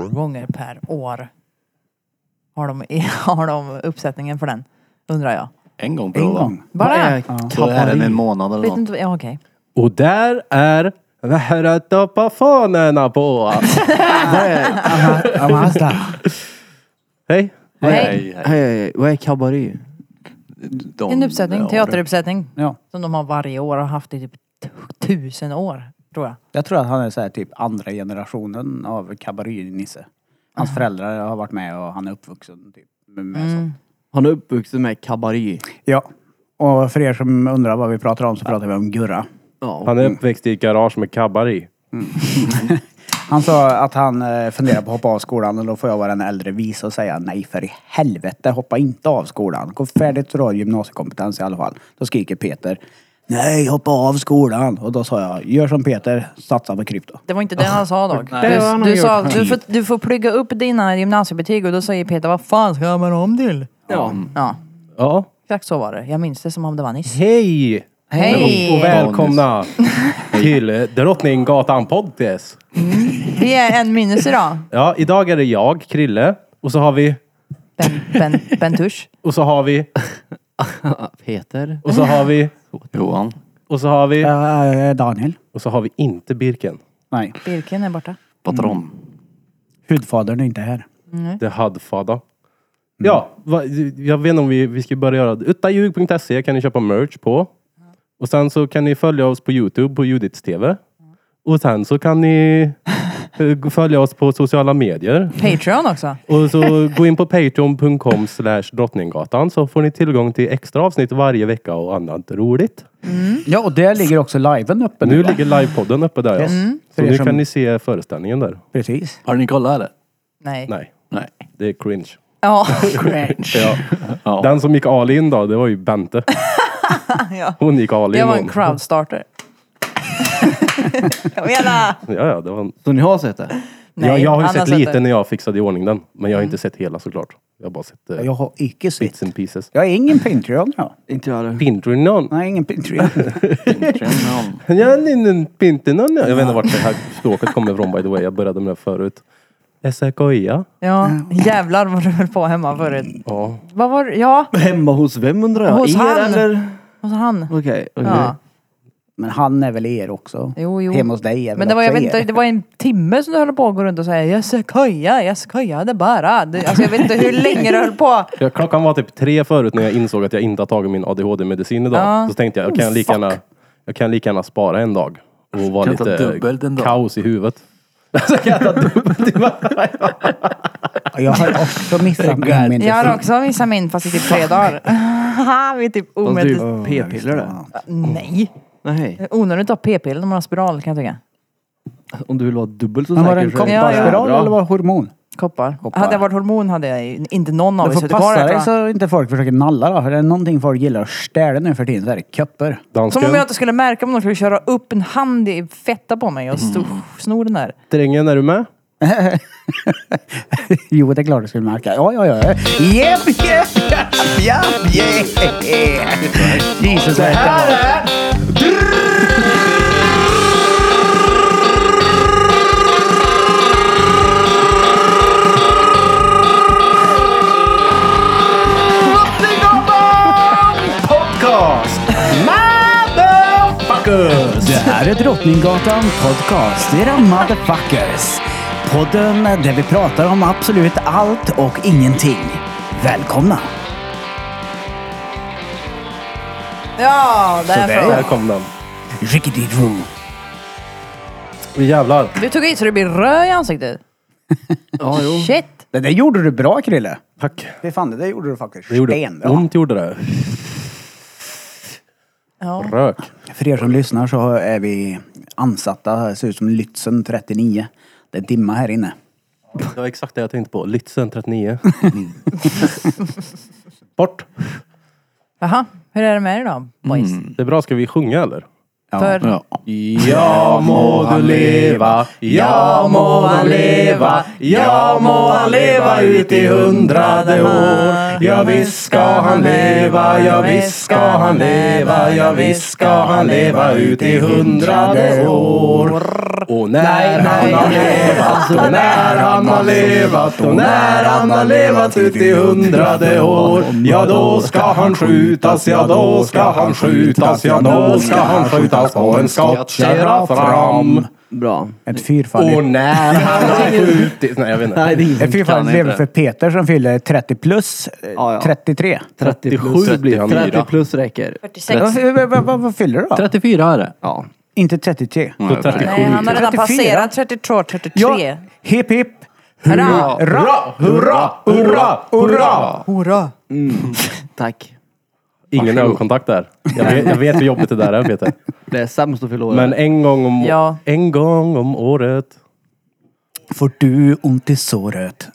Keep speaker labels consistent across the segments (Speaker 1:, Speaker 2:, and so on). Speaker 1: gånger per år har de, har de uppsättningen för den? Undrar jag.
Speaker 2: En gång per
Speaker 3: En
Speaker 2: år.
Speaker 3: gång.
Speaker 1: Bara?
Speaker 3: Vad är
Speaker 2: Då är den
Speaker 3: kavalli?
Speaker 2: en månad eller
Speaker 1: Vet
Speaker 2: något.
Speaker 1: inte, ja, okej.
Speaker 4: Och där är Värötappafanerna på!
Speaker 3: Aha, Amazda.
Speaker 4: Hej!
Speaker 1: Nej.
Speaker 2: hej.
Speaker 5: Hej, hej, vad är kabaré?
Speaker 2: De-
Speaker 1: En uppsättning,
Speaker 2: ja,
Speaker 1: teateruppsättning.
Speaker 3: Ja.
Speaker 1: Som de har varje år och har haft i typ t- tusen år, tror jag.
Speaker 3: Jag tror att han är så här, typ andra generationen av kabaré-Nisse. Hans föräldrar har varit med och han är uppvuxen typ, med med sånt.
Speaker 5: Han är uppvuxen med kabaré.
Speaker 3: Ja. Och för er som undrar vad vi pratar om så pratar vi om Gurra.
Speaker 5: Ja.
Speaker 4: Han är uppväxt i ett garage med kabbar i.
Speaker 3: Han sa att han eh, funderar på att hoppa av skolan och då får jag vara den äldre vis och säga nej för i helvete, hoppa inte av skolan. Gå färdigt så du har gymnasiekompetens i alla fall. Då skriker Peter, nej hoppa av skolan. Och då sa jag, gör som Peter, satsa på krypto.
Speaker 1: Det var inte det han sa dock.
Speaker 2: Det
Speaker 1: Du, du sa du får, du får plugga upp dina gymnasiebetyg och då säger Peter vad fan ska jag med dem till?
Speaker 5: ja.
Speaker 1: Ja,
Speaker 4: Ja.
Speaker 1: exakt så var det. Jag minns det som om det var nyss.
Speaker 4: Hej!
Speaker 1: Hej!
Speaker 4: Och välkomna till Drottninggatan Podcast.
Speaker 1: Vi är en minus idag.
Speaker 4: Ja, idag är det jag, Krille. Och så har vi...
Speaker 1: Ben, ben, ben Tusch.
Speaker 4: Och så har vi...
Speaker 5: Peter.
Speaker 4: Och så har vi...
Speaker 2: Johan.
Speaker 4: Och så har vi...
Speaker 3: Eh, Daniel?
Speaker 4: Och så har vi inte Birken.
Speaker 3: Nej,
Speaker 1: Birken är borta.
Speaker 2: Patron.
Speaker 3: hudfadern är inte här.
Speaker 4: Det hadfada. Ja, va, jag vet inte om vi, vi ska börja göra det. Uttajug.se kan ni köpa merch på. Och sen så kan ni följa oss på Youtube, på Judits TV. Och sen så kan ni eh, följa oss på sociala medier.
Speaker 1: Patreon också.
Speaker 4: Och så gå in på patreon.com slash drottninggatan så får ni tillgång till extra avsnitt varje vecka och annat roligt.
Speaker 3: Mm. Ja, och där ligger också liven uppe
Speaker 4: Nu
Speaker 3: va?
Speaker 4: ligger livepodden uppe där ja.
Speaker 3: Yes. Mm.
Speaker 4: Så
Speaker 3: För er
Speaker 4: nu
Speaker 3: som-
Speaker 4: kan ni se föreställningen där.
Speaker 3: Precis.
Speaker 2: Har ni kollat eller?
Speaker 1: Nej.
Speaker 4: Nej,
Speaker 2: Nej.
Speaker 4: det är cringe.
Speaker 1: Ja.
Speaker 4: Ja.
Speaker 2: Ja.
Speaker 4: Den som gick all in då, det var ju Bente.
Speaker 1: ja.
Speaker 4: Hon gick all in.
Speaker 1: Jag var en
Speaker 4: hon.
Speaker 1: crowdstarter. Kom igen då!
Speaker 4: Ja, ja, det var en...
Speaker 5: Så ni har sett det?
Speaker 1: Nej,
Speaker 4: ja, jag har ju
Speaker 1: han
Speaker 4: sett
Speaker 1: sett
Speaker 4: lite
Speaker 1: det.
Speaker 4: när jag fixade i ordning den. Men jag har inte sett hela såklart. Mm. Jag har bara sett eh,
Speaker 3: Jag har icke sett.
Speaker 4: bits and pieces.
Speaker 3: Jag är ingen Patreon jag.
Speaker 5: Inte jag heller.
Speaker 4: Pintrinon.
Speaker 3: Nej, ingen Patreon.
Speaker 2: Patreon.
Speaker 4: Jag är en liten pintrinon. Jag vet inte vart det här språket kommer ifrån by the way. Jag började med det förut. Esakoia.
Speaker 1: Ja, jävlar vad du höll på hemma förut.
Speaker 4: Ja.
Speaker 1: Vad var det? Ja,
Speaker 5: Hemma hos vem undrar jag?
Speaker 1: Hos
Speaker 5: er
Speaker 1: han.
Speaker 5: eller?
Speaker 1: och så han.
Speaker 5: Okej, okej.
Speaker 1: Ja.
Speaker 3: Men han är väl er också?
Speaker 1: Jo, jo.
Speaker 3: Hemma hos dig är väl
Speaker 1: Men det var, jag
Speaker 3: också
Speaker 1: vet inte,
Speaker 3: er?
Speaker 1: det var en timme som du höll på att gå runt och säga jag skojar, jag skojade bara. Du, alltså jag vet inte hur länge du höll på.
Speaker 4: Ja, Klockan var typ tre förut när jag insåg att jag inte har tagit min ADHD-medicin idag.
Speaker 1: Ja. Oh,
Speaker 4: Så tänkte jag, jag kan, lika gärna, jag kan lika gärna spara en dag. Och vara
Speaker 2: Kan jag ta
Speaker 4: lite
Speaker 2: dubbelt en dag?
Speaker 4: kaos i huvudet. Så kan jag ta dubbelt i huvudet.
Speaker 3: Jag har också missat min min
Speaker 1: Jag har också missat min fast i typ tre dagar. Haha, Vi är typ
Speaker 5: Fast det är
Speaker 1: omedvetna.
Speaker 5: ju p-piller det.
Speaker 1: Nej.
Speaker 5: Nej.
Speaker 1: Onödigt att ha p-piller när man har spiral kan jag tycka.
Speaker 5: Om du vill vara dubbelt så
Speaker 3: Men
Speaker 5: säker
Speaker 3: var det en
Speaker 5: så är
Speaker 1: Ja, ja.
Speaker 3: kopparspiral
Speaker 5: bra.
Speaker 3: eller var det hormon?
Speaker 1: Koppar.
Speaker 3: Koppar.
Speaker 1: Hade jag varit hormon hade jag ju inte någon av
Speaker 3: Du
Speaker 1: er
Speaker 3: får
Speaker 1: suttit kvar
Speaker 3: passa
Speaker 1: här
Speaker 3: dig
Speaker 1: tror jag.
Speaker 3: så inte folk försöker nalla då. För det är någonting folk gillar att stjäla nu för tiden så är det köpper.
Speaker 1: Som om jag
Speaker 4: Dansken,
Speaker 1: inte skulle märka om de skulle köra upp en hand i fetta på mig och stå,
Speaker 3: Mm.
Speaker 1: snor den där.
Speaker 4: drängen är du med?
Speaker 3: jo, det är klart du skulle märka. Ja, ja, ja. Jep, jep, jep, jep. Jesus, det här är...
Speaker 4: Podcast! Motherfuckers!
Speaker 3: Det här är Drottninggatan Podcast. Era motherfuckers. Podden där vi pratar om absolut allt och ingenting. Välkomna!
Speaker 1: Ja,
Speaker 3: Sådär.
Speaker 1: därför.
Speaker 4: Där kom den.
Speaker 3: Rickety Roo.
Speaker 4: Men Jävlar.
Speaker 1: Du tog i så du blir röd i ansiktet.
Speaker 5: Ja, jo.
Speaker 1: Shit.
Speaker 3: Det där gjorde du bra Krille.
Speaker 4: Tack.
Speaker 3: Fy fan, det där gjorde du faktiskt
Speaker 4: Det gjorde Mm. ont gjorde det.
Speaker 1: Ja.
Speaker 4: Rök.
Speaker 3: För er som lyssnar så är vi ansatta. Det ser ut som Lützen 39. Det är dimma här inne.
Speaker 4: Det var exakt det jag tänkte på. Litzen 39. Bort.
Speaker 1: Jaha, hur är det med er då boys?
Speaker 3: Mm,
Speaker 4: Det är bra. Ska vi sjunga eller?
Speaker 1: För
Speaker 2: Ja.
Speaker 4: Ja må han leva, ja må han leva, ja må han leva ut i hundrade år. Ja visst ska han leva, ja visst ska han leva, ja visst ska han leva ut i hundrade år. Och när han har levat, och när han har levat, och när han har levat ut i hundrade år. Ja då ska han skjutas, ja då ska han skjutas, ja då ska han skjutas på en skottkärra fram.
Speaker 5: Bra.
Speaker 3: Ett fyrfaldigt...
Speaker 4: Och när han har skjutits... Nej jag vet inte.
Speaker 5: Nej, det är ingen.
Speaker 3: Ett
Speaker 2: Kan
Speaker 3: fyrfaldigt lever
Speaker 2: inte.
Speaker 3: för Peter som fyller 30 plus eh,
Speaker 5: Ja, ja.
Speaker 3: 33.
Speaker 5: 37 blir han.
Speaker 2: 34.
Speaker 5: 30 plus räcker.
Speaker 1: 46.
Speaker 3: Vad, vad, vad, vad, vad fyller du då?
Speaker 2: 34 är det.
Speaker 5: Ja.
Speaker 3: Inte 33.
Speaker 2: Nej, okej.
Speaker 1: Nej, han har redan
Speaker 3: 34.
Speaker 1: passerat 32, 33.
Speaker 3: Ja, hipp hipp.
Speaker 1: Hurra!
Speaker 3: Hurra!
Speaker 4: hurra, hurra, hurra!
Speaker 1: Hurra!
Speaker 5: Tack.
Speaker 4: Ingen ögonkontakt där. Jag vet, jag vet hur jobbigt det där är Peter.
Speaker 5: Det är sämst att fylla år.
Speaker 4: Men en gång om,
Speaker 1: Ja.
Speaker 4: en gång om året.
Speaker 3: Får du ont i såret?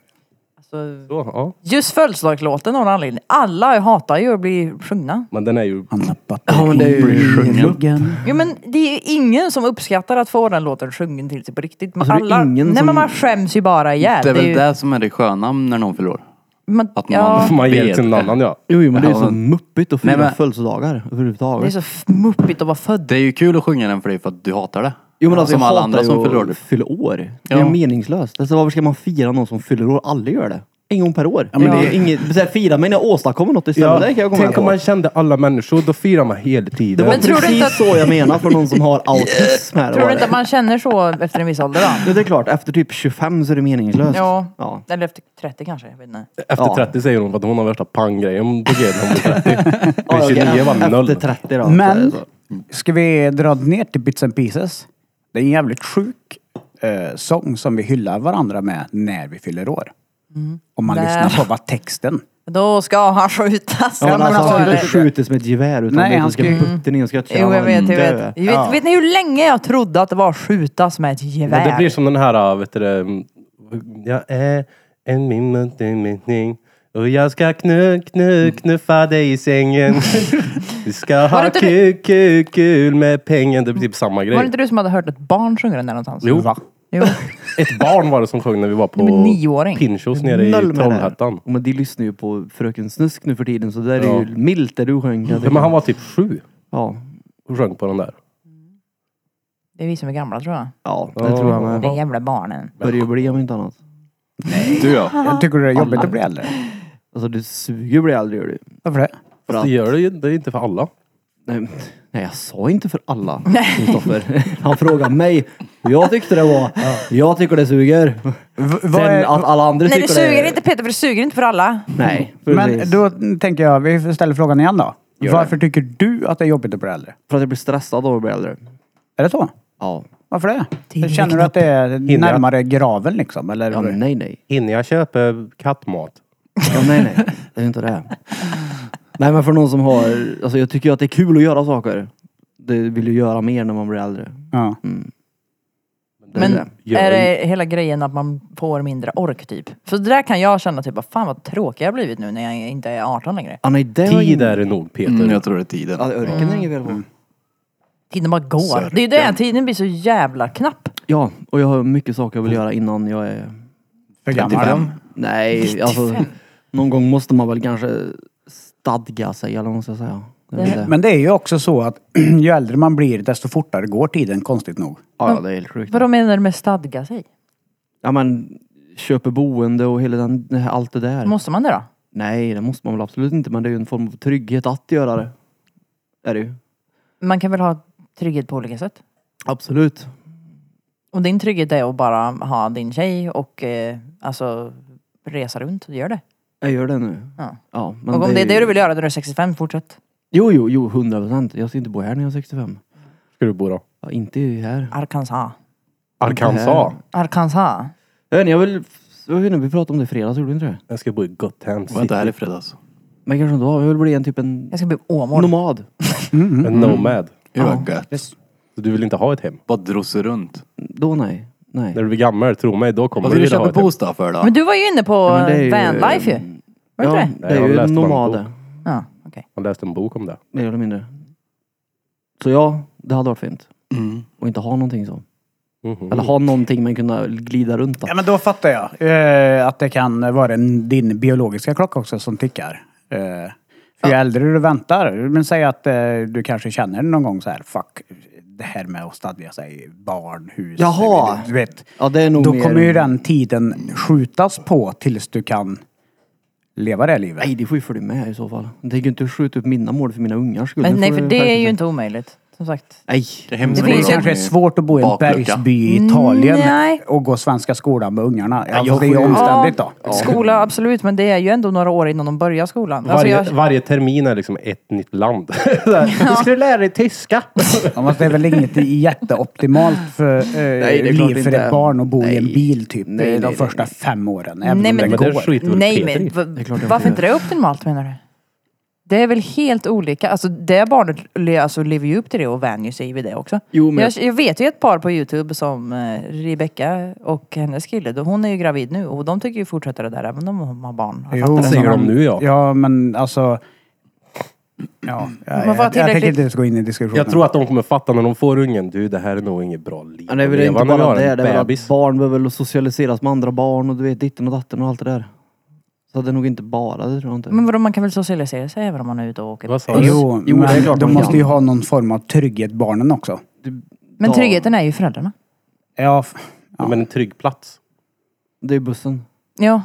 Speaker 1: Alltså,
Speaker 4: Så, ja.
Speaker 1: just födelsedagslåten av någon anledning. Alla hatar ju att bli sjungna.
Speaker 4: Men den är ju...
Speaker 3: Han har batteri
Speaker 5: Ja, men det är ju-
Speaker 3: i ryggen.
Speaker 1: Jo men det är ju ingen som uppskattar att få den låten sjungen till sig på riktigt. Men
Speaker 5: Alltså, det är
Speaker 1: alla,
Speaker 5: ingen
Speaker 1: nej
Speaker 5: som-
Speaker 1: men man skäms ju bara ihjäl.
Speaker 2: Det är väl
Speaker 1: ju-
Speaker 2: det som är det sköna när någon fyller år.
Speaker 1: man,
Speaker 2: Att man
Speaker 1: ja,
Speaker 2: har-
Speaker 4: Man ger det
Speaker 2: Vet
Speaker 4: till någon
Speaker 2: det.
Speaker 4: annan ja.
Speaker 5: Jo, jo, men det är ju
Speaker 2: Ja,
Speaker 5: så
Speaker 2: men-
Speaker 5: muppigt att
Speaker 2: Nej,
Speaker 5: fira
Speaker 2: men-
Speaker 5: födelsedagar
Speaker 1: det är
Speaker 5: överhuvudtaget.
Speaker 1: så f- muppigt att vara född.
Speaker 2: Det är ju kul att sjunga den för dig för att du hatar det.
Speaker 5: Jo men alltså
Speaker 2: som
Speaker 5: jag
Speaker 2: alla
Speaker 5: hatar
Speaker 2: andra
Speaker 5: ju
Speaker 2: som
Speaker 5: att
Speaker 2: fyller år.
Speaker 5: fylla år. Det är
Speaker 2: Ja.
Speaker 5: ju meningslöst. Alltså, varför ska man fira någon som fyller år? Alla gör det. En gång per år.
Speaker 1: men
Speaker 5: det
Speaker 1: det-
Speaker 5: är inget, så här, fira mig när jag åstadkommer något istället. det kan jag komma
Speaker 4: tänk om
Speaker 5: ihåg.
Speaker 4: man kände alla människor, då firar man hela
Speaker 5: Det
Speaker 4: tiden.
Speaker 5: var
Speaker 1: Men tror du
Speaker 5: precis
Speaker 1: inte att-
Speaker 5: så jag menar för någon som har autism. Här
Speaker 1: Tror
Speaker 5: var
Speaker 1: du inte
Speaker 5: det.
Speaker 1: att man känner så efter en viss ålder då?
Speaker 5: Ja, det är klart, efter typ 25 så är det meningslöst.
Speaker 1: Ja.
Speaker 5: ja.
Speaker 1: Eller efter 30 kanske. Jag vet inte.
Speaker 4: Efter
Speaker 5: Ja.
Speaker 4: 30 säger hon för att hon har värsta panggrejen på G när hon blir 30.
Speaker 5: Ja,
Speaker 4: Vid
Speaker 5: okej,
Speaker 4: 29 var det
Speaker 5: Efter
Speaker 4: noll.
Speaker 5: 30 då. så är det
Speaker 3: Men
Speaker 5: så.
Speaker 3: ska vi dra ner till Bits and Pieces? Det är en jävligt sjuk eh, sång som vi hyllar varandra med när vi fyller år. Om man
Speaker 1: Där.
Speaker 3: lyssnar på vad texten...
Speaker 1: Då ska han skjutas.
Speaker 5: Ja,
Speaker 3: men
Speaker 5: men alltså,
Speaker 1: så
Speaker 5: han
Speaker 1: är
Speaker 5: ska
Speaker 1: det.
Speaker 5: inte skjutas med ett gevär utan
Speaker 3: Nej,
Speaker 5: Nej,
Speaker 3: han
Speaker 5: han ska
Speaker 3: ska ju-
Speaker 5: putta ner en skottkärra.
Speaker 1: Jo, jag vet, jag
Speaker 5: dö.
Speaker 1: vet. Vet, vet ni hur länge jag trodde att det var skjutas med ett
Speaker 4: Men
Speaker 1: gevär?
Speaker 4: det blir som den här, äh, vet du det, mm, Jag är en minnesminning och jag ska knu, knu, knuffa dig i sängen. Vi ska
Speaker 1: Var det
Speaker 4: ha
Speaker 1: inte
Speaker 4: kul, kul, kul med pengen. Det blir typ samma
Speaker 1: Var det
Speaker 4: grej.
Speaker 1: inte du som hade hört ett barn sjunga den där någonstans?
Speaker 4: Jo.
Speaker 3: Va?
Speaker 1: Jo.
Speaker 4: Ett barn var det som sjöng när vi var
Speaker 1: Nej, men
Speaker 4: på
Speaker 1: nioåring.
Speaker 4: Pinchos nere i
Speaker 5: Noll med det här.
Speaker 4: Trollhättan.
Speaker 5: Men de lyssnar ju på Fröken Snusk nu för tiden så där är
Speaker 4: Ja.
Speaker 5: ju milt det du sjöng.
Speaker 4: Ja, Men han var typ sju
Speaker 5: Ja,
Speaker 4: och sjöng på den där.
Speaker 1: Det är vi som är gamla tror jag.
Speaker 5: ja det
Speaker 4: Ja.
Speaker 5: tror jag med.
Speaker 1: De jävla barnen.
Speaker 5: Börjar ju bli om inte annat.
Speaker 2: Du ja.
Speaker 3: Jag tycker det är jobbigt att bli äldre.
Speaker 5: Alltså du suger ju bli äldre gör du.
Speaker 3: Varför det?
Speaker 5: För
Speaker 4: Fast
Speaker 5: att,
Speaker 4: det gör det ju det är inte för alla.
Speaker 5: nej, nej jag sa inte för alla. Kristoffer. Han frågade mig hur jag tyckte det var. Jag tycker det suger.
Speaker 3: vad
Speaker 5: Sen
Speaker 3: är-
Speaker 5: att alla andra
Speaker 1: Nej
Speaker 5: tycker
Speaker 1: det suger
Speaker 5: det...
Speaker 1: inte Peter för det suger inte för alla.
Speaker 5: Nej,
Speaker 3: Men
Speaker 5: precis.
Speaker 3: då tänker jag, vi ställer frågan igen då.
Speaker 5: Gör det.
Speaker 3: Varför tycker du att det är jobbigt att bli äldre?
Speaker 5: För att jag blir stressad av att bli äldre.
Speaker 3: Är det så?
Speaker 5: Ja.
Speaker 3: Varför det?
Speaker 1: Tiden är
Speaker 3: Känner du att det är
Speaker 4: jag?
Speaker 3: närmare graven liksom? Eller?
Speaker 5: ja nej, nej.
Speaker 4: Hinner jag köpa kattmat?
Speaker 5: Ja, nej, nej. Det är inte det. Nej, men för någon som har... Alltså jag tycker ju att det är kul att göra saker. Det vill ju göra mer när man blir äldre.
Speaker 3: Ja.
Speaker 5: Mm. Det är
Speaker 1: Men
Speaker 5: det.
Speaker 4: Gör
Speaker 1: är
Speaker 4: det.
Speaker 1: det hela grejen att man får mindre ork typ? För det där kan jag känna typ, vad fan vad tråkig jag har blivit nu när jag inte är 18 längre.
Speaker 5: Ah, nej, det var
Speaker 4: Tid
Speaker 5: ingen- Ah,
Speaker 4: är det nog Peter.
Speaker 2: Mm, jag tror det är tiden.
Speaker 5: Ja, örken är inget fel på.
Speaker 1: Tiden bara går.
Speaker 2: Sörken.
Speaker 1: Det är ju det, tiden blir så jävla knapp.
Speaker 5: Ja, och jag har mycket saker jag vill göra innan jag är...
Speaker 3: För gammal.
Speaker 2: 35.
Speaker 5: Nej, alltså... Någon gång måste man väl kanske stadga sig eller vad man ska säga. Jag vet inte.
Speaker 3: Men det är ju också så att ju äldre man blir desto fortare går tiden konstigt nog.
Speaker 5: Ah, Ja, ja, det är helt sjukt.
Speaker 1: Vad de menar du med stadga sig?
Speaker 5: Ja, men köper boende och hela den, det här- allt det där.
Speaker 1: Måste man det då?
Speaker 5: Nej, det måste man väl absolut inte, men det är ju en form av trygghet att göra det. Är det ju.
Speaker 1: Man kan väl ha trygghet på olika sätt?
Speaker 5: Absolut.
Speaker 1: Och din trygghet är att bara ha din tjej och eh, alltså resa runt, gör det.
Speaker 5: Jag gör det nu.
Speaker 1: Ja.
Speaker 5: Ja, men
Speaker 1: Och om det är det du
Speaker 5: ju-
Speaker 1: vill göra när du är 65, fortsätt.
Speaker 5: Jo, jo, jo, 100 procent. Jag ska inte bo här när jag är 65.
Speaker 4: Ska du bo då?
Speaker 5: Ja, inte här.
Speaker 1: Arkansas.
Speaker 4: Arkansas.
Speaker 1: Arkansas.
Speaker 5: Jag vet inte, jag vill... Jag vet inte, vi pratade om det i fredags, gjorde vi inte det?
Speaker 4: Jag ska bo i Gotham
Speaker 2: Var inte här
Speaker 4: City.
Speaker 2: i fredags?
Speaker 5: Men kanske inte var. Jag vill bli en typ en
Speaker 1: Jag ska bli Åmål.
Speaker 5: nomad.
Speaker 4: En nomad.
Speaker 2: Det var gött.
Speaker 4: Så du vill inte ha ett hem?
Speaker 2: Bara drossa runt.
Speaker 5: Då nej. Nej.
Speaker 4: När du blir gammal, tro mig, då kommer
Speaker 2: Vad ska
Speaker 4: du
Speaker 2: du
Speaker 4: vilja ha
Speaker 2: köpa
Speaker 4: ett hem.
Speaker 2: bostad för då?
Speaker 1: Men du var ju inne på
Speaker 5: men det är ju-
Speaker 1: vanlife ju. Var
Speaker 5: Ja,
Speaker 1: det
Speaker 5: det
Speaker 1: inte
Speaker 5: är
Speaker 4: jag har
Speaker 5: ju
Speaker 4: läst
Speaker 5: nomad
Speaker 4: bara en
Speaker 5: det,
Speaker 1: det? Ja, okej.
Speaker 4: Jag läste en bok om det.
Speaker 5: mer eller mindre. Så ja, det hade varit fint.
Speaker 2: Mm.
Speaker 5: Och inte ha någonting så.
Speaker 4: Mhm.
Speaker 5: Eller ha någonting man kunde glida runt. Då.
Speaker 3: Ja men då fattar jag. Eh, att det kan vara en, din biologiska klocka också som tickar. Eh, för ju äldre du väntar, men säg att eh, du kanske känner någon gång så här, fuck det här med att stadga sig barn, hus.
Speaker 5: Jaha.
Speaker 3: Du vet,
Speaker 5: Ja, det är nog
Speaker 3: då
Speaker 5: mer...
Speaker 3: kommer ju den tiden skjutas på tills du kan leva det livet.
Speaker 5: Nej, det skiffer du med i så fall. Jag tänker inte skjuta upp mina mål för mina ungars skull.
Speaker 1: Men
Speaker 5: Nu
Speaker 1: nej,
Speaker 5: får
Speaker 1: för
Speaker 5: du
Speaker 1: det
Speaker 5: skärpa
Speaker 1: är ju
Speaker 5: dig.
Speaker 1: inte omöjligt. Som sagt.
Speaker 5: Nej.
Speaker 2: Det är hemskt
Speaker 1: Det
Speaker 2: bra.
Speaker 1: finns
Speaker 3: Det kanske är svårt att bo i en
Speaker 2: Baklucka.
Speaker 3: bergsby i Italien
Speaker 1: Mm, nej.
Speaker 3: och gå Svenska skolan med ungarna.
Speaker 5: jag
Speaker 3: Alltså, det är
Speaker 5: får
Speaker 3: ju
Speaker 5: ju-
Speaker 3: omständigt då.
Speaker 1: Skola, absolut. Men det är ju ändå några år innan de börjar skolan. Alltså,
Speaker 4: Varje,
Speaker 1: jag,
Speaker 4: varje termin är liksom ett nytt land. Så här, Du skulle lära dig tyska.
Speaker 3: Ja, men det är väl inget jätteoptimalt för eh,
Speaker 5: är klart
Speaker 3: liv för
Speaker 5: inte.
Speaker 3: ett barn att bo i en
Speaker 5: Nej.
Speaker 3: bil typ
Speaker 5: Nej,
Speaker 3: i
Speaker 5: nej,
Speaker 3: de
Speaker 5: nej,
Speaker 3: första
Speaker 5: nej.
Speaker 3: fem åren. Även
Speaker 1: Nej,
Speaker 3: om
Speaker 1: men
Speaker 3: det
Speaker 4: Men det
Speaker 3: går.
Speaker 4: skiter väl
Speaker 1: nej,
Speaker 4: Peter
Speaker 1: men
Speaker 4: i.
Speaker 1: va-
Speaker 5: Det är klart jag
Speaker 1: varför
Speaker 5: får
Speaker 1: inte det är optimalt menar du? Det är väl helt olika. Alltså det barnet le- alltså, lever ju upp till det och vänjer sig vid det också.
Speaker 5: Jo, men-
Speaker 1: jag, jag vet ju ett par på Youtube som eh, Rebecca och hennes kille. då- Hon är ju gravid nu och de tycker ju fortsätta det där även om de har barn. Jag fattar
Speaker 3: Jo,
Speaker 1: det.
Speaker 4: säger de nu, ja.
Speaker 3: Ja, men alltså... Ja,
Speaker 1: Man får ha
Speaker 3: jag, jag, jag tänker
Speaker 1: tillräckligt-
Speaker 3: inte ens gå in i diskussionen.
Speaker 4: Jag tror att de kommer fatta när de får ungen. Du, det här är nog inget bra liv.
Speaker 5: Ja, det är väl
Speaker 4: att
Speaker 5: inte
Speaker 4: leva när vi
Speaker 5: bara
Speaker 4: har en
Speaker 5: det. Det är väl
Speaker 4: bebis.
Speaker 5: att barn behöver väl socialiseras med andra barn och du vet ditten och datten och allt det där. Så det är nog inte bara det tror jag inte.
Speaker 1: Men vadå, man kan väl socialisera sig även om man är ute och åker?
Speaker 4: Vad sa du?
Speaker 3: Jo,
Speaker 5: Jo, det är
Speaker 3: men
Speaker 5: klart
Speaker 3: de
Speaker 5: man
Speaker 3: måste
Speaker 5: kan.
Speaker 3: ju ha någon form av trygghet, barnen också.
Speaker 1: Men
Speaker 5: Ja,
Speaker 1: tryggheten är ju föräldrarna.
Speaker 3: Ja, f-
Speaker 4: Ja, Men en trygg plats.
Speaker 5: Det är bussen.
Speaker 1: Ja.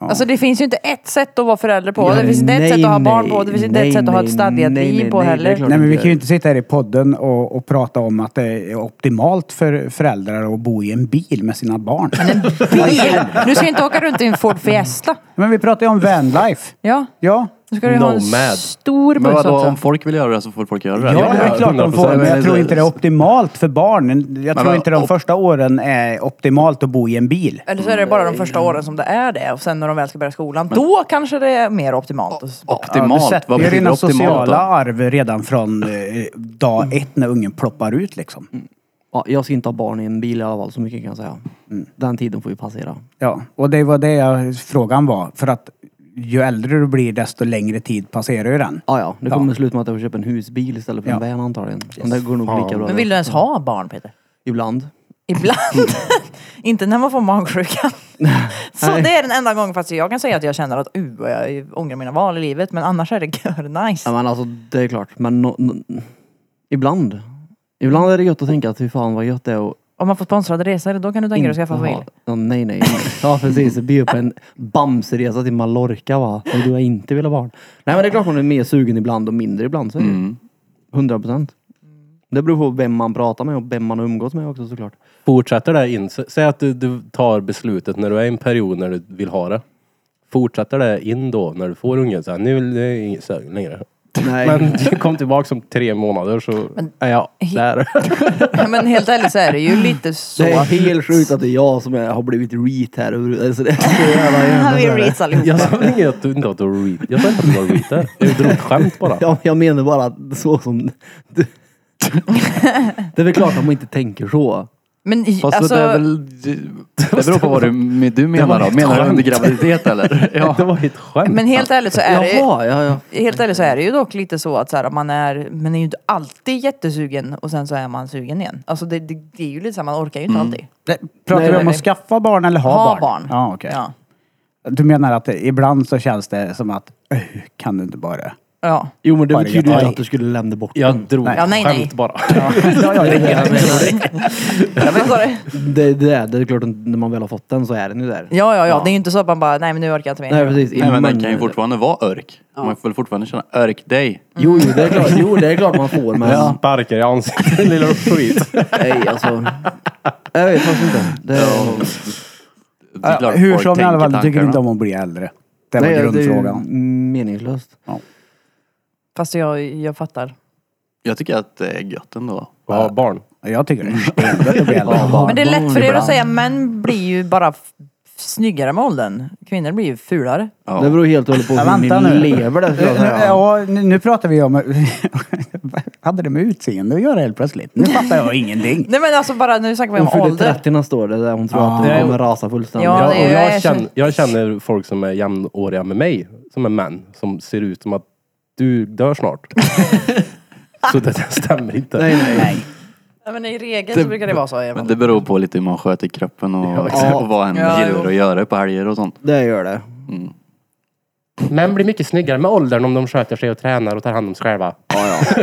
Speaker 3: Ja.
Speaker 1: Alltså det finns ju inte ett sätt att vara förälder på. det
Speaker 5: Ja,
Speaker 1: finns inte
Speaker 5: nej,
Speaker 1: ett sätt att ha
Speaker 5: nej,
Speaker 1: barn på. Det finns inte
Speaker 5: nej,
Speaker 1: ett sätt att ha
Speaker 5: nej,
Speaker 1: ett stadgat
Speaker 5: nej,
Speaker 1: liv
Speaker 5: nej,
Speaker 1: på
Speaker 5: nej, det är
Speaker 1: heller.
Speaker 5: klart.
Speaker 3: Nej men vi
Speaker 5: inte.
Speaker 3: kan ju inte sitta här i podden och, och prata om att det är optimalt för föräldrar att bo i en bil med sina barn.
Speaker 1: Bil! Du ska ju inte åka runt i en Ford Fiesta.
Speaker 3: Men vi pratar ju om vanlife.
Speaker 1: Ja,
Speaker 3: Ja.
Speaker 1: nu ska du ju ha en
Speaker 4: Nomad.
Speaker 1: stor
Speaker 2: Men
Speaker 1: buss alltså.
Speaker 2: vadå,
Speaker 1: också.
Speaker 2: om folk vill göra det så får folk göra det.
Speaker 3: Ja, det är klart de får,
Speaker 4: 100%.
Speaker 3: men jag tror inte det är optimalt för barnen. Jag tror
Speaker 2: vad-
Speaker 3: inte de
Speaker 2: op-
Speaker 3: första åren är optimalt att bo i en bil.
Speaker 1: Eller så är det bara de första åren som det är det och sen när de väl ska börja skolan, då kanske det är mer optimalt.
Speaker 3: Ja, du
Speaker 2: Optimalt?
Speaker 3: sätter
Speaker 2: Vad
Speaker 3: ju
Speaker 2: betyder
Speaker 3: dina
Speaker 2: optimalt
Speaker 3: sociala
Speaker 2: då? Mm.
Speaker 3: arv redan från eh, dag ett när ungen ploppar ut liksom.
Speaker 5: Ja, jag ska inte ha barn i en bil i alla fall, så mycket kan jag säga.
Speaker 4: Mm.
Speaker 5: Den tiden får ju passera.
Speaker 3: Ja, och det var det jag, frågan var. För att ju äldre du blir desto längre tid passerar ju den.
Speaker 5: Ja, ja, det
Speaker 3: Ja.
Speaker 5: kommer sluta med att jag får köpa en husbil istället för en
Speaker 3: Ja.
Speaker 5: van antagligen. Men det går nog lika bra.
Speaker 1: Men vill du ens ha barn Peter?
Speaker 5: Ibland.
Speaker 1: Ibland. inte när man får magsjuka. så
Speaker 5: Nej.
Speaker 1: det är den enda gången faktiskt jag kan säga att jag känner att uh, vad jag ångrar mina val i livet. Men annars är det gör nice.
Speaker 5: Ja, men alltså, det är klart. Men no, no, ibland. Ibland är det gött att tänka att fy fan vad gött det är att
Speaker 1: Om man får sponsrade resor, då kan du tänka dig att skaffa
Speaker 5: Jaha.
Speaker 1: familj.
Speaker 5: Ja, nej, nej. Ja, precis. Det blir upp en Bamseresa till Mallorca va? Om du inte vill ha barn. Nej, men det är klart man är mer sugen ibland och mindre ibland. Så är det ju.
Speaker 2: Mm.
Speaker 5: 100 procent. Det beror på vem man pratar med och vem man umgås med också såklart.
Speaker 4: Fortsätter det in. S- Säg att du, du tar beslutet när du är i en period när du vill ha det. Fortsätter det in då när du får ungen? Så här, nu vill jag inget sög längre.
Speaker 5: Nej.
Speaker 4: Men du kom tillbaka om tre månader så är jag där.
Speaker 1: Ja, men helt ärligt så är det ju lite så.
Speaker 5: det är helt sjukt att det är jag som är, har blivit reet här. över- Alltså, det är så jävla jävla-
Speaker 1: Vi reads allihop.
Speaker 4: Jag sa väl inget att du inte har read. Jag sa inte att du var read där. Jag drog ett skämt bara.
Speaker 5: Ja, men jag menar bara att så som... Du... det är väl klart att man inte tänker så.
Speaker 1: Men i-
Speaker 2: Fast
Speaker 1: alltså,
Speaker 2: det är väl... Det beror på vad du, men du
Speaker 4: var
Speaker 2: menar då.
Speaker 4: ett
Speaker 2: Menar du
Speaker 4: skämt.
Speaker 2: under graviditet eller? Ja.
Speaker 4: Det var ett skämt.
Speaker 1: men helt ärligt så är det
Speaker 5: Jaha, ja, ja.
Speaker 1: Helt ärligt så är det ju dock lite så att så här, man är, man är ju inte alltid jättesugen och sen så är man sugen igen. Alltså det, det, det är ju lite så här, man orkar ju inte alltid.
Speaker 3: Det- Pratar
Speaker 1: Nej,
Speaker 3: vi
Speaker 1: nej,
Speaker 3: om
Speaker 1: nej.
Speaker 3: att skaffa barn eller ha,
Speaker 1: Ha barn.
Speaker 3: Ja, okej.
Speaker 1: Ja.
Speaker 3: Du menar att det- ibland så känns det som att, "Öh, kan du inte bara?
Speaker 1: Ja.
Speaker 5: Jo, men det
Speaker 3: Bara
Speaker 5: betyder ju
Speaker 3: jag-
Speaker 5: inte att du skulle lämna bort
Speaker 4: Jag
Speaker 5: den.
Speaker 4: drog
Speaker 3: Nej.
Speaker 4: ett
Speaker 1: Ja, nej, nej.
Speaker 4: skämt bara.
Speaker 3: Ja, ja, det är helt
Speaker 1: Ja, men så är det.
Speaker 5: Det, det, är, det är klart, att när man väl har fått den så är den ju där.
Speaker 1: ja, ja, ja. Det är ju inte så att man bara, nej men nu orkar jag inte mer.
Speaker 5: Nej, precis.
Speaker 2: Nej men den
Speaker 5: Immun-
Speaker 2: kan ju fortfarande vara örk. Man får väl fortfarande känna örk dig.
Speaker 5: Jo, jo, det är klart, jo, det är klart man får, men...
Speaker 4: Sparkar i ansiktet, lilla skit.
Speaker 5: Nej, alltså. Jag vet faktiskt inte. Det är,
Speaker 2: Det är klart
Speaker 3: Hur
Speaker 2: folk
Speaker 3: som i alla
Speaker 2: tänker
Speaker 3: fall, du tycker
Speaker 2: tankarna.
Speaker 3: inte om att bli äldre. Det var
Speaker 5: nej, det är ju
Speaker 3: grundfrågan.
Speaker 5: meningslöst.
Speaker 1: Fast jag, jag fattar.
Speaker 2: Jag tycker att det är gött ändå.
Speaker 4: Ja, barn.
Speaker 3: Jag tycker det är stengött att bli äldre.
Speaker 1: Men det är lätt för er
Speaker 5: Ibland.
Speaker 1: att säga, män blir ju bara f- snyggare med åldern. Kvinnor blir ju fulare.
Speaker 2: Ja.
Speaker 5: Det beror helt och hållet på
Speaker 3: Ja,
Speaker 5: hur
Speaker 3: vänta
Speaker 5: ni
Speaker 3: nu.
Speaker 5: lever där, skulle jag säga.
Speaker 3: Ja, nu, nu pratar vi om... hade det med utseende att göra helt plötsligt? Nu fattar jag ingenting.
Speaker 1: Nej men alltså bara, nu snackar vi
Speaker 5: Hon
Speaker 1: om
Speaker 5: fyllde
Speaker 1: ålder.
Speaker 5: 30 nästa år, det är där hon tror att
Speaker 4: Ja.
Speaker 5: hon kommer rasa fullständigt.
Speaker 1: Ja,
Speaker 4: Ja,
Speaker 1: det
Speaker 4: och
Speaker 1: är-
Speaker 4: jag, känner, jag känner folk som är jämnåriga med mig, som är män, som ser ut som att du dör snart. Så det där stämmer inte.
Speaker 5: Nej, nej.
Speaker 3: Nej.
Speaker 1: Ja, men i regel så brukar det vara så i alla
Speaker 2: Men
Speaker 1: fall.
Speaker 2: det beror på lite hur man sköter kroppen och,
Speaker 5: Ja.
Speaker 2: och vad en
Speaker 1: Ja,
Speaker 2: gillar
Speaker 1: jo.
Speaker 2: att göra på helger och sånt.
Speaker 5: Det gör det.
Speaker 2: Mm.
Speaker 4: Män blir mycket snyggare med åldern om de sköter sig och tränar och tar hand om sig själva.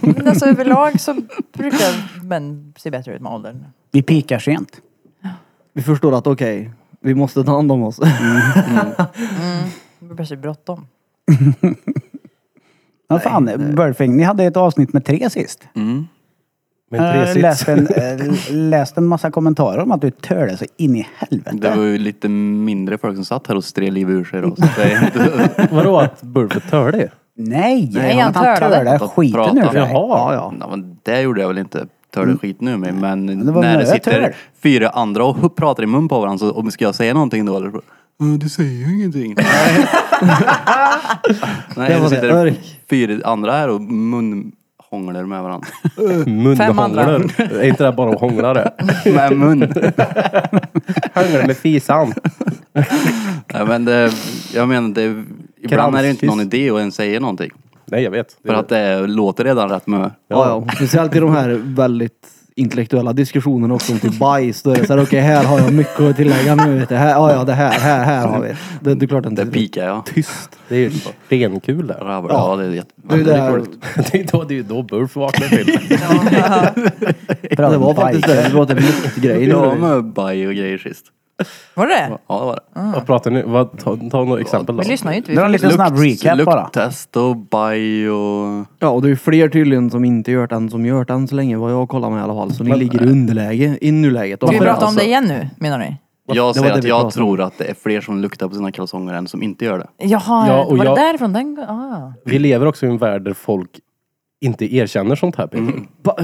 Speaker 1: Men alltså överlag så brukar män se bättre ut med åldern.
Speaker 3: Vi pikar sent.
Speaker 5: Vi förstår att okej, vi måste ta hand om oss.
Speaker 1: Det blir plötsligt bråttom.
Speaker 3: Men fan, Burfing, ni hade ett avsnitt med tre sist.
Speaker 2: Mm.
Speaker 1: Äh,
Speaker 4: Med tre
Speaker 3: Jag
Speaker 4: sits.
Speaker 3: läste en, eh, läste en massa kommentarer om att du törde så in i
Speaker 2: Det
Speaker 3: helvete.
Speaker 2: var ju lite mindre folk som satt här och stred liv ur sig då. Så det är inte...
Speaker 4: Vadå att Burford tör det?
Speaker 3: Nej!
Speaker 1: Nej, han
Speaker 3: han
Speaker 1: törde.
Speaker 3: törde skiten ur
Speaker 2: Prata.
Speaker 3: dig.
Speaker 4: Jaha.
Speaker 5: ja.
Speaker 2: Ja, men det gjorde jag väl inte. Tar det skit nu med. Men
Speaker 3: det var
Speaker 2: när det
Speaker 3: nöje,
Speaker 2: sitter
Speaker 3: tur.
Speaker 2: fyra andra och hu- pratar i mun på varandra så om ska jag säga någonting då eller? "Mm, Du säger ju ingenting. Nej, Nej
Speaker 5: Det var
Speaker 2: det
Speaker 5: det.
Speaker 2: sitter
Speaker 5: Örk.
Speaker 2: fyra andra här och munhånglar med varandra.
Speaker 1: Fem andra.
Speaker 4: Munhånglar. Är inte det bara att hångla det?
Speaker 2: Med mun.
Speaker 4: Hångla med fisan.
Speaker 2: Nej, men det, jag menar, det, ibland är det ju inte
Speaker 4: Kramskyss.
Speaker 2: någon idé att ens säga någonting.
Speaker 4: Nej, jag vet.
Speaker 2: För att det låter redan rätt mö.
Speaker 5: Ja, ja. Speciellt i de här väldigt intellektuella diskussionerna också om typ bajs. Då är det såhär, okej här har jag mycket att tillägga nu. Vet du. Här, ja, ja, det här, här, här har vi. Det, det är klart
Speaker 2: Det
Speaker 5: inte.
Speaker 2: pikar jag.
Speaker 4: Tyst. Det är ju renkul där.
Speaker 2: Rabbar. Ja, det är jätte...
Speaker 5: Det är där,
Speaker 4: Det är då, det är ju då Burf vaknar till.
Speaker 3: Bra,
Speaker 5: det var typ faktiskt
Speaker 3: bajs.
Speaker 5: det. Vi pratade luktgrejer.
Speaker 2: Jag var med baj och grejer sist.
Speaker 1: Var det det?
Speaker 2: Ja, det var det.
Speaker 4: Vad pratar ni? Vad, ta, ta några exempel då.
Speaker 1: Vi lyssnar ju inte.
Speaker 3: Det var en
Speaker 1: Vi
Speaker 3: liten snabb recap bara.
Speaker 2: Lukttest och baj och...
Speaker 5: Ja, och det är ju fler tydligen som inte gjort den som gjort den så länge vad jag kollar med i alla fall. Så ni ligger i underläge i nuläget.
Speaker 1: Ska vi prata om
Speaker 2: alltså?
Speaker 1: det igen nu, menar ni?
Speaker 2: Jag
Speaker 5: Det var
Speaker 2: säger
Speaker 5: det
Speaker 2: att
Speaker 5: vi
Speaker 2: jag
Speaker 5: pratade om.
Speaker 2: tror att det är fler som luktar på sina kalsonger än som inte gör det.
Speaker 1: Jaha,
Speaker 4: Ja, och
Speaker 1: var
Speaker 4: jag-
Speaker 1: det därifrån den... Ah.
Speaker 4: Vi lever också i en värld där folk inte erkänner sånt här. Peter.
Speaker 5: Ba-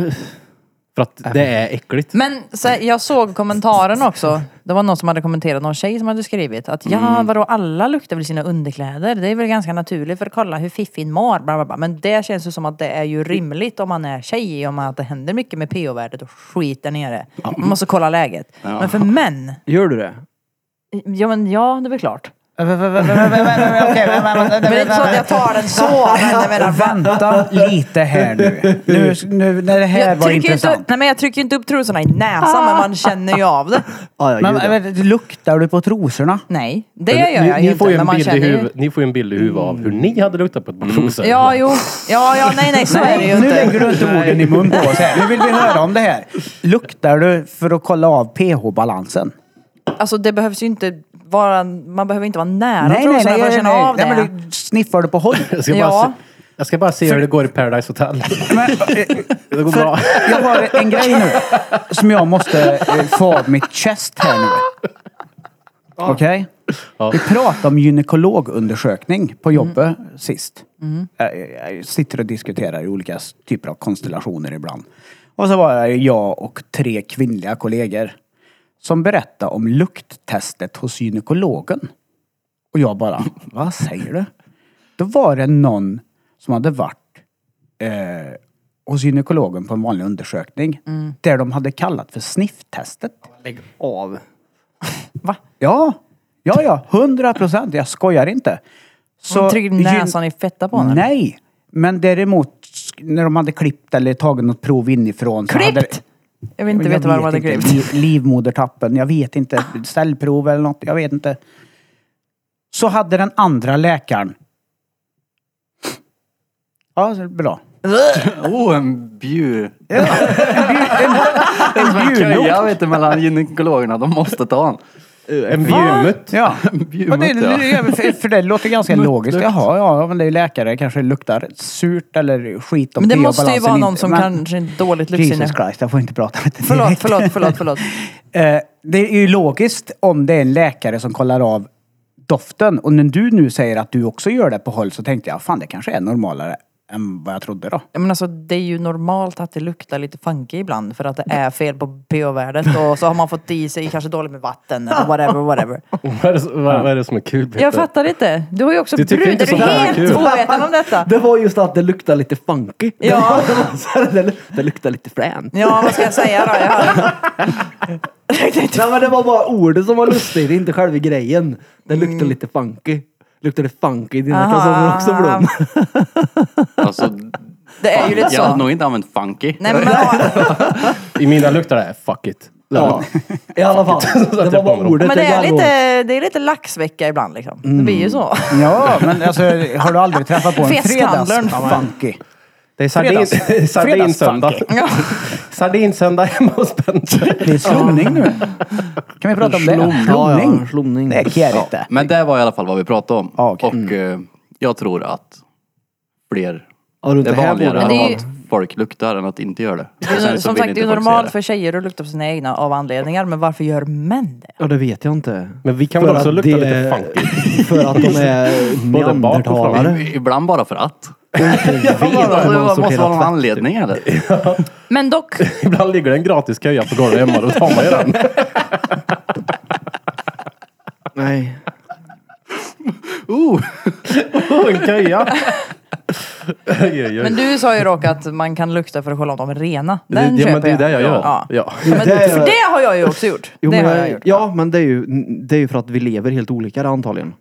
Speaker 4: För att det är äckligt.
Speaker 1: Men så, här, jag såg kommentaren också. Det var någon som hade kommenterat, någon tjej som hade skrivit att ja,
Speaker 4: Mm.
Speaker 1: vadå alla luktar väl sina underkläder? Det är väl ganska naturligt för att kolla hur fiffin mår. Bla, bla, bla. Men det känns ju som att det är ju rimligt om man är tjej, om att det händer mycket med pH-värdet och skit där nere. Man måste kolla läget. Men för män,
Speaker 5: Gör du det?
Speaker 1: ja men ja, det är väl klart. Men det är inte så att
Speaker 3: Vänta
Speaker 1: jag tar den så. Men jag menar, va?
Speaker 3: lite här nu. Nu, nu när det här
Speaker 1: Jag
Speaker 3: var
Speaker 1: trycker, ju inte,
Speaker 3: intressant.
Speaker 1: nej, men jag trycker ju inte upp trosorna i näsan, men man känner ju av det.
Speaker 5: Ah, ja,
Speaker 3: Men,
Speaker 5: gud, ja.
Speaker 3: men, luktar du på trosorna?
Speaker 1: Nej, det gör jag
Speaker 4: ni,
Speaker 1: ju
Speaker 4: ni, får
Speaker 1: inte.
Speaker 4: ju
Speaker 1: men
Speaker 4: en
Speaker 1: man
Speaker 4: bild i
Speaker 1: känner ju...
Speaker 4: huvud, ni får ju en bild i huvudet av hur ni hade luktat på ett par trosor.
Speaker 1: Ja, jo. Ja, ja, nej, nej, så är det ju
Speaker 3: Nu
Speaker 1: inte.
Speaker 3: lägger du inte orden i mun på oss här. Nu vill vi höra om det här. Luktar du för att kolla av pH-balansen?
Speaker 1: Alltså det behövs ju inte vara, man behöver inte vara nära
Speaker 3: Nej, nej,
Speaker 1: trosorna
Speaker 3: nej.
Speaker 1: för att
Speaker 3: nej,
Speaker 1: känna
Speaker 3: nej.
Speaker 1: av
Speaker 3: nej
Speaker 1: det.
Speaker 3: men du sniffar du på håll?
Speaker 4: Jag ska,
Speaker 1: Ja.
Speaker 4: bara se, jag ska bara se hur det går i Paradise Hotel.
Speaker 3: Men, eh,
Speaker 4: Det går
Speaker 3: för,
Speaker 4: bra.
Speaker 3: jag har en grej nu som jag måste eh, få av mitt chest här nu. Okej?
Speaker 4: Ja. Mm.
Speaker 3: Vi pratade om gynekologundersökning på jobbet sist. Jag, jag- jag sitter och diskuterar i olika s- typer av konstellationer ibland. Och så var det jag och tre kvinnliga kollegor som berättade om lukttestet hos gynekologen. Och jag bara, vad säger du? Då var det någon som hade varit eh, hos gynekologen på en vanlig undersökning.
Speaker 1: Mm.
Speaker 3: Där de hade kallat för snifftestet.
Speaker 5: Lägg av.
Speaker 1: Va?
Speaker 3: Ja, ja, ja. Hundra procent. Jag skojar inte.
Speaker 1: Så trycker
Speaker 3: gyn-
Speaker 1: näsan i fetta på honom?
Speaker 3: Nej. Men däremot sk- när de hade klippt eller tagit något prov inifrån. så hade-
Speaker 1: Klippt! Jag vill inte
Speaker 3: Jag
Speaker 1: veta vad de
Speaker 3: vet
Speaker 1: hade
Speaker 3: inte.
Speaker 1: klippt. Ah.
Speaker 3: Li- Livmodertappen. Jag vet inte. Cellprov eller något. Jag vet inte. Så hade den andra läkaren. Ja, så bra.
Speaker 2: Åh, Oh, en bjur...
Speaker 3: En bjurlukt.
Speaker 2: Jag vet inte mellan gynekologerna, de måste ta en.
Speaker 4: En bjurmutt.
Speaker 3: Ja. Men det,
Speaker 2: Bjurmutt, ja.
Speaker 3: för- för det låter ganska logiskt. Jaha, ja, men det är ju läkare. Kanske luktar surt eller skit om
Speaker 1: Men det
Speaker 3: pH
Speaker 1: måste ju
Speaker 3: balansen
Speaker 1: vara någon
Speaker 3: inte-
Speaker 1: som
Speaker 3: men-
Speaker 1: kanske är dåligt luktsinne.
Speaker 3: Jesus Christ, jag får inte prata med det
Speaker 1: Förlåt,
Speaker 3: direkt.
Speaker 1: förlåt, förlåt, förlåt.
Speaker 3: Eh, Det är ju logiskt om det är en läkare som kollar av doften. Och när du nu säger att du också gör det på håll så tänkte jag, fan det kanske är normalare än vad jag trodde då.
Speaker 1: Ja, Men alltså, det är ju normalt att det luktar lite funky ibland för att det är fel på pH-värdet och så har man fått i sig kanske dåligt med vatten eller whatever, whatever.
Speaker 4: Vad är, det, som- vad, vad är det som är kul Peter?
Speaker 1: Jag fattar inte. Du har ju också
Speaker 4: Du tycker
Speaker 1: brun.
Speaker 4: inte
Speaker 1: Är du
Speaker 4: sånt här är
Speaker 1: helt
Speaker 4: kul.
Speaker 1: ovetande om detta?
Speaker 5: Det var just att det luktar lite funky.
Speaker 1: Ja.
Speaker 5: Det, var så här, det luk- det luktar lite fränt.
Speaker 1: Ja, vad ska jag säga då? Jag har...
Speaker 5: Nej men det var bara ordet som var lustigt, inte själva grejen. Det luktar lite funky. Luktar det funky i dina
Speaker 1: Aha,
Speaker 5: kalsonger också
Speaker 1: aha.
Speaker 5: Blom?
Speaker 2: Alltså,
Speaker 1: Det är ju lite
Speaker 2: Jag hade
Speaker 1: så.
Speaker 2: nog inte använt funky.
Speaker 1: Nej, men man har,
Speaker 4: I mina luktar det här, fuck it.
Speaker 5: Ja. I alla fall, det var
Speaker 4: jag på
Speaker 5: bara
Speaker 4: mig.
Speaker 5: ordet.
Speaker 1: men det är
Speaker 5: jag
Speaker 1: lite, det är lite laxvecka ibland liksom. Det blir ju så.
Speaker 3: Ja, men alltså har du aldrig träffat på en
Speaker 1: Fiskhandlaren.
Speaker 3: fredagsfunky?
Speaker 4: Det är sardin,
Speaker 3: Fredags-
Speaker 4: sardinsöndag.
Speaker 3: fredagsfunky.
Speaker 1: Ja.
Speaker 4: Sardinsöndag hemma hos Bente.
Speaker 3: Det är slumning nu. Kan vi prata om det?
Speaker 5: Slum. Ja, ja, slumning.
Speaker 3: Det är kärigt det.
Speaker 2: Men det var i alla fall vad vi pratade om.
Speaker 3: Ja, okej.
Speaker 2: Och eh, jag tror att fler,
Speaker 5: Ja, runt
Speaker 2: det är
Speaker 5: det här bordet.
Speaker 2: vanligare
Speaker 1: Men det är ju-
Speaker 2: att folk luktar än att inte göra det. Och
Speaker 1: Det är
Speaker 2: sen
Speaker 1: ju-
Speaker 2: så
Speaker 1: Som
Speaker 2: vill
Speaker 1: sagt, det är ju
Speaker 2: inte folk
Speaker 1: normalt
Speaker 2: se
Speaker 1: för tjejer att lukta på sina egna av anledningar. Men varför gör män det?
Speaker 5: Ja, det vet jag inte.
Speaker 4: Men vi kan väl
Speaker 5: För
Speaker 4: också
Speaker 5: att
Speaker 4: lukta
Speaker 5: det-
Speaker 4: lite funky.
Speaker 5: För att de är
Speaker 4: Både bak och fram.
Speaker 5: neandertalare.
Speaker 2: I- Ibland bara för att.
Speaker 5: Jag vet inte
Speaker 2: Alltså,
Speaker 5: om
Speaker 2: det
Speaker 5: de har
Speaker 2: måste vara någon
Speaker 5: sorterat
Speaker 2: anledning eller?
Speaker 1: Men dock,
Speaker 4: Ibland ligger det en gratis köja på golvet hemma, då tar man ju den.
Speaker 5: tvätt. Nej.
Speaker 2: Oh,
Speaker 4: Oh, en köja! Oj, oj, oj.
Speaker 1: men du sa ju dock att man kan lukta för att kolla om de är rena.
Speaker 4: det,
Speaker 1: Den
Speaker 4: det, men
Speaker 1: köper
Speaker 4: det är det jag gör.
Speaker 1: Ja.
Speaker 4: Ja.
Speaker 1: Men,
Speaker 5: Det är-
Speaker 1: för det har jag ju också gjort.
Speaker 5: Jo,
Speaker 1: det
Speaker 5: men
Speaker 1: har
Speaker 5: jag-
Speaker 1: jag gjort.
Speaker 5: Ja, men det är, ju, det är ju för att vi lever helt olika där, antagligen.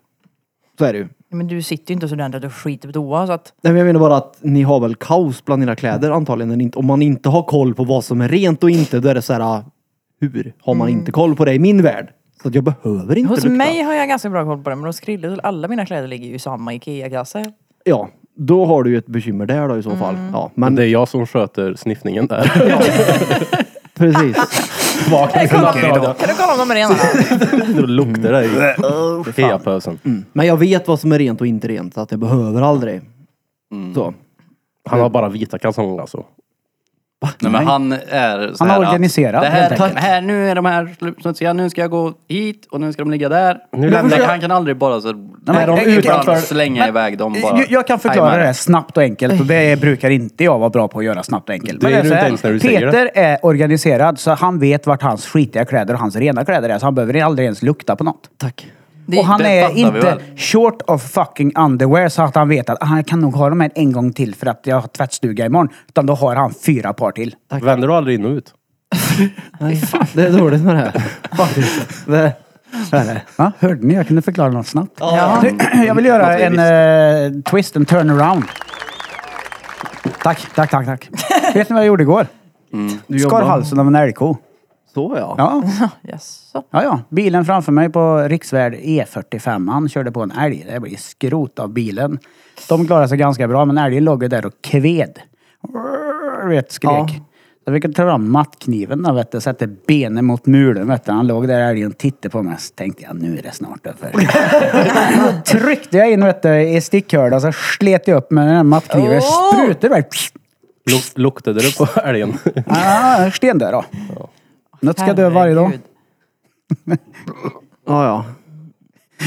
Speaker 5: Så är det ju.
Speaker 1: Men du sitter ju inte så ordentligt och skiter på toa. Så att,
Speaker 5: Nej, men jag menar bara att ni har väl kaos bland era kläder antagligen. när ni inte- Om man inte har koll på vad som är rent och inte, då är det så här, ah, hur har man inte koll på det i min värld? Så att jag behöver inte
Speaker 1: Mm. hos
Speaker 5: lukta.
Speaker 1: mig har jag ganska bra koll på det. Men hos Krille, alla mina kläder ligger ju i samma Ikea-kasse.
Speaker 5: Ja, då har du ju ett bekymmer där då i
Speaker 1: Mm.
Speaker 5: så fall. Ja, men
Speaker 4: Det är jag som sköter sniffningen där.
Speaker 5: precis.
Speaker 4: Vaknar på natten
Speaker 1: Kan du kolla om de är rena?
Speaker 4: och luktar det i feapösen.
Speaker 5: Men jag vet vad som är rent och inte rent, så att jag behöver aldrig. Så.
Speaker 4: Han har bara vita kalsonger alltså.
Speaker 2: Nej, men han är så
Speaker 3: Han har
Speaker 2: här att
Speaker 3: organiserat,
Speaker 2: Det
Speaker 3: helt
Speaker 2: här,
Speaker 3: enkelt.
Speaker 2: det här, nu är de här smutsiga, nu ska jag gå hit och nu ska de ligga där.
Speaker 4: Nu lämnar
Speaker 2: Nej,
Speaker 4: jag-
Speaker 2: han kan aldrig bara så...
Speaker 3: men-
Speaker 2: de
Speaker 3: jag- jag-
Speaker 2: utanför,
Speaker 3: jag-
Speaker 2: slänga iväg dem bara.
Speaker 3: Eh, Jag, jag kan förklara
Speaker 2: Tajmar.
Speaker 3: det här snabbt och enkelt och det brukar inte jag vara bra på att göra snabbt och enkelt.
Speaker 4: Det
Speaker 3: Men
Speaker 4: är
Speaker 3: är så
Speaker 4: du inte
Speaker 3: här,
Speaker 4: ens när du säger
Speaker 3: Peter är organiserad så han vet vart hans skitiga kläder och hans rena kläder är så han behöver aldrig ens lukta på något.
Speaker 5: Tack.
Speaker 1: Det-
Speaker 3: och han
Speaker 2: det
Speaker 3: är
Speaker 2: fattar vi
Speaker 3: inte
Speaker 2: väl.
Speaker 3: short of fucking underwear så att han vet att ah, han kan nog ha dem här en gång till för att jag har tvättstuga imorgon. Utan då har han fyra par till.
Speaker 4: Vänder du aldrig in och ut?
Speaker 5: Nej, det är dåligt med det här. Faktiskt. Det, det är det.
Speaker 3: Va? Hörde ni? Jag kunde förklara något snabbt.
Speaker 1: Ja.
Speaker 3: Du, Jag vill göra en eh, twist, en turnaround. Tack, tack, tack, tack. Vet ni vad jag gjorde igår? Skar
Speaker 5: Du jobbar-
Speaker 3: halsen av en älgko.
Speaker 5: Så ja.
Speaker 3: Ja,
Speaker 1: Jaså?
Speaker 3: ja, ja. Bilen framför mig på riksväg E45, han körde på en älg. Det blev skrot av bilen. De klarade sig ganska bra, men älgen låg ju där och kved. Du vet, skrek.
Speaker 5: Ja.
Speaker 3: Så vi kunde ta fram mattkniven och vet du, sätta benen mot muren. Vet du. Han låg där älgen och tittade på mig. Så tänkte jag, nu är det snart över. Då tryckte jag in vet du, i stickhördan så slet jag upp med den här mattkniven.
Speaker 1: Oh!
Speaker 3: Sprutade bara.
Speaker 4: Luk- Luktade du på älgen?
Speaker 3: Ah, stendör då. Något ska dö varje dag.
Speaker 1: Herregud.
Speaker 5: Ja, ja.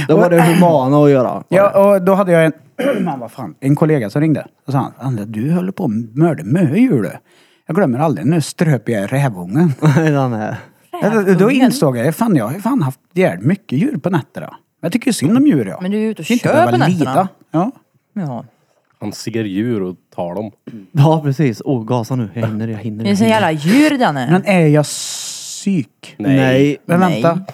Speaker 5: Det var det humana att göra.
Speaker 3: Ja, och då hade jag en, man, vad fan, en kollega som ringde. Och sa han, Andra, du höll på att mörda mödjur du. Jag glömmer aldrig, nu ströp jag rävungen.
Speaker 5: Nej, den är...
Speaker 3: Då- Då insåg jag, fan jag har ju fan haft jävligt mycket djur på nätterna. Jag tycker ju synd om djur jag.
Speaker 1: Men du är ju ute och
Speaker 3: Inte
Speaker 1: kör
Speaker 3: behöva
Speaker 1: på nätterna.
Speaker 3: lida. Ja.
Speaker 1: Ja.
Speaker 4: Han ser djur och tar dem.
Speaker 5: Ja, precis. Åh, gasa nu. Jag hinner, jag hinner.
Speaker 1: Det är
Speaker 5: Jag
Speaker 1: så
Speaker 5: hinner.
Speaker 1: jävla djur Danne.
Speaker 3: Men är jag psyk?
Speaker 4: Nej.
Speaker 5: Nej.
Speaker 3: Men
Speaker 1: Nej. Mm.
Speaker 3: vänta.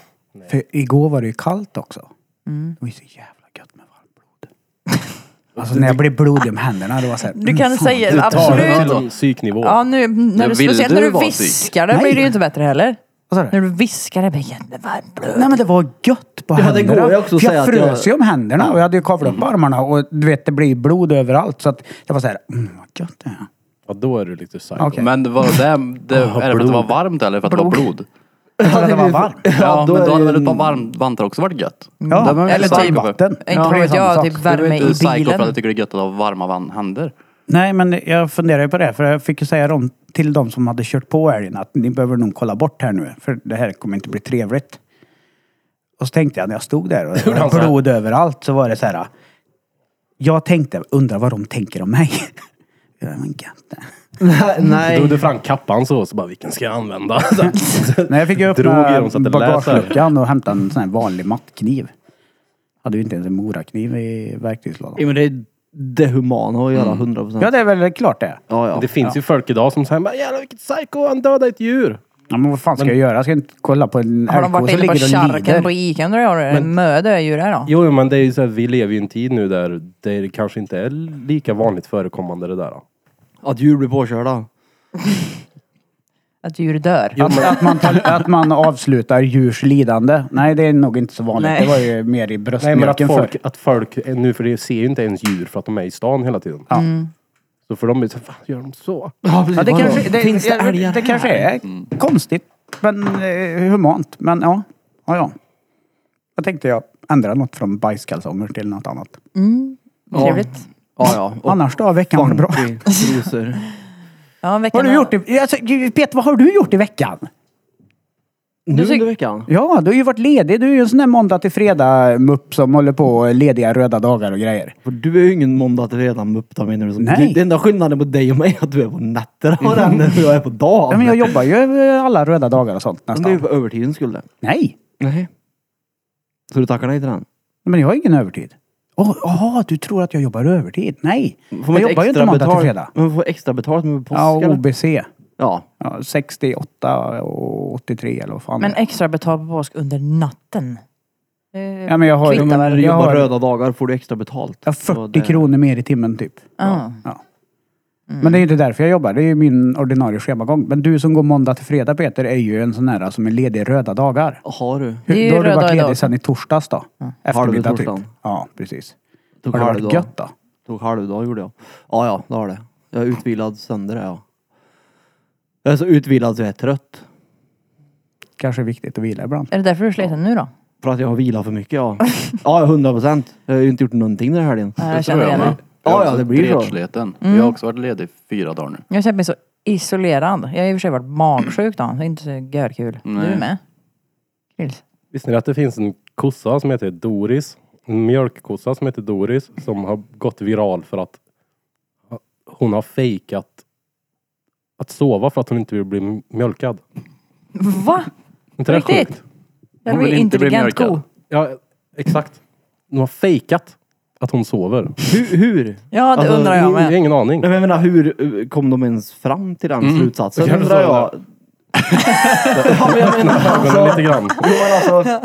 Speaker 3: För igår var det ju kallt också. Det var ju så jävla gött med varmt blod. Alltså när jag blev blodig om händerna, det var såhär...
Speaker 1: Du kan säga
Speaker 4: Tar dem
Speaker 1: absolut.
Speaker 4: till psyknivå.
Speaker 1: Ja, nu, när du,
Speaker 2: vill
Speaker 1: speciellt
Speaker 2: du
Speaker 1: när du
Speaker 2: vara
Speaker 1: viskar det
Speaker 3: Nej.
Speaker 1: blir det ju inte bättre heller.
Speaker 3: Vad sa du?
Speaker 1: När du viskar det blir jättevarmt blod.
Speaker 3: Nej men det var gött på
Speaker 5: Ja, det
Speaker 3: händerna.
Speaker 5: går ju också att
Speaker 3: För jag
Speaker 5: säga att
Speaker 3: frös
Speaker 5: jag-
Speaker 3: ju om
Speaker 5: Mm.
Speaker 3: händerna och jag hade ju kavlat upp armarna och du vet det blir blod överallt. Så att jag var såhär, mm, vad gött det är.
Speaker 4: Ja, då är du lite psycho.
Speaker 3: Okej.
Speaker 2: Men det var det, det, är det för att det var varmt eller för att det var blod?
Speaker 3: Jag trodde det var varmt.
Speaker 2: Ja,
Speaker 5: då
Speaker 2: men då
Speaker 5: är det
Speaker 2: hade väl
Speaker 5: en-
Speaker 2: ett par varm, vantar också varit gött?
Speaker 3: Ja,
Speaker 2: Det var jag
Speaker 1: eller
Speaker 2: psycho
Speaker 1: typ
Speaker 2: för.
Speaker 3: vatten.
Speaker 1: Inte
Speaker 2: Du
Speaker 3: Ja,
Speaker 1: vad vet
Speaker 3: det är
Speaker 1: jag,
Speaker 3: samma
Speaker 1: typ
Speaker 3: sak.
Speaker 2: är väl
Speaker 1: värme
Speaker 2: inte
Speaker 1: i
Speaker 2: psycho för att du
Speaker 1: bilen.
Speaker 2: tycker det är gött att ha varma van- händer?
Speaker 3: Nej men jag funderar ju på det för jag fick ju säga dem, till de som hade kört på älgen att ni behöver nog kolla bort här nu för det här kommer inte bli trevligt. Och så tänkte jag när jag stod där och det
Speaker 5: alltså?
Speaker 3: var blod överallt så var det så här. Jag tänkte, undrar vad de tänker om mig. Ja, men gött det.
Speaker 5: Nej.
Speaker 4: Drog du fram kappan så, så bara vilken ska jag använda?
Speaker 3: Nej, jag fick ju
Speaker 4: Drog i dem så att det
Speaker 3: öppna
Speaker 4: lät så här.
Speaker 3: bagageluckan och hämta en sån här vanlig mattkniv. Hade ju inte ens en morakniv i verktygslådan.
Speaker 5: Ja, men det är det humana att göra, 100 procent.
Speaker 3: Mm. Ja, det är väl klart det.
Speaker 5: Ja, ja.
Speaker 4: det finns ju folk idag som säger bara jävlar vilket psycho, han dödade ett djur.
Speaker 3: Ja, men vad fan ska jag göra? Jag ska inte kolla på en
Speaker 1: Har de
Speaker 3: älgko
Speaker 1: varit
Speaker 3: som
Speaker 1: inne på
Speaker 3: ligger och
Speaker 1: charken på
Speaker 3: lider.
Speaker 1: Ica undrar jag? Men... Möde är ju det då.
Speaker 4: Jo, men det är ju så här, vi lever ju i en tid nu där det kanske inte är lika vanligt förekommande det där.
Speaker 5: Att djur blir påkörda.
Speaker 1: Att djur dör.
Speaker 4: Jo,
Speaker 3: Att,
Speaker 4: men-
Speaker 3: att, man tar, att man avslutar djurs lidande. Nej, det är nog inte så vanligt.
Speaker 1: Nej.
Speaker 3: Det var ju mer i
Speaker 4: Nej men att
Speaker 3: bröstmjölken förr.
Speaker 4: folk, att folk eh, nu för det ser ju inte ens djur för att de är i stan hela tiden.
Speaker 3: Ja.
Speaker 4: Så för de är så, fan gör de så?
Speaker 3: Ja, det, kanske, det,
Speaker 5: Finns det
Speaker 3: jag-
Speaker 5: älgar
Speaker 3: det kanske är konstigt, men eh, humant. Men ja, ja, ja. Jag tänkte jag ändra något från bajskalsonger till något annat.
Speaker 1: Mm. Trevligt.
Speaker 5: Ja, ja. Och
Speaker 3: Annars då har veckan varit bra.
Speaker 5: funky trosor.
Speaker 1: Ja, veckan
Speaker 3: Vad har du gjort i, alltså, Peter, vad har du gjort i veckan?
Speaker 5: Nu
Speaker 1: tyck-
Speaker 5: under veckan?
Speaker 3: Ja, du har ju varit ledig. Du är ju en sån där måndag till fredag mupp som håller på och lediga röda dagar och grejer.
Speaker 5: För du är ju ingen måndag till fredag mupp då menar du. Som
Speaker 3: Nej. Mm.
Speaker 5: Det enda skillnaden på dig och mig är att du är på nätter och den och jag är på
Speaker 3: Ja,
Speaker 5: dagen.
Speaker 3: men jag jobbar ju eh, alla röda dagar och sånt
Speaker 5: Men det är ju
Speaker 3: nästan.
Speaker 5: på övertidens skull det.
Speaker 3: Nej,
Speaker 5: Nej. Så du tackar nej till den?
Speaker 3: men jag har ingen övertid. Åh, Jaha, du tror att jag jobbar övertid? Nej.
Speaker 5: Får man
Speaker 3: jag
Speaker 5: inte
Speaker 3: jobbar ju inte
Speaker 5: extra
Speaker 3: måndag till
Speaker 5: betalt-
Speaker 3: fredag.
Speaker 5: Men får extra betalt med påsk
Speaker 3: Ja,
Speaker 5: eller?
Speaker 3: OBC.
Speaker 5: Ja.
Speaker 3: Ja, 68 och 83 eller vad fan
Speaker 1: Men
Speaker 3: det är.
Speaker 1: extra betalt på påsk under natten. Eh,
Speaker 3: ja, men jag har,
Speaker 5: Ja, men när
Speaker 3: jag,
Speaker 5: du jobbar
Speaker 3: har, jag
Speaker 5: röda dagar får du extra betalt.
Speaker 3: har
Speaker 5: Så
Speaker 3: 40
Speaker 5: det-
Speaker 3: kronor mer i timmen typ.
Speaker 1: ja.
Speaker 3: Ja. Men det är ju inte därför jag jobbar. Det är ju min ordinarie schemagång. Men du som går måndag till fredag Peter är ju en sån här som är ledig röda dagar.
Speaker 5: Har du?
Speaker 1: Det är ju
Speaker 3: Hur, då har du
Speaker 1: röda
Speaker 3: varit
Speaker 1: idag.
Speaker 3: ledig sedan i torsdags då? Eftermiddag typ.
Speaker 5: torsdagen.
Speaker 3: Ja, precis.
Speaker 5: Tog
Speaker 3: Har det varit
Speaker 5: halvdag.
Speaker 3: gött då?
Speaker 5: Tog halvdag gjorde jag. Ja, ja, det har det. Jag är utvilad sönder det, ja. Jag är så utvilad så jag är trött.
Speaker 3: Kanske är viktigt att vila ibland.
Speaker 1: Är det därför du är sliten nu då?
Speaker 5: För att jag har vilat för mycket, ja. Ja, hundra procent. Jag har ju inte gjort någonting den här helgen.
Speaker 1: Ja, jag Äh, känner igen Mm.
Speaker 2: med.
Speaker 1: mig.
Speaker 5: Ja,
Speaker 2: Jag är
Speaker 5: ja,
Speaker 2: också
Speaker 5: det blir så.
Speaker 2: dretsleten. Jag har också varit ledig fyra dagar nu.
Speaker 1: Jag känner mig så isolerad. Jag har i och för sig varit magsjuk då. Det är inte så görkul.
Speaker 2: Nej.
Speaker 1: Du är med? Nils.
Speaker 4: Visste ni att det finns en kossa som heter Doris? En mjölkkossa som heter Doris som har gått viral för att hon har fejkat att sova för att hon inte vill bli mjölkad.
Speaker 1: Va?
Speaker 4: Inte det
Speaker 1: Riktigt?
Speaker 4: sjukt?
Speaker 1: Jag
Speaker 2: Hon
Speaker 1: blir
Speaker 2: vill inte bli
Speaker 1: intelligent
Speaker 2: mjölkad.
Speaker 1: god.
Speaker 4: Ja, exakt. Hon har fejkat att hon sover.
Speaker 5: Hur? hur?
Speaker 1: Ja, det
Speaker 5: Alltså,
Speaker 1: undrar jag
Speaker 4: Jag har
Speaker 1: med.
Speaker 4: ingen aning.
Speaker 5: Nej, men jag menar, hur eh, kom de ens fram till
Speaker 2: Mm.
Speaker 5: den slutsatsen?
Speaker 4: Det kan du
Speaker 5: undrar
Speaker 4: fråga.
Speaker 5: jag. ja, men jag menar
Speaker 4: Men
Speaker 5: alltså.
Speaker 4: lite grann.
Speaker 5: Jo, men alltså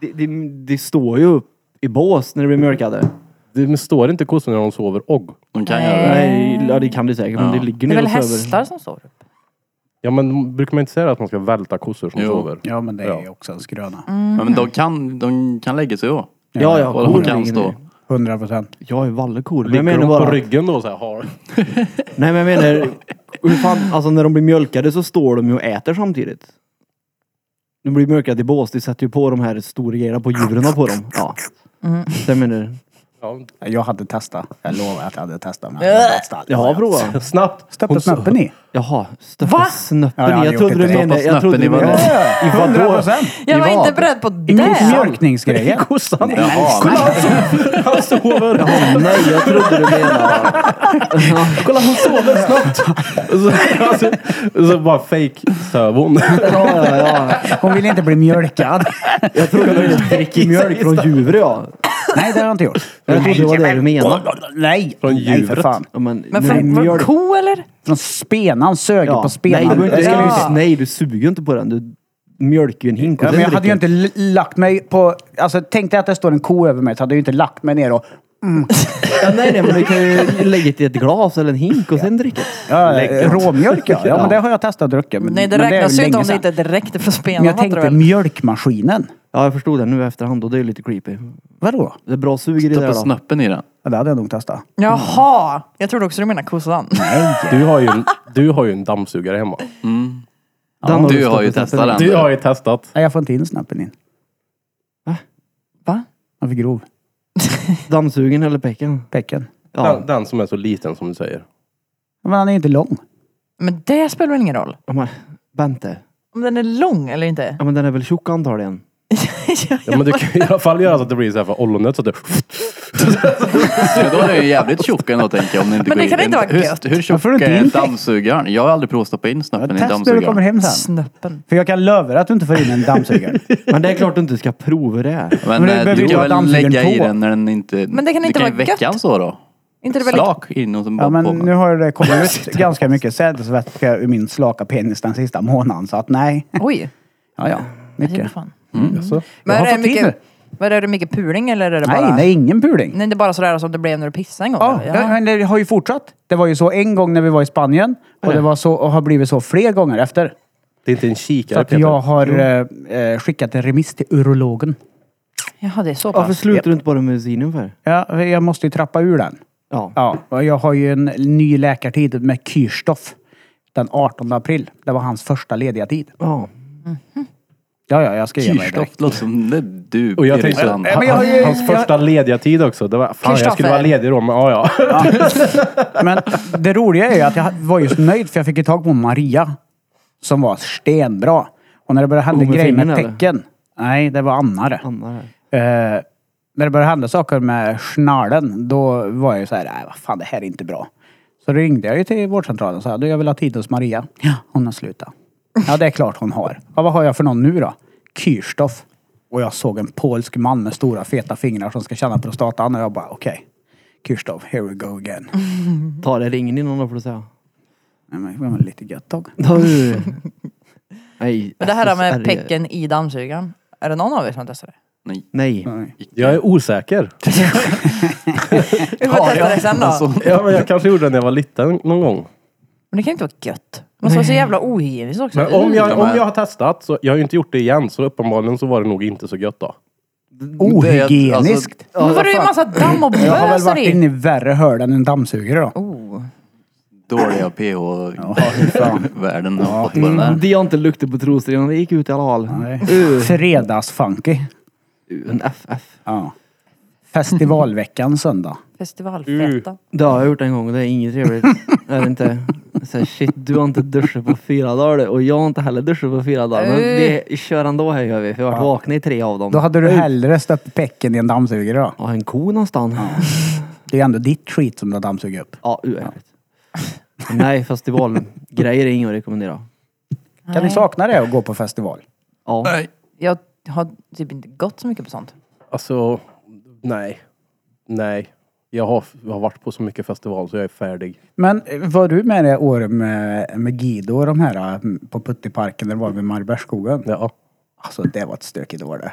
Speaker 5: det, det, det står ju upp i bås när det blir mörkade.
Speaker 4: Det står inte kossor när de sover och.
Speaker 2: De kan
Speaker 1: Nej.
Speaker 2: göra det.
Speaker 5: Nej, ja, det kan det säkert. Men det ligger
Speaker 1: Det är
Speaker 5: ner
Speaker 1: väl
Speaker 5: och
Speaker 1: hästar
Speaker 5: sover.
Speaker 1: som sover upp?
Speaker 4: Ja men brukar man inte säga att man ska välta kossor som
Speaker 2: Jo.
Speaker 4: sover?
Speaker 3: Ja, men det är
Speaker 4: Ja.
Speaker 3: ju också en skröna.
Speaker 2: Ja, men de kan, de kan lägga sig då.
Speaker 5: Ja, ja.
Speaker 2: Och de
Speaker 5: kor
Speaker 2: kan
Speaker 5: ligger
Speaker 2: stå.
Speaker 5: ner.
Speaker 3: 100 procent.
Speaker 5: Jag är vallekor. Men
Speaker 4: Ligger
Speaker 5: jag menar
Speaker 4: de på
Speaker 5: bara...
Speaker 4: ryggen då så här? Har...
Speaker 5: Nej, men jag menar... Hur fan, alltså när de blir mjölkade så står de ju och äter samtidigt. De blir mjölkade i bås. De sätter ju på de här stora grejerna på djuren på dem. Ja. Så jag menar...
Speaker 4: Ja,
Speaker 3: Jag hade testat. Jag lovar att jag hade testat. Men jag hade inte testat.
Speaker 5: Jag har provat.
Speaker 4: snabbt.
Speaker 3: Stöpte snöppen i.
Speaker 5: Jaha, stöppa
Speaker 1: Va?
Speaker 5: snöppen.
Speaker 3: Ja, jag hade
Speaker 5: jag trodde
Speaker 3: gjort det.
Speaker 5: du menade...
Speaker 2: Stoppa
Speaker 5: Jag trodde du
Speaker 2: snöppen i
Speaker 5: menade... I vadå?
Speaker 3: 100 procent.
Speaker 1: Jag var
Speaker 5: I vad?
Speaker 1: inte beredd på
Speaker 3: I
Speaker 1: det.
Speaker 3: mjölkningsgrejen.
Speaker 5: Kossan.
Speaker 2: Jaha,
Speaker 5: Han sover. Ja, nej, jag trodde du menade...
Speaker 4: Kolla hon sover snabbt! så, alltså, så bara fake söv hon.
Speaker 5: Ja, ja, ja.
Speaker 3: Hon vill inte bli mjölkad.
Speaker 5: Jag trodde du dricker mjölk från djuret ja.
Speaker 3: Nej, det har jag inte gjort.
Speaker 5: Jag trodde det var det du menade.
Speaker 3: Nej!
Speaker 4: Från
Speaker 3: Nej, för
Speaker 4: djuret.
Speaker 3: fan.
Speaker 5: Ja, men,
Speaker 1: Men från, från ko eller?
Speaker 3: Från spenan. Sög ju
Speaker 5: ja.
Speaker 3: på spenan.
Speaker 5: Nej, du, inte,
Speaker 3: Jag skulle ju
Speaker 1: Ja.
Speaker 3: inte-
Speaker 5: nej, du suger ju inte på den. Du mjölkar ju en hink och
Speaker 3: Ja,
Speaker 5: sen
Speaker 3: men jag hade ju
Speaker 5: dricker
Speaker 3: inte l- lagt mig på... Alltså, tänk dig att det står en ko över mig så hade jag ju inte lagt mig ner och...
Speaker 5: du. Ja, nej, nej, men du kan ju lägga det i ett glas eller en hink och sen dricka.
Speaker 3: Ja, råmjölk ja. ja. men det har jag testat att dricka. Men,
Speaker 1: Nej, det
Speaker 3: men är
Speaker 1: räknas
Speaker 3: ju
Speaker 1: ju inte om
Speaker 3: länge
Speaker 1: det
Speaker 3: sedan.
Speaker 1: inte är direkt från
Speaker 3: Men
Speaker 1: spenarna.
Speaker 3: jag
Speaker 1: tror
Speaker 3: tänkte
Speaker 1: jag.
Speaker 3: mjölkmaskinen.
Speaker 5: Ja, jag förstod det nu efterhand och det är ju lite creepy.
Speaker 3: Vadå?
Speaker 5: Det är bra sug i det
Speaker 2: stoppa
Speaker 5: där då.
Speaker 2: snöppen i den.
Speaker 3: Ja, det hade jag nog testat.
Speaker 1: Jaha! Jag trodde också du menade kossan.
Speaker 4: Du har ju en, du har ju en dammsugare hemma.
Speaker 5: Den
Speaker 2: Du har ju
Speaker 5: stoppat
Speaker 2: testat
Speaker 5: i.
Speaker 2: den.
Speaker 4: Du har ju testat.
Speaker 3: Nej, jag får inte in snappen in.
Speaker 1: Va?
Speaker 3: Den är för grov.
Speaker 5: Dammsugen eller pecken?
Speaker 3: Pecken.
Speaker 5: Ja.
Speaker 4: Den, den som är så liten som du säger.
Speaker 3: Men han är ju inte lång.
Speaker 1: Men det spelar väl ingen roll?
Speaker 5: ja men, Bente.
Speaker 1: Om den är lång eller inte?
Speaker 5: Ja men den är väl tjock antagligen?
Speaker 4: Ja, men du kan i alla fall göra så att det blir så här för ollonet så att du...
Speaker 2: Men då är det ju jävligt tjock ändå tänker jag. Om det inte
Speaker 1: Men det
Speaker 2: går
Speaker 1: kan
Speaker 2: in.
Speaker 1: inte vara gött.
Speaker 2: hur, hur tjock
Speaker 3: Varför har du inte
Speaker 2: är
Speaker 3: insekt?
Speaker 2: dammsugaren? Jag har aldrig provat att stoppa in snöppen i en
Speaker 3: Testa när du kommer
Speaker 2: dammsugare.
Speaker 3: hem sen.
Speaker 1: Snöppen.
Speaker 3: För jag kan lova att du inte får in en dammsugare.
Speaker 5: Men det är klart du inte ska prova det.
Speaker 2: Men,
Speaker 3: Men det
Speaker 2: eh,
Speaker 3: behöver
Speaker 2: du
Speaker 3: ju
Speaker 2: kan
Speaker 3: vara
Speaker 2: väl lägga
Speaker 3: dammsugaren
Speaker 2: i
Speaker 3: på.
Speaker 2: den när den inte...
Speaker 1: Men det kan inte
Speaker 2: du
Speaker 1: vara
Speaker 2: ju väcka
Speaker 1: gött.
Speaker 2: den så då.
Speaker 1: Inte det väldigt...
Speaker 2: Slak in och sen bara
Speaker 3: Ja, men
Speaker 2: på med.
Speaker 3: nu har det kommit ut ganska mycket sädesvätska ur min slaka penis den sista månaden. Så att nej.
Speaker 1: Oj!
Speaker 3: Ja, ja.
Speaker 1: Jag
Speaker 3: Mycket.
Speaker 1: fan.
Speaker 4: Jaså?
Speaker 1: Men är
Speaker 3: har
Speaker 1: det
Speaker 3: fått tid
Speaker 1: mycket... Vad är det, mycket puling eller är det bara?
Speaker 3: Nej, det är ingen puling.
Speaker 1: Nej, det är bara sådär som det blev när du pissade en gång?
Speaker 3: "Äh?" Ja,
Speaker 1: eller?
Speaker 3: det, men det har ju fortsatt. Det var ju så en gång när vi var i Spanien och det var så, och har blivit så fler gånger efter.
Speaker 4: Det är inte en
Speaker 3: Så
Speaker 4: kikare
Speaker 3: att
Speaker 4: Peter.
Speaker 3: jag har eh, eh, skickat en remiss till urologen.
Speaker 1: Jaha, det är så
Speaker 5: Varför
Speaker 1: pass.
Speaker 5: slutar du inte bara med Zinum för?
Speaker 3: Ja, jag måste ju trappa ur den.
Speaker 5: Ja.
Speaker 3: Ja, och jag har ju en ny läkartid med Kyrstoff den 18 april. Det var hans första lediga tid.
Speaker 5: ja.
Speaker 3: Ja, ja, jag ska ge mig direkt.
Speaker 2: Kyrstoft låter som det är du
Speaker 4: Och jag
Speaker 2: Erik
Speaker 4: tänkte,
Speaker 2: Strand.
Speaker 3: men jag har ju-
Speaker 4: hans
Speaker 3: jag-
Speaker 4: första lediga tid också. Det var, fan, jag skulle
Speaker 1: Kristoffer.
Speaker 4: vara ledig då, men ja, ja.
Speaker 3: Men det roliga är ju att jag var just nöjd för jag fick ju tag på Maria. Som var stenbra. Och när det började hända
Speaker 5: Hon med
Speaker 3: grejer med
Speaker 5: fingern, eller?
Speaker 3: tecken. Nej, det var Annare.
Speaker 5: Anna här.
Speaker 3: Eh, när det började hända saker med snarlen, då var jag ju så här, nej vad fan det här är inte bra. Så ringde jag ju till vårdcentralen och sa, du jag vill ha tid hos Maria. Ja, hon har slutat. Ja det är klart hon har. Ja, vad har jag för någon nu då? Kyrstoff. Och jag såg en polsk man med stora feta fingrar som ska känna prostatan och jag bara okej. Kyrstoff, here we go again.
Speaker 5: Ta det ringen innan då får du säga.
Speaker 3: Nej, men det var lite gött tag.
Speaker 5: Ta du. Nej.
Speaker 1: Men det här med
Speaker 5: SSR.
Speaker 1: pecken i dammsugaren. Är det någon av er som har testat
Speaker 2: Nej.
Speaker 5: Nej.
Speaker 4: Jag är osäker.
Speaker 1: det? Vi får testa det sen då.
Speaker 2: Alltså,
Speaker 4: Ja, men jag kanske gjorde det när jag var liten någon gång.
Speaker 1: Men det kan ju inte vara gött. Det måste vara så jävla ohygieniskt också.
Speaker 4: Men om jag,
Speaker 3: Mm.
Speaker 2: men-
Speaker 4: om jag har testat, så jag har ju inte gjort det igen, så uppenbarligen så var det nog inte så gött då.
Speaker 2: Det är- alltså,
Speaker 3: Ohygieniskt.
Speaker 1: Men var det ju en massa damm och
Speaker 3: jag har väl
Speaker 1: bös där
Speaker 3: varit
Speaker 1: i.
Speaker 3: inne i värre hål än en dammsugare då.
Speaker 1: Oh.
Speaker 2: dåliga pH-värden har fått på den
Speaker 3: Mm.
Speaker 2: där.
Speaker 5: Det Mm, har inte luktat på trosor innan det gick ut i alla fall.
Speaker 3: Nej. Fredagsfunky.
Speaker 5: En FF.
Speaker 3: Ja. Festivalveckan söndag.
Speaker 1: Festivalfeta.
Speaker 5: Det har jag gjort en gång och det är inget trevligt. det är det inte. Så här, shit, du har inte duschat på fyra dagar du. och jag har inte heller duschat på fyra dagar. Men vi kör ändå här gör vi, för jag har varit vaken i tre av dem.
Speaker 3: Då hade du hellre stött pecken i en dammsugare då.
Speaker 5: Ja, en ko någonstans.
Speaker 3: Det är ändå ditt skit som du har dammsugit upp.
Speaker 5: Ja, uäckligt. Nej, festivalgrejer är inget att rekommendera.
Speaker 3: Kan ni sakna det att gå på festival?
Speaker 5: Ja.
Speaker 1: Jag har typ inte gått så mycket på sånt.
Speaker 4: Alltså, nej. Nej. Jag har, jag har varit på så mycket festival så jag är färdig.
Speaker 3: Men eh, var du med det året med, med Guido och de här eh, på Puttiparken där det var vid Mariebergsskogen?
Speaker 4: Ja.
Speaker 3: Alltså det var ett stökigt år det.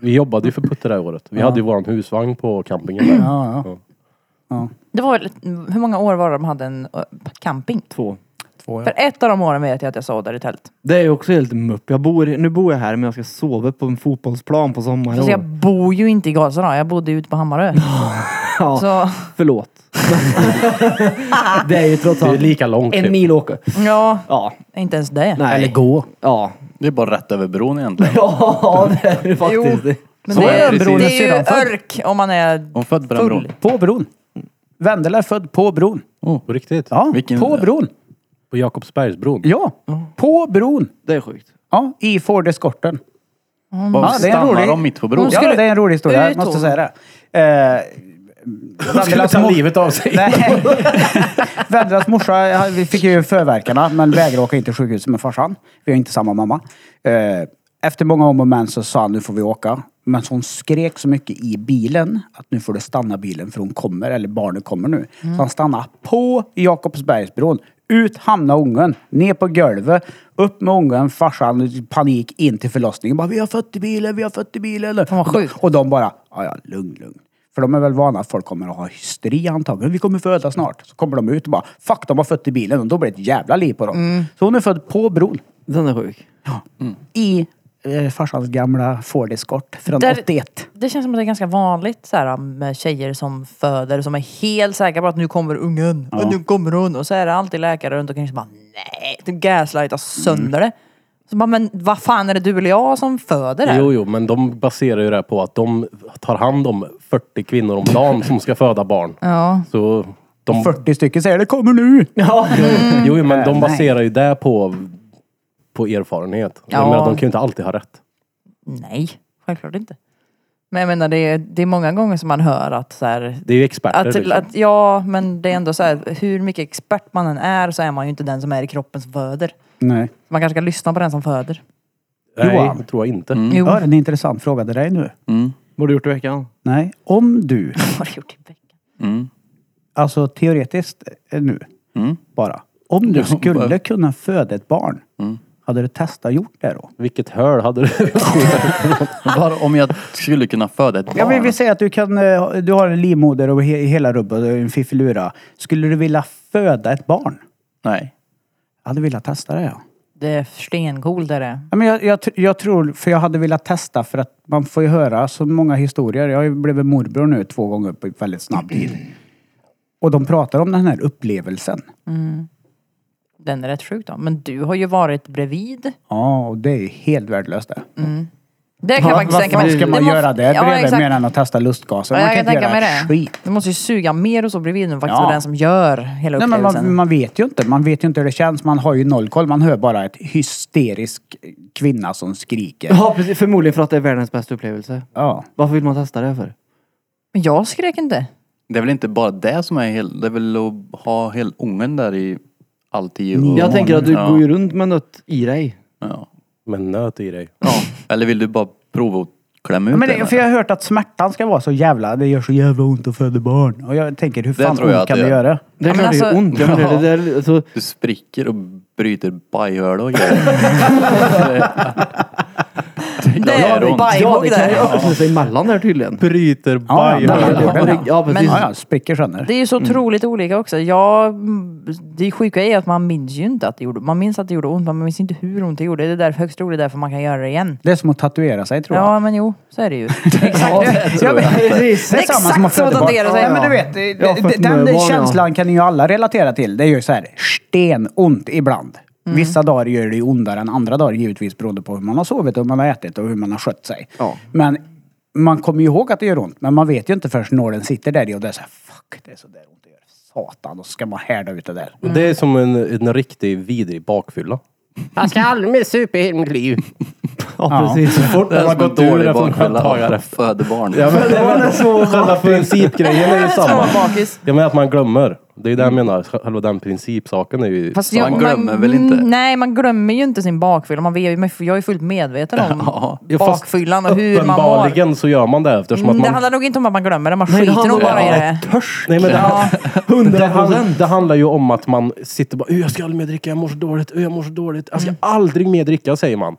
Speaker 4: Vi jobbade ju för Putte det här året. Vi hade ju våran husvagn på campingen där.
Speaker 3: Ja, ja.
Speaker 1: Det var väl, hur många år var det de hade en ö, camping?
Speaker 5: Två.
Speaker 3: Två, ja.
Speaker 1: För ett av de åren vet jag att jag sov där i tält.
Speaker 5: Det är ju också helt mupp. Jag bor, nu bor jag här men jag ska sova på en fotbollsplan på sommaren.
Speaker 1: Så jag bor ju inte i Gaza då, jag bodde ju ute på Hammarö.
Speaker 5: Ja.
Speaker 1: Så,
Speaker 5: Förlåt. det är ju trots
Speaker 4: Det är
Speaker 5: allt
Speaker 4: lika långt
Speaker 5: en
Speaker 4: typ.
Speaker 5: mil åka.
Speaker 1: ja,
Speaker 5: Ja.
Speaker 1: inte ens det.
Speaker 5: Nej.
Speaker 3: Eller gå.
Speaker 5: Ja.
Speaker 2: Det är bara rätt över bron egentligen.
Speaker 5: Ja, det är det faktiskt.
Speaker 1: Men
Speaker 2: Så
Speaker 1: det,
Speaker 2: är
Speaker 1: är,
Speaker 2: det
Speaker 1: det,
Speaker 2: precis.
Speaker 1: är ju
Speaker 3: Sedan förr.
Speaker 1: örk om man är...
Speaker 2: Hon född på den bron.
Speaker 1: Full.
Speaker 3: På bron. Wendela är född på bron.
Speaker 4: På riktigt.
Speaker 3: Ja,
Speaker 2: Vilken-
Speaker 3: på bron.
Speaker 4: På Jakobsbergsbron.
Speaker 3: Ja, på bron.
Speaker 5: Det är sjukt.
Speaker 3: Ja, i Ford Escorten.
Speaker 2: Varför
Speaker 3: Ja, det är en
Speaker 2: stannar
Speaker 3: rolig-
Speaker 2: de mitt på bron?
Speaker 1: Hon skulle-
Speaker 3: Ja, det är en rolig historia. Jag
Speaker 1: Ut
Speaker 3: måste
Speaker 1: hon.
Speaker 3: säga det. Eh,
Speaker 4: De skulle
Speaker 3: Vendelas
Speaker 4: ta
Speaker 3: mor-
Speaker 4: livet av sig.
Speaker 3: Nej. Vädras morsa, ja, vi fick ju förverkarna men vägrade åka in till sjukhuset med farsan. Vi har inte samma mamma. Eh, Efter många om och men så sa han nu får vi åka. Men så hon skrek så mycket i bilen att nu får du stanna bilen för hon kommer, eller barnet kommer nu.
Speaker 1: Mm.
Speaker 3: Så han stannade på Jakobsbergsbron. Ut hamnade ungen, ner på golvet, upp med ungen, farsan i panik in till förlossningen. Bara, vi har fött i bilen, vi har fött i bilen.
Speaker 1: Fan, vad sjukt.
Speaker 3: Och de bara, ja ja, lugn, lugn. För de är väl vana att folk kommer att ha hysteri antagligen. Vi kommer föda snart. Så kommer de ut och bara, fuck de har fött i bilen. Och då blir det ett jävla liv på dem. Så hon är född på bron.
Speaker 5: Den är sjuk.
Speaker 3: I eh, farsans gamla Ford Escort från
Speaker 1: Där-
Speaker 3: 81.
Speaker 1: Det känns som att det är ganska vanligt så här, um, med tjejer som föder som är helt säkra på att nu kommer ungen. Och nu kommer hon. Och så är det alltid läkare runt omkring som bara nej. De gaslightar sönder det. Så bara, men vad fan är det du eller jag som föder här?
Speaker 4: Jo, jo, men de baserar ju det här på att de tar hand om 40 kvinnor om dagen som ska föda barn.
Speaker 1: Ja.
Speaker 4: Så de,
Speaker 3: 40 stycken säger det kommer nu.
Speaker 5: Ja.
Speaker 4: jo, jo, men
Speaker 3: Äh,
Speaker 4: de
Speaker 3: Mm. nej.
Speaker 4: baserar ju det på, på erfarenhet.
Speaker 1: Ja.
Speaker 4: Jag menar, de kan ju inte alltid ha rätt.
Speaker 1: Nej, självklart inte. Men jag menar det är, det är många gånger som man hör att så här,
Speaker 4: Det är ju experter.
Speaker 1: att,
Speaker 4: liksom.
Speaker 1: att, ja, men det är ändå så här, hur mycket expert man än är så är man ju inte den som är i kroppen som föder.
Speaker 3: Nej.
Speaker 1: Man kanske ska lyssna på den som föder.
Speaker 4: Nej,
Speaker 3: Johan. Mm.
Speaker 4: Mm. det tror jag inte.
Speaker 1: Jo,
Speaker 3: Jag har en intressant fråga till dig nu.
Speaker 2: Mm.
Speaker 5: Vad har du gjort i veckan?
Speaker 3: Nej. Om du,
Speaker 1: vad har du gjort i veckan?
Speaker 2: Mm.
Speaker 3: alltså teoretiskt eh, nu
Speaker 2: Mm.
Speaker 3: bara. Om du skulle kunna föda ett barn. Hade du testat gjort det då?
Speaker 4: Vilket höl hade du?
Speaker 2: Var, om jag skulle kunna föda ett barn?
Speaker 3: Ja, men vi säger att du, kan, eh, du har en livmoder och he, hela rubbet och en fiffilura. Skulle du vilja föda ett barn?
Speaker 2: Nej.
Speaker 3: Jag hade velat testa det ja.
Speaker 1: Det är stencool det är det.
Speaker 3: Ja, Men jag, jag, tr- jag tror, för jag hade velat testa för att man får ju höra så många historier. Jag har ju blivit morbror nu två gånger på väldigt snabb tid. Och de pratar om den här upplevelsen.
Speaker 1: Den är rätt sjuk då. Men du har ju varit bredvid.
Speaker 3: Ja, och det är helt värdelöst det.
Speaker 1: Det kan jag faktiskt
Speaker 3: Varför
Speaker 1: tänka mig.
Speaker 3: ska man
Speaker 1: Mm. Det må-
Speaker 3: göra det
Speaker 1: Ja,
Speaker 3: bredvid
Speaker 1: exakt.
Speaker 3: mer än att testa lustgaser?
Speaker 1: Ja,
Speaker 3: Man
Speaker 1: jag
Speaker 3: kan
Speaker 1: kan
Speaker 3: inte
Speaker 1: tänka mig
Speaker 3: göra ett
Speaker 1: det.
Speaker 3: skit.
Speaker 1: Du måste ju suga mer och så bredvid nu faktiskt.
Speaker 3: Ja.
Speaker 1: Ja. den som gör hela
Speaker 3: Nej, men
Speaker 1: upplevelsen.
Speaker 3: man, man vet ju inte. Man vet ju inte hur det känns. Man har ju noll koll. Man hör bara ett hysterisk kvinna som skriker.
Speaker 5: Ja, precis. Förmodligen för att det är världens bästa upplevelse.
Speaker 3: Ja.
Speaker 5: Varför vill man testa det för?
Speaker 1: Men jag skrek inte.
Speaker 2: Det är väl inte bara det som är hel... Det är väl att ha hel ungen där i... Alltid och...
Speaker 5: Jag tänker att du
Speaker 2: ja.
Speaker 5: går ju runt med något i dig.
Speaker 2: Ja.
Speaker 4: Med nöt i dig.
Speaker 2: ja. Eller vill du bara prova att klämma
Speaker 3: Ja,
Speaker 2: ut
Speaker 3: Men
Speaker 2: den,
Speaker 3: det, för jag har hört att smärtan ska vara så jävla... Det gör så jävla ont att föda barn. Och jag tänker, hur
Speaker 2: Det
Speaker 3: fan
Speaker 2: tror jag
Speaker 3: ont
Speaker 2: att
Speaker 3: kan
Speaker 2: det
Speaker 3: det
Speaker 2: gör.
Speaker 3: göra?
Speaker 5: Det
Speaker 1: Ja,
Speaker 5: är
Speaker 1: men
Speaker 5: klart det gör
Speaker 1: alltså-
Speaker 5: ont. Jag menar, det där, alltså,
Speaker 2: Du spricker och bryter bajhörda och grejer.
Speaker 1: Det
Speaker 2: gör
Speaker 1: är
Speaker 2: ont.
Speaker 5: ja, det
Speaker 1: bajhugg
Speaker 5: kan
Speaker 1: där.
Speaker 5: ju öppna sig emellan där tydligen.
Speaker 4: Bryter
Speaker 3: Ja,
Speaker 4: bajhörda.
Speaker 3: ja, där-
Speaker 5: Ja, det- ja, precis.
Speaker 3: ja, ja, spricker sönder.
Speaker 1: Det är ju så otroligt olika också. Jag, det sjuka är att man minns ju inte att det gjorde Man minns att det gjorde ont, men man minns inte hur ont det gjorde. Det är därför högst roligt, därför man kan göra det igen.
Speaker 3: Det är som att tatuera sig tror jag.
Speaker 1: Ja, men jo, så är det ju.
Speaker 2: Ja, det tror jag.
Speaker 5: Precis.
Speaker 3: Det är
Speaker 1: Exakt
Speaker 3: samma som att
Speaker 1: så
Speaker 3: föda barn.
Speaker 1: tatuerar sig.
Speaker 3: Ja, men du vet, det-
Speaker 5: Ja, för
Speaker 3: det-
Speaker 5: att
Speaker 3: den
Speaker 5: mördbarn, ja.
Speaker 3: känslan kan ju alla relatera till. Det är ju så här stenont ibland. Vissa dagar gör det ju ondare än andra dagar givetvis beroende på hur man har sovit, och hur man har ätit och hur man har skött sig.
Speaker 5: Ja.
Speaker 3: Men man kommer ju ihåg att det gör ont, men man vet ju inte förrän nålen sitter där i och det är så här, fuck det är så där ont det gör. Satan, och så ska man härda ut det där.
Speaker 4: Och Det är som en, en riktig vidrig bakfylla.
Speaker 6: Jag ska aldrig supa i hela mitt liv.
Speaker 5: Ja, precis.
Speaker 4: Så fort
Speaker 2: Det är
Speaker 4: man
Speaker 2: som
Speaker 4: har
Speaker 2: en
Speaker 4: gått ur
Speaker 2: dålig
Speaker 4: det från sköldtagare.
Speaker 2: bakfylla. Föder barn.
Speaker 4: Ja, men det var den så själva principgrejen är ju samma.
Speaker 1: Bakis.
Speaker 4: Jag menar att man glömmer. Det är ju det jag menar. Själva den principsaken är ju...
Speaker 1: Fast
Speaker 2: Man glömmer väl inte?
Speaker 1: mm, Nej, man glömmer ju inte sin bakfylla. Man vet, ju- men jag är ju fullt medveten om
Speaker 4: Ja, fast
Speaker 1: bakfyllan och hur man mår.
Speaker 4: Uppenbarligen så gör man det eftersom
Speaker 1: Mm,
Speaker 4: att
Speaker 1: Det
Speaker 4: man...
Speaker 1: handlar nog inte om att man glömmer det, man
Speaker 5: Nej, det
Speaker 1: skiter nog
Speaker 5: handlar-
Speaker 1: bara i
Speaker 5: ja.
Speaker 1: det.
Speaker 4: Nej, men det, det,
Speaker 5: 100
Speaker 4: handlar, det handlar ju om att man sitter bara "Ö, jag ska aldrig mer dricka, jag mår så dåligt, Ö, jag mår så dåligt. Jag
Speaker 1: Mm.
Speaker 4: ska aldrig mer dricka säger man.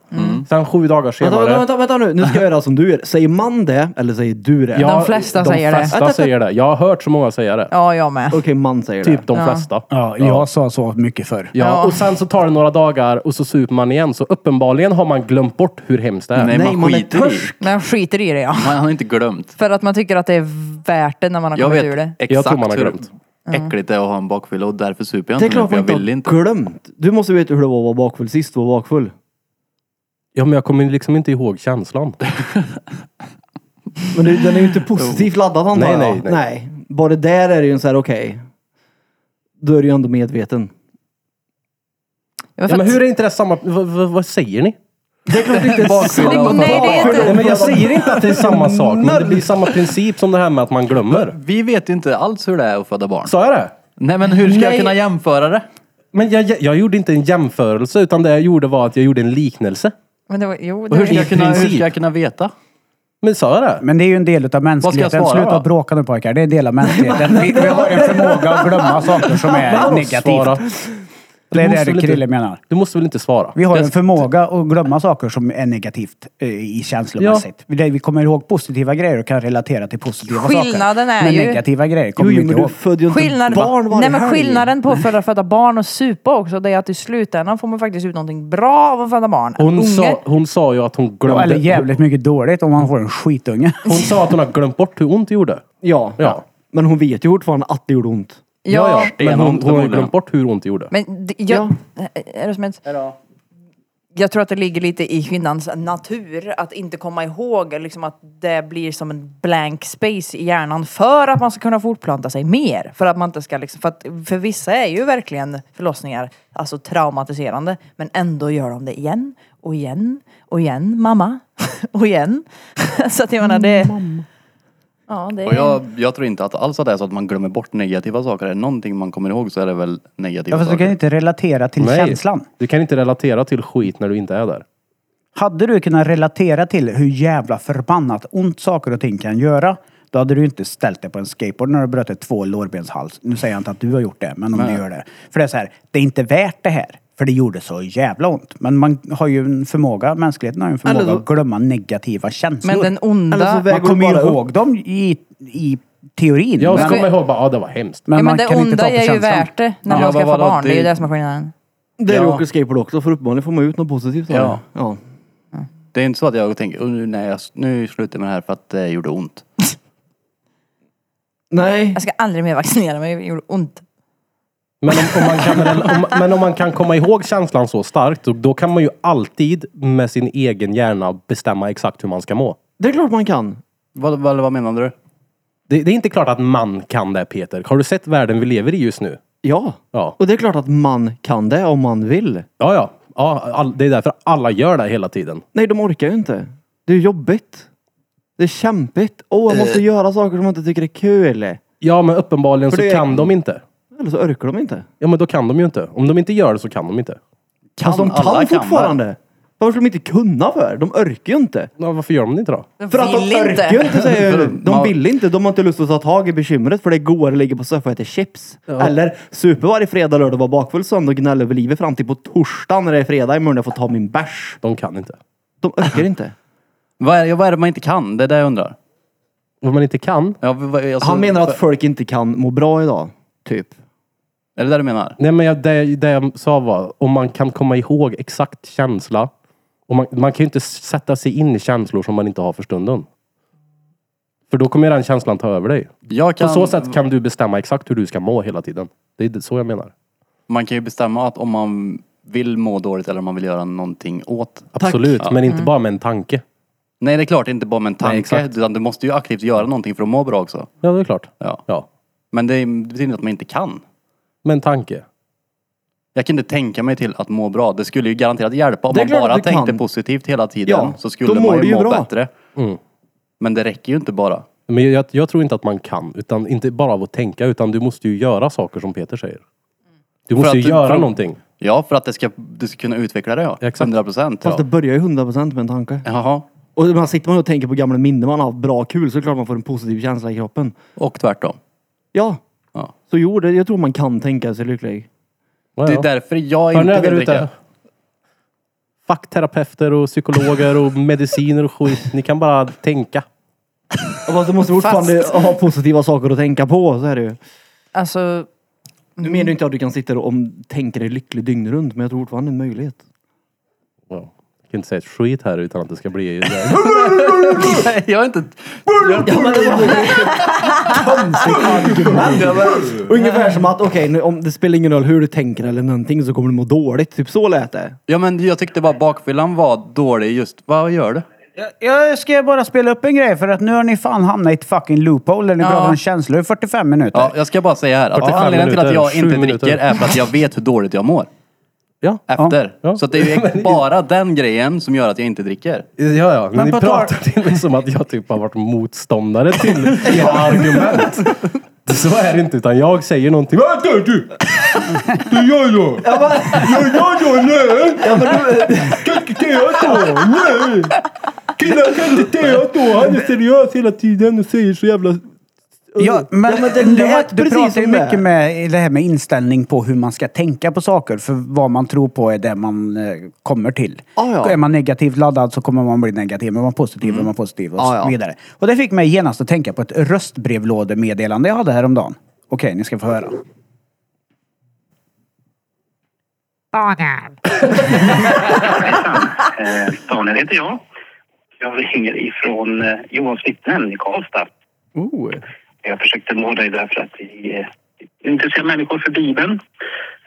Speaker 4: Sen sju dagar
Speaker 5: Vänta, vänta,
Speaker 4: senare.
Speaker 5: vänta, vänta nu. Nu ska jag göra som du gör. Säger man det eller säger du det?
Speaker 4: Ja,
Speaker 1: De flesta
Speaker 4: de
Speaker 1: säger det.
Speaker 4: flesta säger det. Jag har hört så många säga det.
Speaker 1: Ja, jag med.
Speaker 5: Okej, man säger
Speaker 4: Typ
Speaker 5: det.
Speaker 4: de
Speaker 1: Ja.
Speaker 4: flesta.
Speaker 3: Ja, jag sa så mycket förr.
Speaker 4: Ja, och sen så tar det några dagar och så super man igen. Så uppenbarligen har man glömt bort hur hemskt det är.
Speaker 2: Nej,
Speaker 5: Nej,
Speaker 2: man
Speaker 5: man är
Speaker 2: skiter i.
Speaker 5: törsk.
Speaker 1: Men jag skiter i det ja.
Speaker 2: Man har inte glömt.
Speaker 1: För att man tycker att det är värt det när man har
Speaker 2: Jag
Speaker 1: kommit ur
Speaker 2: vet
Speaker 1: det.
Speaker 2: exakt
Speaker 4: Jag tror man har
Speaker 2: hur
Speaker 4: glömt.
Speaker 2: äckligt det är att ha en bakfylla och därför super jag
Speaker 5: Det är
Speaker 2: inte nu
Speaker 5: klart
Speaker 2: för
Speaker 5: man
Speaker 2: jag
Speaker 5: inte
Speaker 2: vill inte.
Speaker 5: har glömt. Du måste veta hur det var att vara bakfull sist du var bakfull.
Speaker 4: Ja, men jag kommer liksom inte ihåg känslan.
Speaker 5: Men det, den är ju inte positivt laddad antar
Speaker 4: Nej,
Speaker 5: jag.
Speaker 4: nej, nej.
Speaker 5: Bara där är det ju en så här, okej. Då är du ju ändå medveten.
Speaker 1: Ja, för
Speaker 4: Ja, men
Speaker 1: att-
Speaker 4: hur är inte det samma... vad- vad- vad säger ni?
Speaker 5: Det är klart det inte är
Speaker 1: Nej,
Speaker 5: samma
Speaker 1: det är inte-
Speaker 4: Ja, men jag säger inte att det är samma sak, men det blir samma princip som det här med att man glömmer.
Speaker 2: Vi vet ju inte alls hur det är att föda barn.
Speaker 4: Sa jag det?
Speaker 2: Nej men hur ska jag
Speaker 4: Nej.
Speaker 2: kunna jämföra det?
Speaker 4: Men jag, jag, jag gjorde inte en jämförelse, utan det jag gjorde var att jag gjorde en liknelse.
Speaker 1: Men det var, jo,
Speaker 2: Och
Speaker 1: det
Speaker 2: hur ska,
Speaker 1: var,
Speaker 2: jag kunna, hur ska
Speaker 4: princip.
Speaker 2: jag kunna veta?
Speaker 4: Men sa jag det?
Speaker 3: Men det är ju en del av
Speaker 2: Vad
Speaker 3: mänskligheten.
Speaker 2: ska jag svara
Speaker 3: Sluta
Speaker 2: då?
Speaker 3: bråka nu pojkar. Det är en del av mänskligheten. Vi, vi har en förmåga att glömma saker som är
Speaker 4: Svara.
Speaker 3: negativt.
Speaker 4: Du
Speaker 3: Det är
Speaker 4: måste
Speaker 3: det
Speaker 4: väl inte-
Speaker 3: Krille menar.
Speaker 4: Du måste väl inte svara?
Speaker 3: Vi har en förmåga att glömma saker som är negativt eh, i känslomässigt. Det- Vi kommer ihåg positiva grejer och kan relatera till positiva saker.
Speaker 1: Skillnaden är
Speaker 3: men
Speaker 1: ju-
Speaker 3: negativa grejer
Speaker 5: Jo,
Speaker 3: kommer vi
Speaker 5: jo,
Speaker 3: inte
Speaker 5: men du
Speaker 3: ihåg.
Speaker 5: födde ju inte
Speaker 1: skillnaden,
Speaker 5: barn varje
Speaker 1: nej, men
Speaker 5: helg.
Speaker 1: skillnaden på för att föda barn och supa också, det är att i slutändan får man faktiskt ut någonting bra av att föda barn.
Speaker 4: Hon
Speaker 1: Unge.
Speaker 4: sa, hon sa ju att hon glömde...
Speaker 3: Eller jävligt mycket dåligt om man får en skitunge.
Speaker 4: Hon sa att hon har glömt bort hur ont det gjorde.
Speaker 5: Ja.
Speaker 4: Ja.
Speaker 5: Men hon vet ju fortfarande att det gjorde ont.
Speaker 1: ja, ja.
Speaker 4: Men
Speaker 2: Stenhårt
Speaker 4: hon, hon har ju
Speaker 2: förmodligen.
Speaker 4: glömt bort hur ont det gjorde.
Speaker 1: Men det- jag, är det som ett, jag tror att det ligger lite i kvinnans natur att inte komma ihåg liksom att det blir som en blank space i hjärnan för att man ska kunna fortplanta sig mer. För att man inte ska liksom, för, att, för vissa är ju verkligen förlossningar alltså traumatiserande men ändå gör de det igen och igen och igen, mamma och igen. Så att jag menar det... Ja, det
Speaker 2: Och
Speaker 1: är...
Speaker 2: jag, jag tror inte att alls att det är så att man glömmer bort negativa saker. Är det någonting man kommer ihåg så är det väl negativa
Speaker 3: Ja, fast du
Speaker 2: saker.
Speaker 3: kan inte relatera till känslan.
Speaker 4: Du kan inte relatera till skit när du inte är där.
Speaker 3: Hade du kunnat relatera till hur jävla förbannat ont saker och ting kan göra, då hade du inte ställt dig på en skateboard när du bröt två lårbenshals. Nu säger jag inte att du har gjort det, men om du gör det. För det är så här, det är inte värt det här. För För det gjorde så jävla ont. Men man har ju en förmåga, mänskligheten har ju en förmåga
Speaker 5: Eller så-
Speaker 3: att glömma negativa känslor.
Speaker 1: Men den
Speaker 5: Eller så
Speaker 1: onda...
Speaker 5: väg-
Speaker 3: man
Speaker 5: väger
Speaker 3: kommer ju
Speaker 5: bara upp.
Speaker 3: ihåg dem i, i teorin.
Speaker 4: Jag
Speaker 3: men
Speaker 4: kommer ihåg bara, ja det var hemskt.
Speaker 1: Ja,
Speaker 3: men
Speaker 1: men
Speaker 3: man
Speaker 1: det
Speaker 3: kan inte
Speaker 1: onda
Speaker 3: ta på
Speaker 1: är ju
Speaker 3: känslan.
Speaker 1: värt det när
Speaker 2: Ja,
Speaker 1: man
Speaker 2: vad
Speaker 1: ska
Speaker 2: var
Speaker 1: få
Speaker 2: det?
Speaker 1: barn. Det är ju
Speaker 2: Det-
Speaker 1: det som är skillnaden.
Speaker 5: Där
Speaker 2: Ja.
Speaker 5: åker skateboard också, för uppenbarligen får man ut något positivt av
Speaker 2: Ja.
Speaker 5: det. Ja.
Speaker 2: Det är inte så att jag tänker, "Åh, nu, nej, jag, nu slutar jag med det här för att det gjorde ont.
Speaker 5: Nej.
Speaker 1: Jag ska aldrig mer vaccinera mig, det gjorde ont.
Speaker 4: Men om, om man kan, om, men om man kan komma ihåg känslan så starkt, då, då kan man ju alltid med sin egen hjärna bestämma exakt hur man ska må.
Speaker 5: Det är klart man kan.
Speaker 2: Vad, vad, vad menar du?
Speaker 4: Det, det är inte klart att man kan det Peter. Har du sett världen vi lever i just nu?
Speaker 5: Ja.
Speaker 4: Ja.
Speaker 5: Och det är klart att man kan det om man vill.
Speaker 4: Ja, ja. ja all, det är därför alla gör det hela tiden.
Speaker 5: Nej, de orkar ju inte. Det är jobbigt. Det är kämpigt. Åh, jag måste göra saker som jag inte tycker är kul. Eller
Speaker 4: Ja, men uppenbarligen
Speaker 5: För
Speaker 4: så
Speaker 5: det-
Speaker 4: kan de inte.
Speaker 5: så orkar de inte.
Speaker 4: Ja, men då kan de ju inte. Om de inte gör det så kan de inte.
Speaker 5: Kan alltså, de kan
Speaker 2: alla kan,
Speaker 5: fortfarande. Varför skulle de inte kunna för? De orkar ju inte.
Speaker 4: Ja, varför gör de det inte då?
Speaker 1: De
Speaker 5: För att de
Speaker 1: vill inte.
Speaker 5: orkar ju inte säger
Speaker 2: För
Speaker 5: jag.
Speaker 2: man-
Speaker 5: De vill inte. De har inte lust att ta tag i bekymret för det går att ligga på soffan och äta chips. Eller super varje fredag, lördag, var bakfull söndag och gnälla över livet fram till på torsdag när det är fredag imorgon jag får ta min bärs.
Speaker 4: De kan inte.
Speaker 5: De orkar inte.
Speaker 2: Vad är, vad är det man inte kan? Det är det jag undrar.
Speaker 4: Vad man inte kan?
Speaker 2: Ja, vad- vad- alltså,
Speaker 5: Han menar att folk inte kan må bra idag. Typ.
Speaker 2: Är det det du menar?
Speaker 4: Nej, men jag, det, det jag sa var om man kan komma ihåg exakt känsla. Och man, man kan ju inte sätta sig in i känslor som man inte har för stunden. För då kommer ju den känslan ta över dig.
Speaker 2: Jag
Speaker 4: På
Speaker 2: kan,
Speaker 4: så sätt kan du bestämma exakt hur du ska må hela tiden. Det är det- så jag menar.
Speaker 2: Man kan ju bestämma att om man vill må dåligt eller om man vill göra någonting åt.
Speaker 4: Absolut,
Speaker 2: Ja. Mm.
Speaker 4: men inte bara med en tanke.
Speaker 2: Nej det är klart, inte bara med en tanke.
Speaker 4: exakt.
Speaker 2: utan du måste ju aktivt göra någonting för att må bra också.
Speaker 4: Ja, det är klart.
Speaker 2: Ja.
Speaker 4: Ja,
Speaker 2: Men det, är- det betyder inte att man inte kan.
Speaker 4: med en tanke.
Speaker 2: Jag kan inte tänka mig till att må bra. Det skulle ju garanterat hjälpa om
Speaker 5: Det är
Speaker 2: man
Speaker 5: klart
Speaker 2: bara
Speaker 5: att du
Speaker 2: tänkte
Speaker 5: kan.
Speaker 2: positivt hela tiden.
Speaker 5: Ja,
Speaker 2: så
Speaker 5: då
Speaker 2: skulle
Speaker 5: mår
Speaker 2: man
Speaker 5: du
Speaker 2: ju
Speaker 5: ju
Speaker 2: må
Speaker 5: bra.
Speaker 2: bättre.
Speaker 4: Mm.
Speaker 2: Men det räcker ju inte bara.
Speaker 4: Men jag, jag tror inte att man kan, utan inte bara av att tänka, utan du måste ju göra saker som Peter säger. Du måste
Speaker 2: att
Speaker 4: ju
Speaker 2: du-
Speaker 4: göra
Speaker 2: för-
Speaker 4: någonting.
Speaker 2: Ja, för att det ska, du ska kunna utveckla det ja.
Speaker 4: Exakt.
Speaker 2: 100 procent.
Speaker 5: Fast
Speaker 2: Ja.
Speaker 5: det börjar ju 100% med en tanke.
Speaker 2: Jaha.
Speaker 5: Och man sitter man och tänker på gamla minnen man har haft bra kul så är det klart man får en positiv känsla i kroppen.
Speaker 2: Och tvärtom.
Speaker 5: Ja.
Speaker 2: Ja.
Speaker 5: Så jo, det, jag tror man kan tänka sig lycklig.
Speaker 4: Ja,
Speaker 2: Det
Speaker 4: ja.
Speaker 2: är därför jag
Speaker 4: Hör ni
Speaker 2: inte
Speaker 4: det där
Speaker 2: vill
Speaker 4: ute?
Speaker 2: dricka.
Speaker 4: Fackterapeuter och psykologer och mediciner och skit. Ni kan bara tänka.
Speaker 5: Ja, Fast Alltså, du måste fortfarande ha positiva saker att tänka på, så är det ju.
Speaker 1: Alltså,
Speaker 5: Nu menar ju inte att du kan sitta och tänka dig lycklig dygnet runt, men jag tror fortfarande det är en möjlighet.
Speaker 4: Ja. Jag kan inte säga ett skit här utan att det ska bli...
Speaker 2: Nej, jag är inte...
Speaker 5: Ungefär som att, okej, nu- om det spelar ingen roll hur du tänker eller någonting så kommer du må dåligt. Typ så lät det.
Speaker 2: Ja men jag tyckte bara bakfyllan var dålig just. Vad gör du?
Speaker 3: Jag, jag ska bara spela upp en grej för att nu har ni fan hamnat i ett fucking loophole där ni
Speaker 1: Ja.
Speaker 3: pratar om känslor i 45 minuter.
Speaker 2: Ja, jag ska bara säga här att
Speaker 4: 45
Speaker 2: anledningen till att
Speaker 4: minuter,
Speaker 2: jag
Speaker 4: sju
Speaker 2: inte
Speaker 4: minuter.
Speaker 2: dricker är för att jag vet hur dåligt jag mår.
Speaker 4: Ja,
Speaker 2: Efter.
Speaker 4: Ja.
Speaker 2: Så att det är ju bara den grejen som gör att jag inte dricker.
Speaker 4: ja, ja. Men
Speaker 3: Men
Speaker 4: ni
Speaker 3: på tal-
Speaker 4: pratar till mig som att jag typ har varit motståndare till era argument. Så är det inte, utan jag säger någonting. Vad gör du? Det gör jag! Jag gör jag, nej! Kan inte jag då? Nej! Killar kan inte jag då? Han är seriös hela tiden och säger så jävla...
Speaker 3: Ja, men,
Speaker 5: det
Speaker 3: du,
Speaker 5: lät
Speaker 3: du
Speaker 5: precis
Speaker 3: pratar ju
Speaker 5: som det.
Speaker 3: mycket med det här med inställning på hur man ska tänka på saker. För vad man tror på är det man eh, kommer till.
Speaker 5: Ja, ja.
Speaker 3: Är man negativt laddad så kommer man bli negativ. Är man positiv är man positiv och
Speaker 5: Ja, ja.
Speaker 3: så vidare. Och det fick mig genast att tänka på ett röstbrevlådemeddelande jag hade häromdagen. Okej, ni ska få höra.
Speaker 7: Daniel.
Speaker 8: Eh, Daniel heter jag. Jag ringer ifrån eh, Johans vittnen i Karlstad.
Speaker 5: Oh.
Speaker 8: Jag försökte nå dig därför att vi eh, intresserar människor för Bibeln.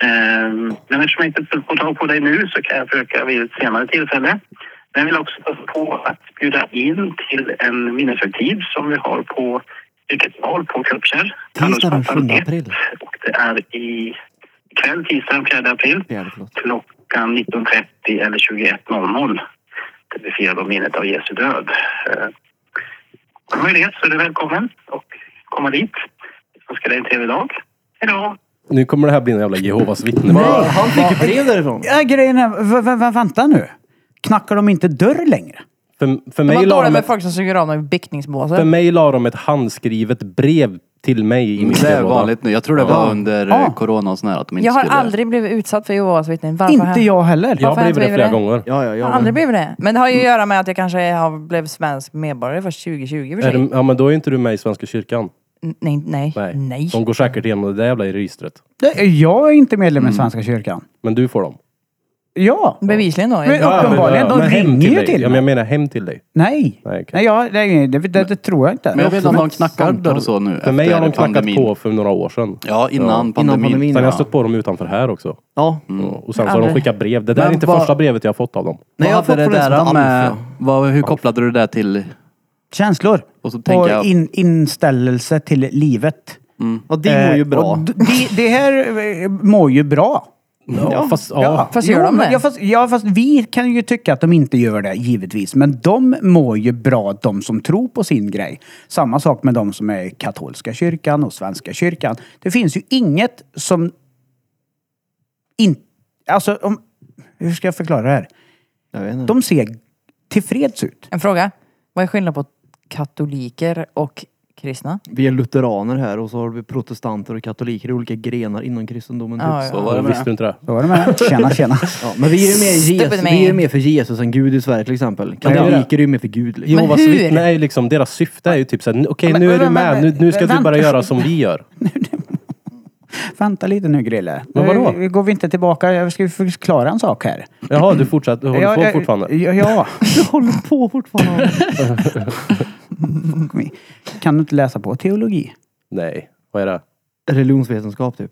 Speaker 8: Eh, men eftersom jag inte får tag på dig nu så kan jag försöka vid ett senare tillfälle. Men jag vill också passa på att bjuda in till en minneshögtid som vi har på Yrkesval på Kruppkärr.
Speaker 5: Tisdag den 7
Speaker 8: Handelsmattan
Speaker 5: april.
Speaker 8: Och det är i kväll tisdag den 4 april
Speaker 5: Fjärde, förlåt.
Speaker 8: klockan 19.30 eller 21.00. Där vi firar då minnet av Jesu död. Eh, Har du möjlighet så är du välkommen och komma dit. Jag önskar dig en trevlig dag. Hej då!
Speaker 4: Nu kommer det här bli en jävla Jehovas vittne.
Speaker 5: Han fick ju brev därifrån.
Speaker 3: Ja, grejen är, v- v- v- vänta nu. Knackar de inte dörr längre?
Speaker 4: För,
Speaker 1: det
Speaker 4: för mig
Speaker 1: var
Speaker 4: la
Speaker 1: dåligt
Speaker 4: de
Speaker 1: med
Speaker 4: ett,
Speaker 1: folk som suger av dem i
Speaker 4: för
Speaker 1: biktningsbåset.
Speaker 4: mig la de ett handskrivet brev till mig i min
Speaker 2: Mm, Det är
Speaker 4: brevlåda.
Speaker 2: vanligt nu. Jag tror det var under
Speaker 3: Ja.
Speaker 2: eh, corona och sån här att de inte
Speaker 1: Jag har
Speaker 2: skulle...
Speaker 1: aldrig blivit utsatt för Jehovas vittnen. Varför har
Speaker 3: Inte
Speaker 1: jag-
Speaker 3: jag heller.
Speaker 4: Jag har
Speaker 1: Varför
Speaker 4: blivit det
Speaker 1: driver
Speaker 4: flera
Speaker 1: det?
Speaker 4: gånger.
Speaker 5: Ja, ja,
Speaker 1: Jag har
Speaker 5: ja.
Speaker 1: aldrig blivit det. Men det har ju att göra med att jag kanske har blev svensk medborgare först 2020 för
Speaker 4: Är
Speaker 1: sig.
Speaker 4: du, ja men då är inte du med i Svenska kyrkan.
Speaker 1: N- Nej, nej,
Speaker 4: Nej.
Speaker 1: nej.
Speaker 4: De går säkert igenom det där jävla registret.
Speaker 3: Det- Jag är inte medlem i
Speaker 2: Mm.
Speaker 3: Svenska kyrkan.
Speaker 4: Men du får dem.
Speaker 3: Ja!
Speaker 1: Bevisligen då.
Speaker 3: Men uppenbarligen,
Speaker 4: men
Speaker 3: de
Speaker 4: hem
Speaker 3: ringer ju
Speaker 4: dig.
Speaker 3: till
Speaker 4: Ja, men jag
Speaker 3: mig.
Speaker 4: menar hem till dig.
Speaker 3: Nej.
Speaker 4: Nej, okej.
Speaker 3: Nej, jag, det, det, det, det tror jag inte.
Speaker 2: Men jag vet
Speaker 3: Också
Speaker 2: inte om de
Speaker 3: något
Speaker 2: knackar
Speaker 3: samtal.
Speaker 2: dörr så nu
Speaker 4: För mig har de
Speaker 2: efter
Speaker 4: knackat
Speaker 2: pandemin.
Speaker 4: på för några år sedan.
Speaker 2: Ja, innan pandemin.
Speaker 5: pandemin.
Speaker 4: Sen har
Speaker 5: Ja.
Speaker 4: jag stött på dem utanför här också.
Speaker 5: ja.
Speaker 2: Mm.
Speaker 4: Och sen så har de
Speaker 1: Aldrig.
Speaker 4: skickat brev. Det där är
Speaker 2: Men
Speaker 4: inte
Speaker 2: vad-
Speaker 4: första brevet jag har fått av dem.
Speaker 5: Nej, jag har
Speaker 2: Vad
Speaker 5: fått
Speaker 2: hade
Speaker 5: från
Speaker 2: det
Speaker 5: en som
Speaker 2: där
Speaker 5: heter
Speaker 2: med...
Speaker 5: Alf. ja.
Speaker 2: Vad, hur kopplade du det där till?
Speaker 3: Känslor.
Speaker 2: Och så tänker jag-
Speaker 3: in, inställelse till livet.
Speaker 5: Ja, det mår
Speaker 3: Eh,
Speaker 5: ju
Speaker 3: och
Speaker 5: bra.
Speaker 3: d- Det det här eh, mår ju bra.
Speaker 4: Ja, fast, ja.
Speaker 3: Ja.
Speaker 1: Fast gör
Speaker 3: Jo,
Speaker 1: de
Speaker 3: men-
Speaker 1: det?
Speaker 3: Ja fast, ja, fast vi kan ju tycka att de inte gör det, givetvis. Men de mår ju bra, de som tror på sin grej. Samma sak med de som är i katolska kyrkan och svenska kyrkan. Det finns ju inget som... In, alltså, om, hur ska jag förklara det här?
Speaker 5: Jag vet inte.
Speaker 3: De ser tillfreds ut.
Speaker 1: En fråga. Vad är skillnaden på katoliker och kristna?
Speaker 5: Vi är lutheraner här och så har vi protestanter och katoliker i olika grenar inom kristendomen. Typ.
Speaker 1: Ja,
Speaker 5: Ja,
Speaker 1: ja.
Speaker 2: Så var det
Speaker 4: Visste
Speaker 2: med.
Speaker 4: du inte det?
Speaker 3: Så var det med det. Tjena, tjena.
Speaker 5: men vi är ju mer, Jesus,
Speaker 1: Stupid
Speaker 5: vi är
Speaker 1: man.
Speaker 5: mer för Jesus än Gud i Sverige till exempel.
Speaker 4: det är det.
Speaker 5: Katoliker är ju mer för Gud. Liksom.
Speaker 1: Men
Speaker 4: Jehovas
Speaker 1: hur?
Speaker 4: vittnen är ju liksom, deras syfte är ju typ såhär, okej
Speaker 3: Men-
Speaker 4: nu är
Speaker 3: men-
Speaker 4: du med,
Speaker 3: men-
Speaker 4: nu, nu ska
Speaker 3: vänta.
Speaker 4: du bara göra som vi gör.
Speaker 3: Vänta lite nu, Grille.
Speaker 4: Men vadå?
Speaker 3: Nu Går vi inte tillbaka? Jag ska ju förklara en sak här.
Speaker 4: Jaha, du fortsätter, håller
Speaker 3: Ja,
Speaker 4: på
Speaker 3: ja,
Speaker 4: fortfarande?
Speaker 3: Ja, ja.
Speaker 5: Du håller på fortfarande.
Speaker 3: Kan du inte läsa på teologi?
Speaker 4: Nej, vad är det?
Speaker 5: Religionsvetenskap typ.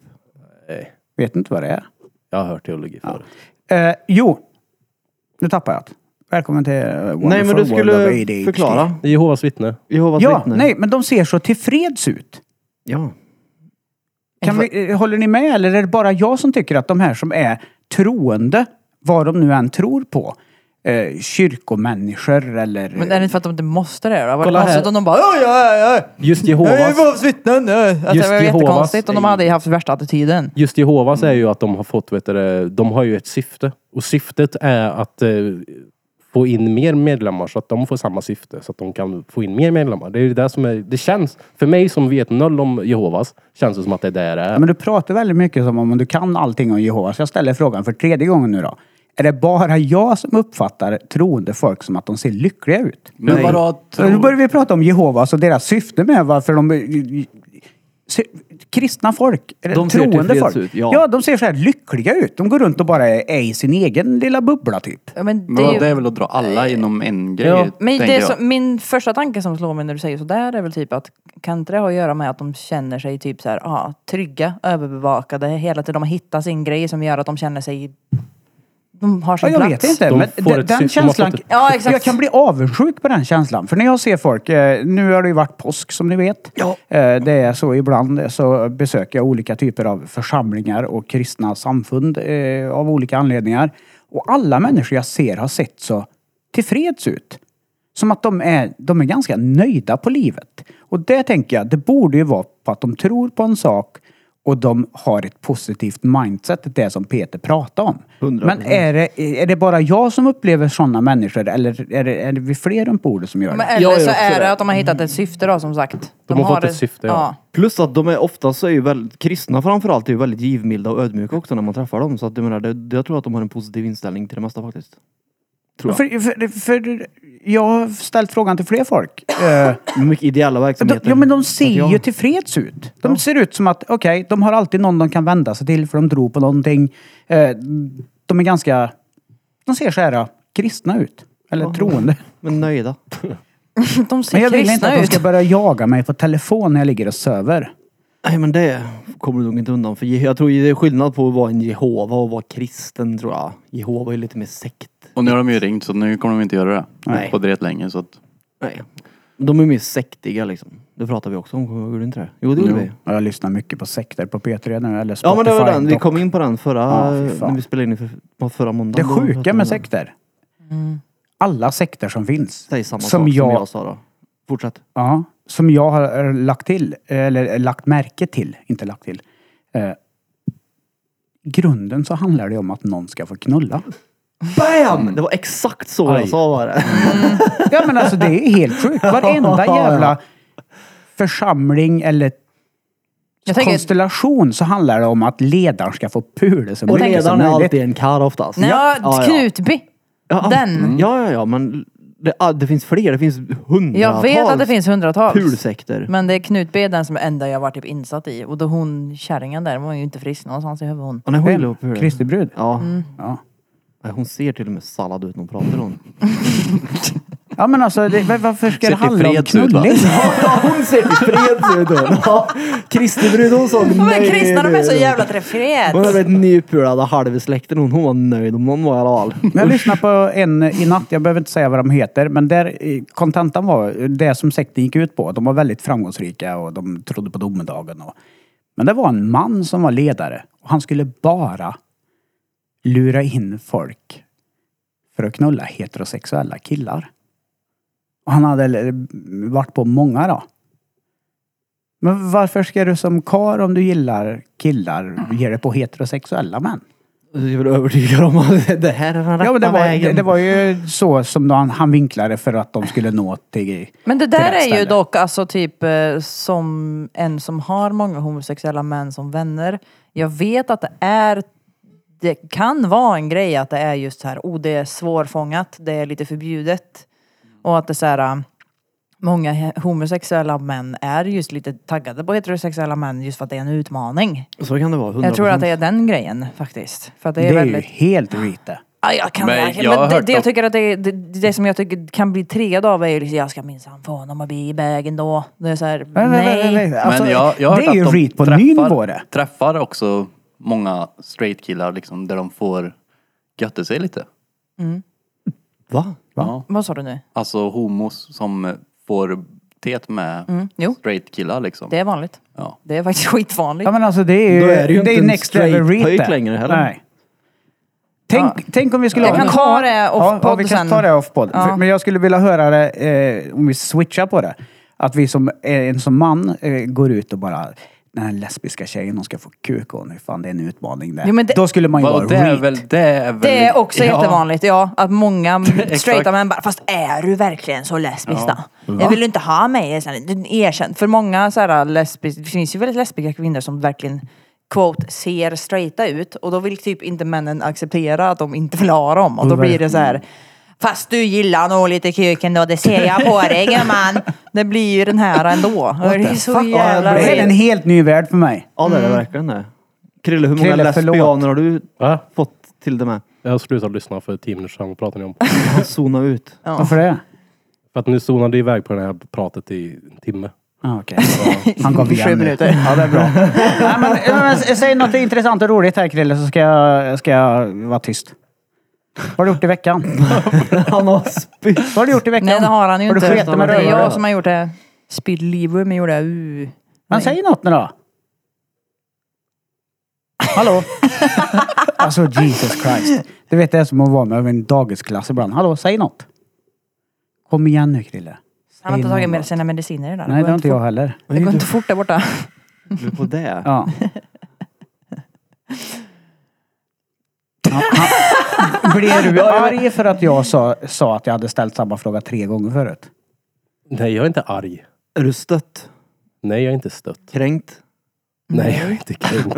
Speaker 3: Vet inte vad det är.
Speaker 4: Jag har hört teologi förut.
Speaker 3: Eh, jo, nu tappar jag det. Välkommen till eh, Wonderful
Speaker 5: Nej men du
Speaker 3: World of
Speaker 5: skulle
Speaker 3: ADHD.
Speaker 5: förklara.
Speaker 4: Jehovas vittne.
Speaker 5: Jehovas
Speaker 3: Ja,
Speaker 5: vittnen.
Speaker 3: nej, men de ser så tillfreds ut.
Speaker 5: Ja.
Speaker 3: Kan vi, eh, håller ni med eller är det bara jag som tycker att de här som är troende, vad de nu än tror på, eh, kyrkomänniskor eller...
Speaker 1: Men är det inte för att de inte måste det då? Var det
Speaker 4: Kolla här.
Speaker 1: konstigt om de bara "Oj, oj, oj,
Speaker 4: Just
Speaker 1: jag är
Speaker 4: Jehovas,
Speaker 1: Jehovas vittnen! oj." Alltså,
Speaker 4: Just
Speaker 1: det var
Speaker 4: Jehovas
Speaker 1: jättekonstigt om de
Speaker 4: är-
Speaker 1: hade haft värsta attityden.
Speaker 4: just Jehovas är ju att de har fått, vet du, det, de har ju ett syfte. Och syftet är att eh, få in mer medlemmar så att de får samma syfte. Så att de kan få in mer medlemmar. Det är ju det som är, det känns, för mig som vet noll om Jehovas, känns det som att det är där det
Speaker 3: Ja,
Speaker 4: är.
Speaker 3: Men du pratar väldigt mycket som om du kan allting om Jehovas. Jag ställer frågan för tredje gången nu då. Är det bara jag som uppfattar troende folk som att de ser lyckliga ut?
Speaker 5: Mm.
Speaker 2: Men vadå?
Speaker 3: Nu
Speaker 2: Tror...
Speaker 3: börjar vi prata om Jehovas och deras syfte med varför de... eh, se- Kristna folk, eller
Speaker 5: De ser
Speaker 3: troende
Speaker 5: tillfreds
Speaker 3: folk.
Speaker 5: ut, ja.
Speaker 3: de ser så här lyckliga ut. De går runt och bara är i sin egen lilla bubbla typ.
Speaker 1: Ja, men det
Speaker 2: Men
Speaker 1: är ju...
Speaker 2: vad, det är väl att dra alla inom en grej,
Speaker 4: Ja.
Speaker 1: Men
Speaker 2: tänker
Speaker 1: det
Speaker 2: jag.
Speaker 1: som, min första tanke som slår mig när du säger sådär är väl typ att kan inte det ha att göra med att de känner sig typ så här, ah, trygga, överbevakade hela tiden. De har hittat sin grej som gör att de känner sig... De har
Speaker 3: Ja,
Speaker 1: sin
Speaker 3: jag
Speaker 1: plats.
Speaker 3: vet inte.
Speaker 4: De
Speaker 3: men
Speaker 4: får
Speaker 3: den,
Speaker 4: ett syfte, de
Speaker 3: den
Speaker 4: har
Speaker 3: känslan...
Speaker 4: fått ett-
Speaker 1: Ja, exakt.
Speaker 3: Jag kan bli avundsjuk på den känslan. För när jag ser folk, eh, nu har det ju varit påsk som ni vet. Eh, det är så ibland eh, så besöker jag olika typer av församlingar och kristna samfund eh, av olika anledningar. Och alla människor jag ser har sett så tillfreds ut. Som att de är, de är ganska nöjda på livet. Och det tänker jag, det borde ju vara på att de tror på en sak och de har ett positivt mindset, det som Peter pratade om.
Speaker 5: 100%.
Speaker 3: Men är det, är det bara jag som upplever sådana människor eller är det, är det vi fler runt bordet som gör
Speaker 1: Men
Speaker 3: det?
Speaker 1: eller
Speaker 5: Jag gör
Speaker 1: så
Speaker 5: också
Speaker 1: är det
Speaker 5: det.
Speaker 1: att de har hittat ett syfte då som sagt.
Speaker 4: Mm. De har fått ett syfte, ja.
Speaker 5: Plus att de är ofta så är ju väldigt, kristna framförallt är ju väldigt givmilda och ödmjuka också när man träffar dem. Så att jag menar, det, jag tror att de har en positiv inställning till det mesta faktiskt. Tror jag.
Speaker 3: För, för, för jag har ställt frågan till fler folk. Eh,
Speaker 5: Med mycket ideella
Speaker 3: de,
Speaker 5: verksamheter.
Speaker 3: ja men de
Speaker 5: Att
Speaker 3: ser
Speaker 5: jag-
Speaker 3: ju typ- tillfreds ut. De ser ut som att, okej, de har alltid någon de kan vända sig till för de tror på någonting. Eh, de är ganska, de ser så här eh, kristna ut. Eller troende.
Speaker 5: Men nöjda.
Speaker 1: De
Speaker 3: Men
Speaker 1: ser
Speaker 3: jag vill inte
Speaker 1: kristna
Speaker 3: att de
Speaker 1: ut.
Speaker 3: ska börja jaga mig på telefon när jag ligger och söver.
Speaker 5: Nej men det kommer du nog inte undan för. Jag tror det är skillnad på att vara en Jehova och vara kristen tror jag. Jehova är lite mer sekt.
Speaker 2: Och nu har de ju ringt så nu kommer de inte göra det.
Speaker 5: Nej.
Speaker 2: På direkt länge så att...
Speaker 5: Nej. De är mer sektiga liksom. Det pratar vi också om, gjorde vi inte det? Jo det gjorde vi.
Speaker 3: Ja, Jag lyssnar mycket på sekter på P3 nu, eller Spotify.
Speaker 5: Ja men det var den, vi
Speaker 3: dock.
Speaker 5: kom in på den förra,
Speaker 3: Ja, fy fan.
Speaker 5: när vi spelade in för, förra
Speaker 3: Det
Speaker 5: måndagen. Då pratade
Speaker 3: sjuka
Speaker 5: vi om
Speaker 3: med
Speaker 5: den.
Speaker 3: sekter.
Speaker 1: Mm.
Speaker 3: Alla sekter som finns.
Speaker 5: Säg samma
Speaker 3: som
Speaker 5: sak
Speaker 3: jag,
Speaker 5: som jag sa då. Fortsätt.
Speaker 3: Ja, som jag har eh, lagt till, eller eh, lagt märke till, inte lagt till. Eh, i grunden så handlar det om att någon ska få knulla.
Speaker 5: BAM! Det var exakt så
Speaker 4: Aj.
Speaker 5: jag sa var det.
Speaker 3: Mm. Ja men alltså det är helt sjukt. Varenda jävla församling eller
Speaker 1: Jag tänker-
Speaker 3: konstellation så handlar det om att ledaren ska få pula så
Speaker 5: Och
Speaker 3: mycket som
Speaker 5: ledaren är
Speaker 3: möjligt.
Speaker 5: alltid en karl oftast.
Speaker 1: Nej, ja, Knutby.
Speaker 5: Ja, Mm.
Speaker 1: Den.
Speaker 5: Ja, ja, ja, men det, ah, det finns fler. Det finns hundratals
Speaker 1: Jag vet att det finns hundratals.
Speaker 5: pulsekter.
Speaker 1: Men det är Knutby den som är enda jag varit typ insatt i. Och då hon kärringen där, hon var ju inte frisk någonstans i huvudet hon.
Speaker 5: Och när hon gillar att
Speaker 3: Vem?
Speaker 5: pula.
Speaker 3: Kristi brud?
Speaker 5: Ja.
Speaker 1: Mm.
Speaker 3: Ja.
Speaker 5: Nej, Hon ser till och med sallad ut när hon pratar hon.
Speaker 3: ja men alltså det, var- varför ska det
Speaker 2: Sätt i
Speaker 3: handla om
Speaker 2: freds ut, va?
Speaker 3: knulling?
Speaker 5: Ja, hon ser tillfreds ut hon. Ja, Kristi brud hon såg
Speaker 1: Ja, men kristna de är så
Speaker 5: ut.
Speaker 1: jävla
Speaker 5: Hon hade
Speaker 1: träffreds.
Speaker 5: blivit nypulad av halva släkten hon. Hon var nöjd om någon var i alla fall.
Speaker 3: Men Jag lyssnade på en i natt, jag behöver inte säga vad de heter, men där eh, kontentan var eh, det som sekten gick ut på. De var väldigt framgångsrika och de trodde på domedagen. Och, men det var en man som var ledare och han skulle bara lura in folk för att knulla heterosexuella killar. Och han hade eh, varit på många då. Men varför ska du som kar om du gillar killar ge dig på heterosexuella män?
Speaker 5: Jag är väl övertygad om att det här är den rätta
Speaker 3: Ja, men det, var, det,
Speaker 5: vägen.
Speaker 3: det var ju så som han, han vinklade för att de skulle nå till...
Speaker 1: Men det
Speaker 3: till
Speaker 1: där
Speaker 3: rätt
Speaker 1: är ju
Speaker 3: ställe.
Speaker 1: dock alltså typ eh, som en som har många homosexuella män som vänner. Jag vet att det är det kan vara en grej att det är just så här, oh det är svårfångat, det är lite förbjudet. Och att det är så här, eh, många he- homosexuella män är just lite taggade på heterosexuella män just för att det är en utmaning.
Speaker 5: Så kan det vara. 100%.
Speaker 1: Jag tror att det är den grejen faktiskt. För att det
Speaker 3: Det
Speaker 1: är,
Speaker 3: är, ju
Speaker 1: väldigt...
Speaker 3: helt rite.
Speaker 1: Ja, jag kan
Speaker 2: Men
Speaker 1: verkligen.
Speaker 2: jag har
Speaker 1: Men det,
Speaker 2: hört
Speaker 1: det jag
Speaker 2: att-
Speaker 1: tycker att det, är- det, det som jag tycker kan bli tred av är ju liksom, jag ska minsann få honom att bli i vägen då. Det är såhär,
Speaker 3: Men- men- men-
Speaker 1: nej.
Speaker 3: men- alltså,
Speaker 2: Men jag, jag har
Speaker 3: det
Speaker 2: hört
Speaker 3: är ju
Speaker 2: att de
Speaker 3: rit på ny nivå det.
Speaker 2: träffar också många straight killar liksom där de får götta sig lite.
Speaker 5: Va?
Speaker 2: Ja.
Speaker 1: Vad sa du nu?
Speaker 2: Alltså homos som får tet med
Speaker 1: Mm. Jo,
Speaker 2: straight killar liksom.
Speaker 1: det är vanligt.
Speaker 2: Ja.
Speaker 1: Det är faktiskt skitvanligt.
Speaker 3: Ja men alltså det är ju,
Speaker 5: Då är det ju
Speaker 3: det är
Speaker 5: inte en
Speaker 3: next level
Speaker 5: straight
Speaker 3: rite.
Speaker 5: pöjk längre heller.
Speaker 3: Nej. Tänk,
Speaker 1: Ja.
Speaker 3: tänk om vi skulle
Speaker 1: Jag
Speaker 3: ha en
Speaker 1: kan
Speaker 3: kar-
Speaker 1: ta det off
Speaker 3: ja, ja, vi
Speaker 1: podd
Speaker 3: kan
Speaker 1: sen.
Speaker 3: ta det off podd.
Speaker 1: Ja.
Speaker 3: För- Men jag skulle vilja höra det, eh, om vi switchar på det. Att vi som, eh, en som man eh, går ut och bara, den här lesbiska tjejen hon ska få kuk och nu fan det är en utmaning där.
Speaker 1: Jo, men det-
Speaker 3: Då skulle man ju
Speaker 2: Va,
Speaker 3: vara
Speaker 2: och det är
Speaker 3: reet.
Speaker 2: väl, det är väl...
Speaker 1: Det är också
Speaker 2: ja.
Speaker 1: jättevanligt, ja. Att många straighta
Speaker 2: Exakt.
Speaker 1: män bara, fast är du verkligen så lesbisk då? Jag vill ju inte ha mig. Så här, du- Erkänn. För många så här lesbiska, det finns ju väldigt lesbiska kvinnor som verkligen quote, ser straighta ut och då vill typ inte männen acceptera att de inte vill ha dem och då blir det så här Fast du gillar nog lite kuken då, det ser jag på dig gumman. Det blir ju den här ändå. Det är så jävla
Speaker 3: Det här är en
Speaker 1: weird.
Speaker 3: helt ny värld för mig.
Speaker 5: Ja det är det
Speaker 1: Mm.
Speaker 5: verkligen det. Krille, hur många
Speaker 3: Krille,
Speaker 5: lesbianer
Speaker 3: förlåt.
Speaker 5: har du
Speaker 4: Va?
Speaker 5: fått till det med?
Speaker 4: Jag slutade lyssna för tio minuter sedan. Vad pratar ni om?
Speaker 5: Han zonade ut.
Speaker 3: Varför det?
Speaker 4: För att nu zonade det iväg på det här pratet i en timme.
Speaker 3: Ah, okej. Han gav igen nu.
Speaker 1: minuter.
Speaker 3: Ja, det är bra. Nej, men, men, s- säg något intressant och roligt här Krille så ska jag, ska jag vara tyst. Vad har du gjort i veckan?
Speaker 5: Han har spytt.
Speaker 3: Vad har du gjort i veckan?
Speaker 1: Nej det har han ju
Speaker 3: Har du
Speaker 1: inte.
Speaker 3: skitit med
Speaker 1: det är
Speaker 3: rövare?
Speaker 1: jag som har gjort det. Spydd livor men gjorde jag. Uh.
Speaker 3: Men säg något nu då. Hallå? alltså Jesus Christ. Du vet det är som att vara med en dagisklass ibland. Hallå, säg något. Kom igen nu Krille.
Speaker 1: Han har inte
Speaker 3: Säg
Speaker 1: tagit med
Speaker 3: något.
Speaker 1: sina mediciner idag.
Speaker 3: Nej, det
Speaker 1: går
Speaker 3: har inte
Speaker 1: fort.
Speaker 3: jag heller.
Speaker 1: Det går inte fort där borta.
Speaker 5: Du på det?
Speaker 3: Ja. Ja, han- Blev du arg för att jag sa, sa att jag hade ställt samma fråga tre gånger förut?
Speaker 4: Nej, jag är inte arg.
Speaker 5: Är du stött?
Speaker 4: Nej, jag är inte stött.
Speaker 5: Kränkt?
Speaker 4: Nej, jag är inte kränkt.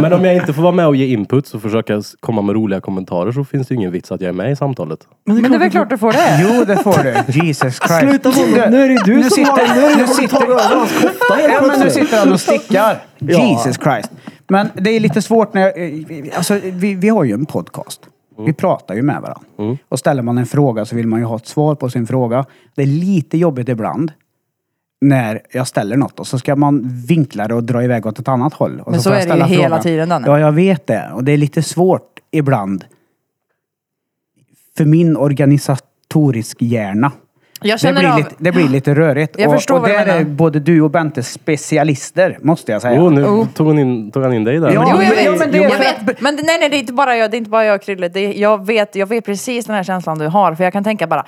Speaker 4: Men om jag inte får vara med och ge input och försöka s- komma med roliga kommentarer så finns det ju ingen vits att jag är med i samtalet.
Speaker 1: Men det är väl klart du får det.
Speaker 3: Jo, det får du. Jesus Christ.
Speaker 5: Sluta
Speaker 3: Du-
Speaker 5: nu är det du
Speaker 3: nu
Speaker 5: som
Speaker 3: sitter,
Speaker 5: har det. Nu är
Speaker 3: nu
Speaker 5: det du som tar
Speaker 3: sitter,
Speaker 5: över hans kofta
Speaker 3: ja,
Speaker 5: helt
Speaker 3: men nu
Speaker 5: plötsligt.
Speaker 3: sitter han och stickar. Jesus Christ. Men det är lite svårt när jag, eh, alltså, vi, vi har ju en podcast. Vi pratar ju med varandra. Och ställer man en fråga så vill man ju ha ett svar på sin fråga. Det är lite jobbigt ibland när jag ställer något och så ska man vinkla det och dra iväg åt ett annat håll. Och
Speaker 1: Men så
Speaker 3: får jag
Speaker 1: är det ju
Speaker 3: ställa
Speaker 1: hela tiden, Danne.
Speaker 3: Ja, jag vet det. Och det är lite svårt ibland för min organisatorisk hjärna.
Speaker 1: Jag
Speaker 3: Det
Speaker 1: känner
Speaker 3: blir,
Speaker 1: av...
Speaker 3: lite, det blir lite rörigt.
Speaker 1: Jag
Speaker 3: och,
Speaker 1: förstår
Speaker 3: och
Speaker 1: vad du
Speaker 3: där
Speaker 1: menar.
Speaker 3: är både du och Bente specialister, måste jag säga.
Speaker 4: Jo, nu tog, hon in, tog han in dig
Speaker 3: Ja.
Speaker 4: där.
Speaker 1: Jo, jag
Speaker 3: Jo,
Speaker 1: vet.
Speaker 3: men det-
Speaker 1: jag vet. Men det- nej, nej, det är inte bara jag, det är inte bara jag och Krille. Det är, jag, vet, jag vet precis den här känslan du har. För jag kan tänka bara,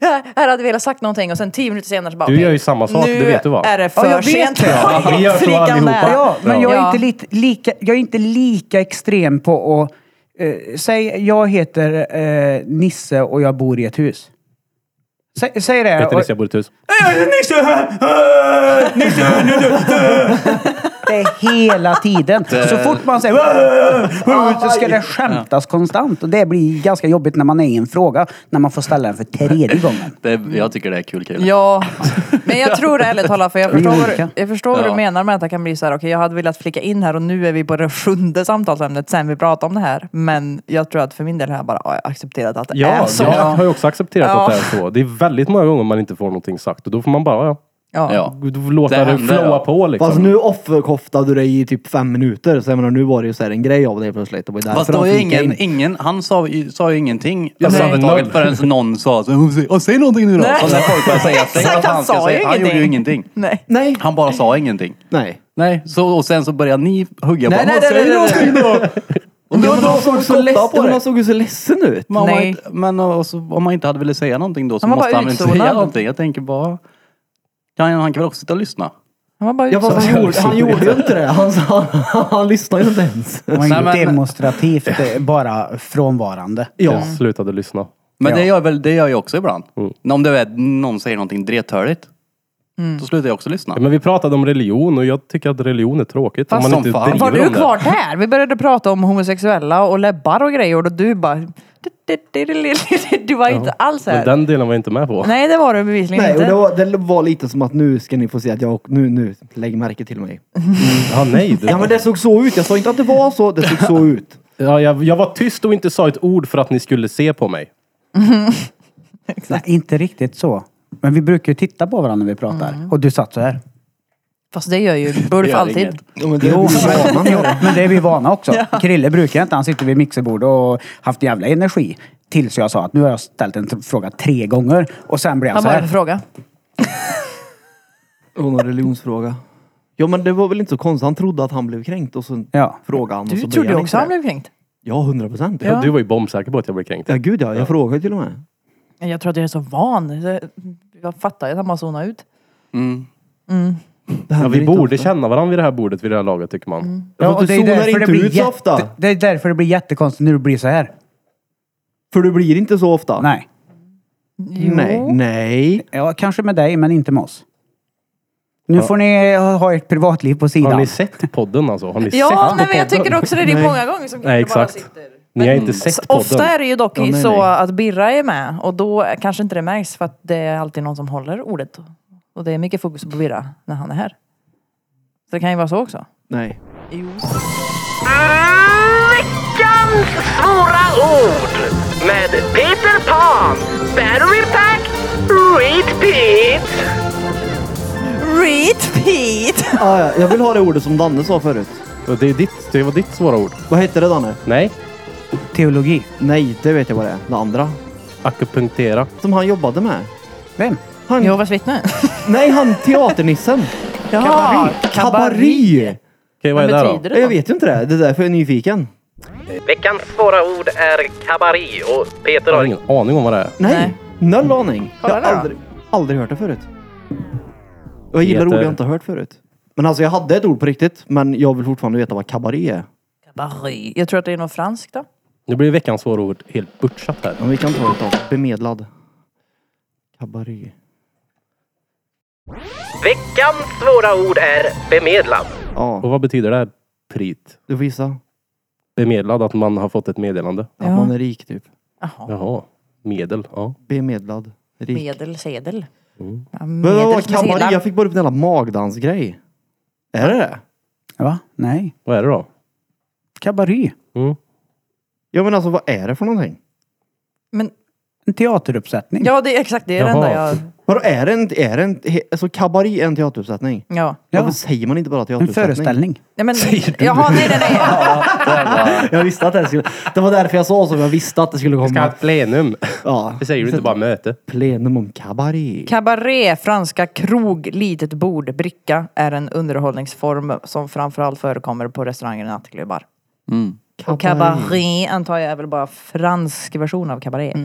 Speaker 1: "Här- här hade vi velat sagt någonting och sen tio minuter senare så bara,
Speaker 4: Du
Speaker 1: okej,
Speaker 4: gör ju samma sak,
Speaker 1: nu
Speaker 4: det vet du va?
Speaker 1: är det
Speaker 3: Ja,
Speaker 1: för
Speaker 3: jag vet
Speaker 1: sent.
Speaker 3: det. Ja,
Speaker 4: vi gör så
Speaker 1: Flickan
Speaker 4: allihopa.
Speaker 1: där.
Speaker 3: Ja, men jag är,
Speaker 1: Ja.
Speaker 3: inte lite, lika, jag är inte lika extrem på att... Eh, säg, jag heter eh, Nisse och jag bor i ett hus. Säg, säg det.
Speaker 4: Jag heter
Speaker 3: och-
Speaker 4: Nisse, jag bor i ett hus.
Speaker 3: Det är hela tiden. Så fort man säger "Åh!" så ska det skämtas konstant. Och det blir ganska jobbigt när man är i en fråga, när man får ställa den för tredje gången.
Speaker 2: Det, jag tycker det är kul kille.
Speaker 1: Ja, men jag tror det ärligt talat för jag förstår, vad du-
Speaker 3: olika.
Speaker 1: jag förstår vad
Speaker 2: Ja.
Speaker 1: du menar med att det kan bli så här, okej jag hade velat flika in här och nu är vi på det sjunde samtalsämnet sen vi pratade om det här. Men jag tror att för min del har jag bara ja, jag accepterat att det är
Speaker 4: Ja,
Speaker 1: Äh, så.
Speaker 4: jag har ju också accepterat
Speaker 1: Ja.
Speaker 4: att det är så. Det är väldigt många gånger man inte får någonting sagt och då får man bara ja,
Speaker 1: Ja.
Speaker 2: Ja.
Speaker 4: låta
Speaker 2: Det
Speaker 4: det,
Speaker 2: händer,
Speaker 4: flowa
Speaker 2: ja.
Speaker 4: på liksom.
Speaker 5: Fast nu offerkoftade du dig i typ fem minuter. Så jag menar, nu var det ju så här en grej av dig plötsligt. Det var ju därför
Speaker 2: Fast då
Speaker 5: han
Speaker 2: är
Speaker 5: fick in.
Speaker 2: ingen, ingen, han sa ju, sa ju ingenting Alltså,
Speaker 4: Nej.
Speaker 2: överhuvudtaget förrän någon sa så, "Åh, säg- åh, säg någonting nu då.
Speaker 1: Nej.
Speaker 2: Och när folk började säga säg
Speaker 1: Exakt,
Speaker 2: vad
Speaker 1: han
Speaker 2: han ska
Speaker 1: sa ju
Speaker 2: säga. Han gjorde ju ingenting.
Speaker 1: Nej.
Speaker 5: Nej.
Speaker 2: Han bara sa ingenting.
Speaker 5: Nej.
Speaker 2: Nej, så, och sen så började ni hugga på
Speaker 5: Nej, nej,
Speaker 2: "Åh,
Speaker 5: nej,
Speaker 2: säg
Speaker 5: nej, nej,
Speaker 2: någonting då." Och då-
Speaker 5: Men
Speaker 2: då
Speaker 5: han såg, så
Speaker 2: koppla
Speaker 5: ledsen,
Speaker 2: på
Speaker 5: men han
Speaker 2: det.
Speaker 5: såg ju så ledsen ut.
Speaker 2: Men om man
Speaker 1: Nej.
Speaker 2: inte- Men och så, om man inte hade velat säga någonting då så
Speaker 1: Han var
Speaker 2: måste
Speaker 1: bara
Speaker 2: han väl säga
Speaker 1: utzonad.
Speaker 2: någonting. Jag tänker bara... Han, han kan väl också sitta och lyssna?
Speaker 1: Han var bara
Speaker 5: Ja,
Speaker 1: utsåld.
Speaker 5: fast han, gjorde, han gjorde ju inte det. Han, han, han lyssnade ju inte ens.
Speaker 3: Det var
Speaker 2: Nej,
Speaker 3: inget
Speaker 2: men-
Speaker 3: demonstrativt, det är bara frånvarande.
Speaker 5: Ja.
Speaker 4: Jag slutade lyssna.
Speaker 2: Men
Speaker 3: Ja.
Speaker 2: det, gör väl, det gör jag också ibland.
Speaker 4: Mm.
Speaker 2: Om det är någon säger någonting drethörligt. Då slutar jag också lyssna.
Speaker 4: Ja, men vi pratade om religion och jag tycker att religion är tråkigt.
Speaker 2: Fast
Speaker 4: om man
Speaker 2: som
Speaker 4: inte
Speaker 2: fan.
Speaker 4: driver
Speaker 1: Var du
Speaker 4: om det.
Speaker 1: kvar där? Vi började prata om homosexuella och läbbar och grejer och du bara... Du var inte alls
Speaker 4: Men
Speaker 1: här.
Speaker 4: den delen var jag inte med på.
Speaker 1: Nej det var du bevisligen
Speaker 5: Nej, och det
Speaker 1: inte.
Speaker 5: var, det var lite som att nu ska ni få se att jag... Nu, nu, lägg märke till mig.
Speaker 4: Ja, nej. Det,
Speaker 5: Ja men det såg så ut. Jag sa inte att det var så. Det såg så ut.
Speaker 4: ja, jag, jag var tyst och inte sa ett ord för att ni skulle se på mig.
Speaker 3: Nej, inte riktigt så. Men vi brukar ju titta på varandra när vi pratar.
Speaker 5: Mm.
Speaker 3: Och du satt så här.
Speaker 1: Fast det gör ju Bulf
Speaker 2: gör
Speaker 1: alltid.
Speaker 2: inget.
Speaker 5: Ja, men det
Speaker 3: Jo, men, men det är vi vana också. Krille brukar inte. Han sitter vid mixerbordet och haft jävla energi. Tills jag sa att nu har jag ställt en t- fråga tre gånger. Och sen blev jag
Speaker 1: Han
Speaker 3: så
Speaker 1: bara, en
Speaker 3: här.
Speaker 1: fråga.
Speaker 5: Det var någon religionsfråga. Ja men det var väl inte så konstigt. Han trodde att han blev kränkt och så
Speaker 3: Ja.
Speaker 5: frågade han. och
Speaker 1: Du
Speaker 5: så
Speaker 1: trodde
Speaker 5: blev
Speaker 1: ju
Speaker 5: han
Speaker 1: också
Speaker 5: inte
Speaker 1: han
Speaker 5: det.
Speaker 1: blev kränkt.
Speaker 5: Ja, hundra procent.
Speaker 1: Ja.
Speaker 5: Ja.
Speaker 4: Du var ju bombsäker på att jag blev kränkt.
Speaker 5: gud ja. Jag frågade till och med.
Speaker 1: Jag tror att jag är så van. Så Jag fattar ju att han bara zonade ut.
Speaker 2: Mm.
Speaker 5: Det
Speaker 4: Ja,
Speaker 5: händer
Speaker 4: vi
Speaker 5: inte
Speaker 4: borde
Speaker 5: ofta.
Speaker 4: känna varandra vid det här bordet vid det här laget tycker man.
Speaker 1: Mm.
Speaker 5: Ja,
Speaker 3: och
Speaker 5: du zonar inte
Speaker 3: blir
Speaker 5: ut så ofta.
Speaker 3: Det är därför det blir jättekonstigt när du blir så här.
Speaker 5: För du blir inte så ofta.
Speaker 3: Nej.
Speaker 1: Jo.
Speaker 5: Nej. Nej.
Speaker 3: Ja, kanske med dig, men inte med oss. Nu får ni ha ha ert privatliv på
Speaker 4: Har
Speaker 3: sidan.
Speaker 4: ni sett podden alltså? Har ni sett
Speaker 1: Ja, nej,
Speaker 4: podden?
Speaker 1: men jag tycker också det. Det är många gånger som
Speaker 4: Nej,
Speaker 1: Krille bara
Speaker 4: exakt.
Speaker 1: sitter.
Speaker 4: Ni har inte sett podden.
Speaker 1: Ofta är det ju dock
Speaker 5: Ja, nej,
Speaker 1: så
Speaker 5: nej.
Speaker 1: att Birra är med och då kanske inte det märks för att det är alltid någon som håller ordet. Och det är mycket fokus på Birra när han är här. Så det kan ju vara så också.
Speaker 5: Nej.
Speaker 9: Veckans svåra ord med Peter Pan. Battery pack, repeat.
Speaker 1: Repeat!
Speaker 5: Ah, ja. Jag vill ha det ordet som Danne sa förut.
Speaker 4: Och Det, är ditt, det var ditt svåra ord.
Speaker 5: Vad hette det Danne?
Speaker 4: Nej.
Speaker 3: Teologi.
Speaker 5: Nej, det vet jag vad det är. Det andra.
Speaker 4: Akupunktera.
Speaker 5: Som han jobbade med.
Speaker 3: Vem?
Speaker 5: Han,
Speaker 1: Jehovas vittne.
Speaker 5: Nej, han teaternissen.
Speaker 1: Ja,
Speaker 5: Kabari.
Speaker 4: Okej, vad är det då?
Speaker 1: Betyder det
Speaker 5: Jag
Speaker 1: något?
Speaker 5: vet ju inte det. Det är därför jag är nyfiken.
Speaker 9: Veckans svåra ord är kabari och Peter
Speaker 4: Jag har
Speaker 9: har...
Speaker 4: ingen aning om vad det är.
Speaker 5: Nej, noll aning. Jag
Speaker 1: Kolla
Speaker 5: har
Speaker 1: där då.
Speaker 5: aldrig, aldrig hört det förut. Och jag gillar
Speaker 4: Peter.
Speaker 5: ord jag inte har hört förut. Men alltså jag hade ett ord på riktigt, men jag vill fortfarande veta vad kabaré är.
Speaker 1: Kabari. Jag tror att det är något franskt då.
Speaker 4: Nu blir veckans svåra ord helt butchat här.
Speaker 5: Men vi kan ta ett av bemedlad. Kabaré.
Speaker 9: Veckans svåra ord är bemedlad.
Speaker 5: Ja,
Speaker 4: Och vad betyder det här? Prit.
Speaker 5: du får gissa.
Speaker 4: Bemedlad, att man har fått ett meddelande.
Speaker 5: Att
Speaker 1: Ja.
Speaker 5: man är rik typ.
Speaker 1: Jaha.
Speaker 4: Jaha. Medel, ja.
Speaker 5: Bemedlad. Rik.
Speaker 1: Medel, sedel.
Speaker 4: Mm.
Speaker 1: Ja,
Speaker 5: Men
Speaker 1: medel
Speaker 5: vad
Speaker 1: som är
Speaker 5: kabaré?
Speaker 1: sedlar.
Speaker 5: Jag fick bara upp en jävla magdansgrej. Är det det?
Speaker 3: Va? Nej.
Speaker 4: Vad är det då?
Speaker 3: Kabaré.
Speaker 4: Mm.
Speaker 5: Ja men alltså vad är det för någonting?
Speaker 1: Men,
Speaker 3: En teateruppsättning.
Speaker 1: ja, det är exakt det är det
Speaker 4: Jaha.
Speaker 1: enda jag...
Speaker 5: Vadå är det en, är det en, he- alltså kabaré är en teateruppsättning?
Speaker 1: Ja.
Speaker 3: Ja.
Speaker 5: Varför säger man inte bara
Speaker 3: En
Speaker 5: teateruppsättning?
Speaker 3: föreställning.
Speaker 1: Nej, men, jaha, nej, nej, nej.
Speaker 5: Jag visste att det här skulle... Det var därför jag sa så, jag visste att det skulle komma.
Speaker 4: Ska ha ett plenum.
Speaker 5: Ja.
Speaker 4: Det säger du inte bara möte.
Speaker 5: Plenum om kabaré.
Speaker 1: Kabaré, franska krog, litet bord, bricka är en underhållningsform som framförallt förekommer på restauranger och nattklubbar. Och kabaré antar jag är väl bara fransk version av kabaré.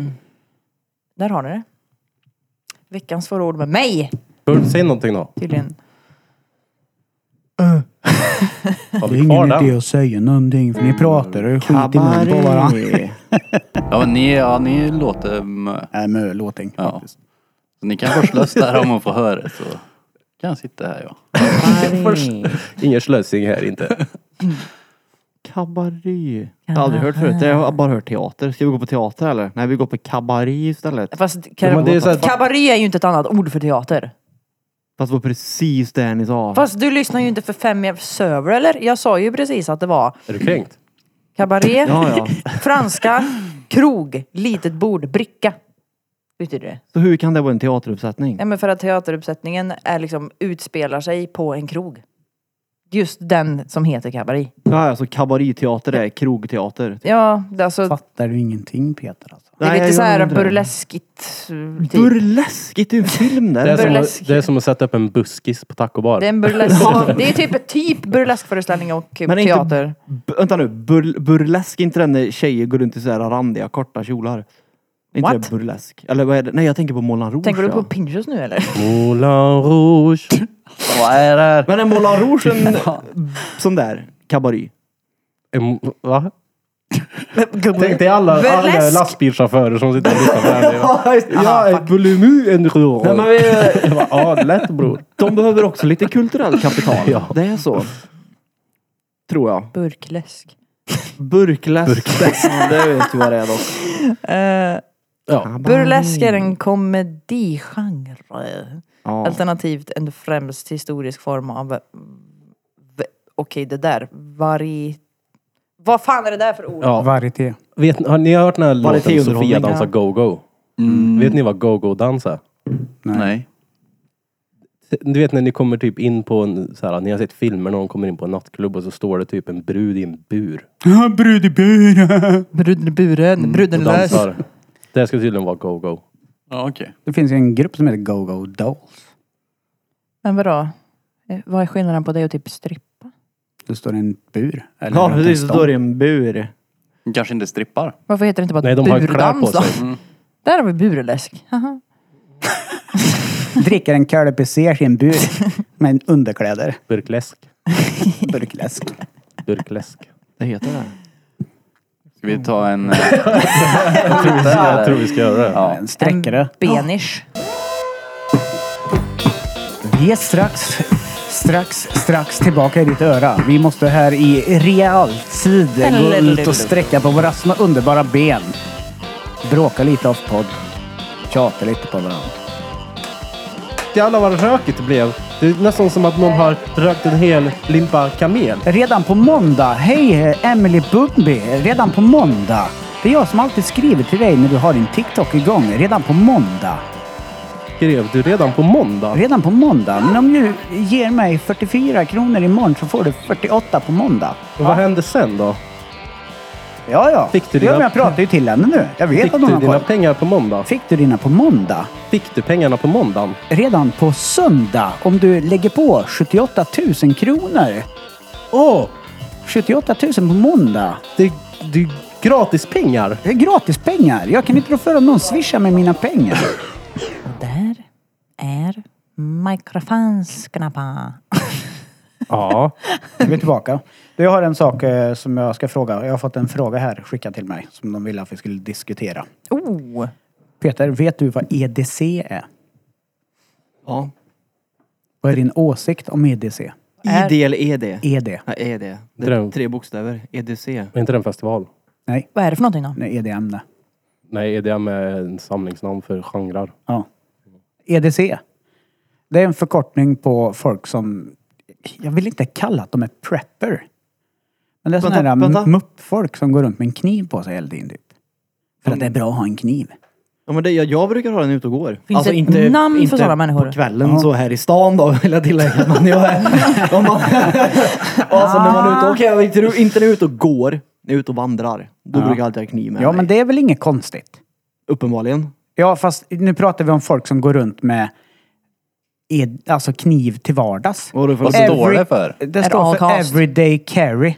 Speaker 1: Där har ni det. Veckans förord med mig
Speaker 4: Bör- Säg någonting då.
Speaker 1: tydligen.
Speaker 4: Har
Speaker 3: Det är
Speaker 4: vi kvar
Speaker 3: ingen idé
Speaker 4: den?
Speaker 3: att säga någonting för ni pratar och skiter i munnen på varandra.
Speaker 5: Kabaré.
Speaker 2: Ja, men ni, ja, ni låter... mm,
Speaker 3: Nej, men låting.
Speaker 2: Ja.
Speaker 3: faktiskt.
Speaker 2: Ni kan vara där om hon får höra det, så kan jag sitta här ja.
Speaker 4: Ingen slösing här inte.
Speaker 5: Kabaré. Jag har aldrig hört förut. Jag har bara hört teater. Ska vi gå på teater eller? Nej, vi går på kabaré istället.
Speaker 1: Fast
Speaker 4: men det är så här-
Speaker 1: kabaré är ju inte ett annat ord för teater.
Speaker 5: Fast det var precis det ni sa.
Speaker 1: Fast du lyssnar ju inte för fem jag söver eller? Jag sa ju precis att det var
Speaker 4: Är du kränkt?
Speaker 1: kabaré,
Speaker 5: Ja, ja.
Speaker 1: franska, krog, litet bord, bricka. Betyder det.
Speaker 5: Så hur kan det vara en teateruppsättning?
Speaker 1: Nej men för att teateruppsättningen är liksom, utspelar sig på en krog. Just den som heter kabaré.
Speaker 5: Ja, alltså kabaréteater är krogteater.
Speaker 1: Ja, det, är alltså,
Speaker 3: Fattar du ingenting Peter alltså?
Speaker 1: det är
Speaker 5: Nej, jag
Speaker 1: lite så
Speaker 5: gör
Speaker 1: här
Speaker 5: inte det.
Speaker 1: burleskigt. eh, Typ.
Speaker 5: Burleskigt, det är en film
Speaker 4: Det är,
Speaker 5: där.
Speaker 4: som
Speaker 1: Burlesk.
Speaker 4: att, det är som att sätta upp en buskis på tacobar.
Speaker 1: Det är en burlesk. Det är typ, typ burleskföreställning och
Speaker 5: Men är inte-
Speaker 1: teater.
Speaker 5: B- vänta nu, bur, burlesk är inte den när tjejer går runt i så här randiga korta kjolar? Är inte
Speaker 1: What?
Speaker 5: det burlesk? Eller vad är det? Nej, jag tänker på Moulin Rouge.
Speaker 1: Tänker du på
Speaker 5: ja.
Speaker 1: Pinchos nu eller?
Speaker 4: Moulin Rouge.
Speaker 2: Vad är det här?
Speaker 5: Men är Moulin Rouge en sån där kabaré?
Speaker 4: Em- Va?
Speaker 1: Gubben.
Speaker 4: Tänk dig alla, alla
Speaker 1: Burlesk.
Speaker 4: lastbilschaufförer som sitter och lyssnar på det här. Ja, ett bulimu en rör.
Speaker 5: Nej, men vi,
Speaker 4: Ja, lätt bror.
Speaker 5: de behöver också lite kulturellt kapital. Det är så. Tror jag.
Speaker 1: Burkläsk.
Speaker 5: Burkläsk. Ja, det vet du vad det är dock.
Speaker 1: Eh,
Speaker 4: Ja.
Speaker 1: burlesk är en komedigenre.
Speaker 5: Ja.
Speaker 1: Alternativt en främst historisk form av... v- Okej, det där. Vari... Vad fan är det där för ord?
Speaker 4: Ja.
Speaker 3: Varieté.
Speaker 4: Vet, har ni hört den här
Speaker 5: Var det
Speaker 4: låten
Speaker 5: teunderhållning?
Speaker 4: Sofia dansar
Speaker 1: Ja.
Speaker 4: go-go? Vet ni vad go-go-dans är?
Speaker 2: Nej.
Speaker 4: Du vet när ni kommer typ in på en, så här, ni har sett filmer när de kommer in på en nattklubb och så står det typ en brud i en bur
Speaker 3: Brud i bur.
Speaker 1: Bruden i buren, bruden
Speaker 4: och dansar. Det ska tydligen vara go-go.
Speaker 2: Ja okej.
Speaker 3: Det finns ju en grupp som heter Go-Go Dolls.
Speaker 1: Men vadå? Eh, Vad är skillnaden på det och typ strippa?
Speaker 3: Det står i en bur. Eller
Speaker 5: Ja,
Speaker 3: runt en
Speaker 5: precis. Det
Speaker 3: stång.
Speaker 5: står i en bur.
Speaker 2: Kanske inte strippar.
Speaker 1: Varför heter det inte bara
Speaker 4: Nej, de har kläder på
Speaker 1: burdans då?
Speaker 4: sig.
Speaker 1: Där har vi burlesk. Haha. Mm.
Speaker 3: Dricker en kölpesers i en bur. Med underkläder.
Speaker 4: Burkläsk.
Speaker 3: Burkläsk.
Speaker 4: Burkläsk.
Speaker 5: Det heter det.
Speaker 2: Ska vi ta en... eh, där?
Speaker 4: Jag tror vi ska göra det.
Speaker 2: Ja.
Speaker 3: En sträckare.
Speaker 1: Benish.
Speaker 3: Vi är strax, strax, strax tillbaka i ditt öra. Vi måste här i realtid gå ut och sträcka på våra små underbara ben. Bråka lite off podd. Tjata lite på varandra.
Speaker 4: Jävlar vad rökigt det blev. Det är nästan som att någon har rökt en hel limpa kamel.
Speaker 3: Redan på måndag. Hej Emily Bugby. Redan på måndag. Det är jag som alltid skriver till dig när du har din TikTok igång. Redan på måndag.
Speaker 4: Skrev du redan på måndag?
Speaker 3: Redan på måndag. Men om du ger mig 44 kronor imorgon så får du 48 på måndag.
Speaker 4: Och vad hände sen då?
Speaker 3: Ja, ja.
Speaker 4: Fick du
Speaker 3: ja,
Speaker 4: dina-
Speaker 3: men jag pratar ju till henne nu. Jag vet
Speaker 4: Fick
Speaker 3: att hon har
Speaker 4: du
Speaker 3: koll.
Speaker 4: dina pengar på måndag?
Speaker 3: Fick du dina på måndag?
Speaker 4: Fick du pengarna på måndagen?
Speaker 3: Redan på söndag om du lägger på 78 000 kronor.
Speaker 4: Åh!
Speaker 3: 78 000 på måndag.
Speaker 4: det, det är gratis pengar.
Speaker 3: Det är gratis pengar. Jag kan inte rå för om någon swishar med mina pengar.
Speaker 1: Och där är mikrofonsknappa.
Speaker 4: Ja.
Speaker 3: Vi är tillbaka. Du, Jag har en sak eh, som jag ska fråga. Jag har fått en fråga här skickad till mig som de ville att vi skulle diskutera.
Speaker 1: Oh!
Speaker 3: Peter, vet du vad EDC är?
Speaker 5: Ja.
Speaker 3: Vad är din åsikt om E EDC?
Speaker 1: Är-
Speaker 5: ID eller ED?
Speaker 3: ED?
Speaker 5: E Nej, ED. Det
Speaker 4: Dröm.
Speaker 5: är tre bokstäver. E EDC.
Speaker 4: Är inte den festival?
Speaker 3: Nej,
Speaker 1: Vad är det för någonting då?
Speaker 3: nej E ED-ämne.
Speaker 4: Nej, EDM är en samlingsnamn för genrer.
Speaker 3: Ja. EDC. Det är en förkortning på folk som... Jag vill inte kalla att de är prepper. Men det är
Speaker 5: Vänta,
Speaker 3: sådana här
Speaker 5: vänta.
Speaker 3: m- muppfolk som går runt med en kniv på sig hela tiden. Typ. För att det är bra att ha en kniv.
Speaker 5: Ja, men det, jag, jag brukar ha den ute och går. Alltså,
Speaker 1: Finns det ett namn för
Speaker 5: inte
Speaker 1: sådana människor?
Speaker 5: på kvällen så här i stan då vill jag tillägga. Men jag är, om man, alltså när man är
Speaker 1: Ah.
Speaker 5: ute, okej jag är inte, inte när jag är ute och går, när jag är ute och vandrar. Då brukar jag alltid ha kniv med
Speaker 3: Ja,
Speaker 5: mig.
Speaker 3: men det är väl inget konstigt?
Speaker 5: Uppenbarligen.
Speaker 3: Ja, fast nu pratar vi om folk som går runt med ed, alltså kniv till vardags.
Speaker 5: Och då får
Speaker 2: Vad
Speaker 5: jag-
Speaker 2: står det för?
Speaker 3: Det
Speaker 1: all
Speaker 3: står för
Speaker 1: cost?
Speaker 3: everyday carry.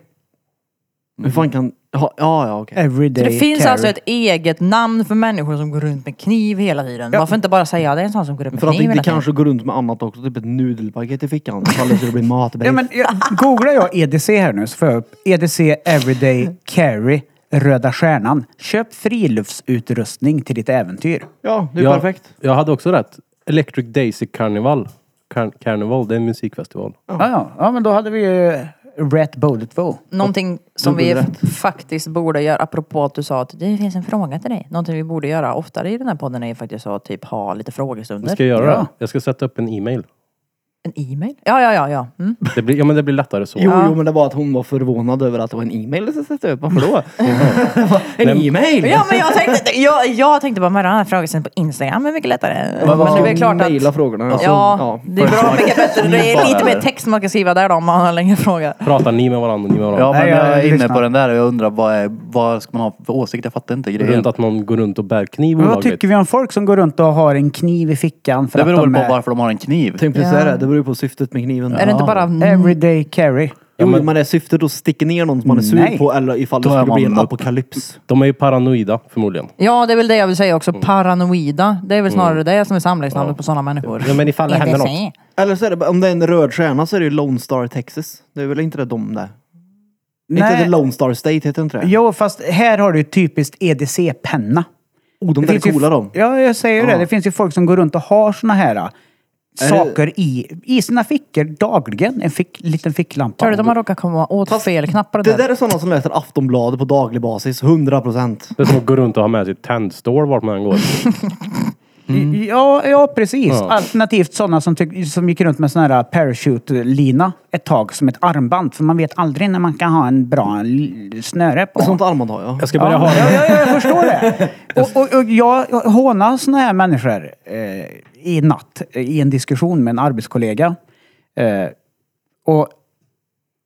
Speaker 5: Hur fan kan... Ja, ja ja, okej.
Speaker 3: Everyday
Speaker 1: Så det finns
Speaker 3: carry.
Speaker 1: alltså ett eget namn för människor som går runt med kniv hela tiden. Varför inte bara säga det är en sån som går runt med
Speaker 5: För att
Speaker 1: kniv
Speaker 5: inte
Speaker 1: hela tiden?
Speaker 5: kanske går runt med annat också, typ ett nudelpaket i fickan. Ifall det skulle bli matbrist.
Speaker 3: Ja, men jag, googlar jag EDC här nu så får jag upp EDC Everyday Carry Röda Stjärnan. Köp friluftsutrustning till ditt äventyr.
Speaker 5: ja, det är
Speaker 4: jag,
Speaker 5: perfekt.
Speaker 4: Jag hade också rätt. Electric Daisy Carnival. Car- Carnival, det är en musikfestival.
Speaker 3: Ja, ja. ja, men då hade vi ju Rätt Bullet 2.
Speaker 1: Någonting som vi
Speaker 5: Dubbelrätt.
Speaker 1: faktiskt borde göra, apropå att du sa att det finns en fråga till dig. Någonting vi borde göra oftare i den här podden är ju faktiskt att typ ha lite frågestunder.
Speaker 4: Jag ska göra
Speaker 3: Ja.
Speaker 4: det. Jag ska sätta upp en e-mail.
Speaker 1: En e-mail? Ja, ja, ja. ja. Mm.
Speaker 4: Det blir, ja, men det blir lättare så.
Speaker 5: Jo, jo, men det var att hon var förvånad över att det var en e-mail som satt upp. Varför då? en e-mail?
Speaker 1: Ja men jag tänkte, jag, jag tänkte bara med den här frågestunden på Instagram är mycket lättare. Men, det är väl klart att...
Speaker 5: Mejla frågorna. Alltså,
Speaker 1: ja, det är bra mycket bättre. Det är
Speaker 2: Bara
Speaker 1: lite mer
Speaker 2: där.
Speaker 1: text man kan skriva där då om man har längre frågor.
Speaker 4: Pratar ni med varandra, ni med varandra.
Speaker 2: Ja, men
Speaker 3: Nej, jag-
Speaker 2: jag är inne
Speaker 3: lyssna.
Speaker 2: på den där och jag undrar vad, är, vad ska man ha för åsikt? Jag fattar inte grejen.
Speaker 4: Runt att någon går runt och bär kniv
Speaker 3: Men vad
Speaker 4: olagligt.
Speaker 3: tycker vi om folk som går runt och har en kniv i fickan för
Speaker 2: Det
Speaker 3: att
Speaker 2: beror
Speaker 3: de
Speaker 2: väl på
Speaker 3: är
Speaker 2: varför de har en kniv.
Speaker 1: Typ-
Speaker 5: Tänk precis säga det, det beror ju på syftet med kniven.
Speaker 1: Är det inte bara...
Speaker 3: Mm. everyday carry?
Speaker 5: Ja, men, men är syftet att sticka ner någon som man är sur
Speaker 3: Nej.
Speaker 5: på eller ifall det
Speaker 2: Då är
Speaker 5: skulle bli
Speaker 2: man
Speaker 5: en
Speaker 2: nöjd.
Speaker 5: apokalyps?
Speaker 4: De är ju paranoida förmodligen.
Speaker 1: Ja, det är väl det jag vill säga också. Paranoida. Det är väl snarare det som är samlingsnamnet på sådana människor.
Speaker 4: Ja, men ifall det
Speaker 1: Inte
Speaker 4: händer
Speaker 1: sig.
Speaker 4: något.
Speaker 5: Eller så är det, bara- om det är en röd stjärna så är det ju Lone Star Texas. Det är väl inte det de där? Inte det
Speaker 3: Nej.
Speaker 5: Lone Star State, heter inte det?
Speaker 3: Jo, fast här har du ju typiskt E EDC-penna.
Speaker 5: Oh, de där är
Speaker 3: finns ju
Speaker 5: coola
Speaker 3: f-
Speaker 5: de.
Speaker 3: Ja, jag säger ju det. Det finns ju folk som går runt och har såna här äh, saker i, i sina fickor dagligen. En fick, liten ficklampa.
Speaker 1: Tror du de har råkat komma åt fel knappar
Speaker 5: Det
Speaker 1: där?
Speaker 5: där är sådana som läser Aftonbladet på daglig basis, 100 procent.
Speaker 4: Det är som att gå runt och ha med sig tändstål vart man än går.
Speaker 3: Ja, ja precis.
Speaker 4: Ja.
Speaker 3: Alternativt sådana som, tyck, som gick runt med sån här äh, parachute-lina ett tag som ett armband. För man vet aldrig när man kan ha en bra l- snöre på.
Speaker 5: Sånt armband har jag.
Speaker 4: Jag ska börja ha
Speaker 3: Ja, ja, ja, jag förstår det. Och, och, och jag hånar såna här människor eh, i natt eh, i en diskussion med en arbetskollega. Eh, och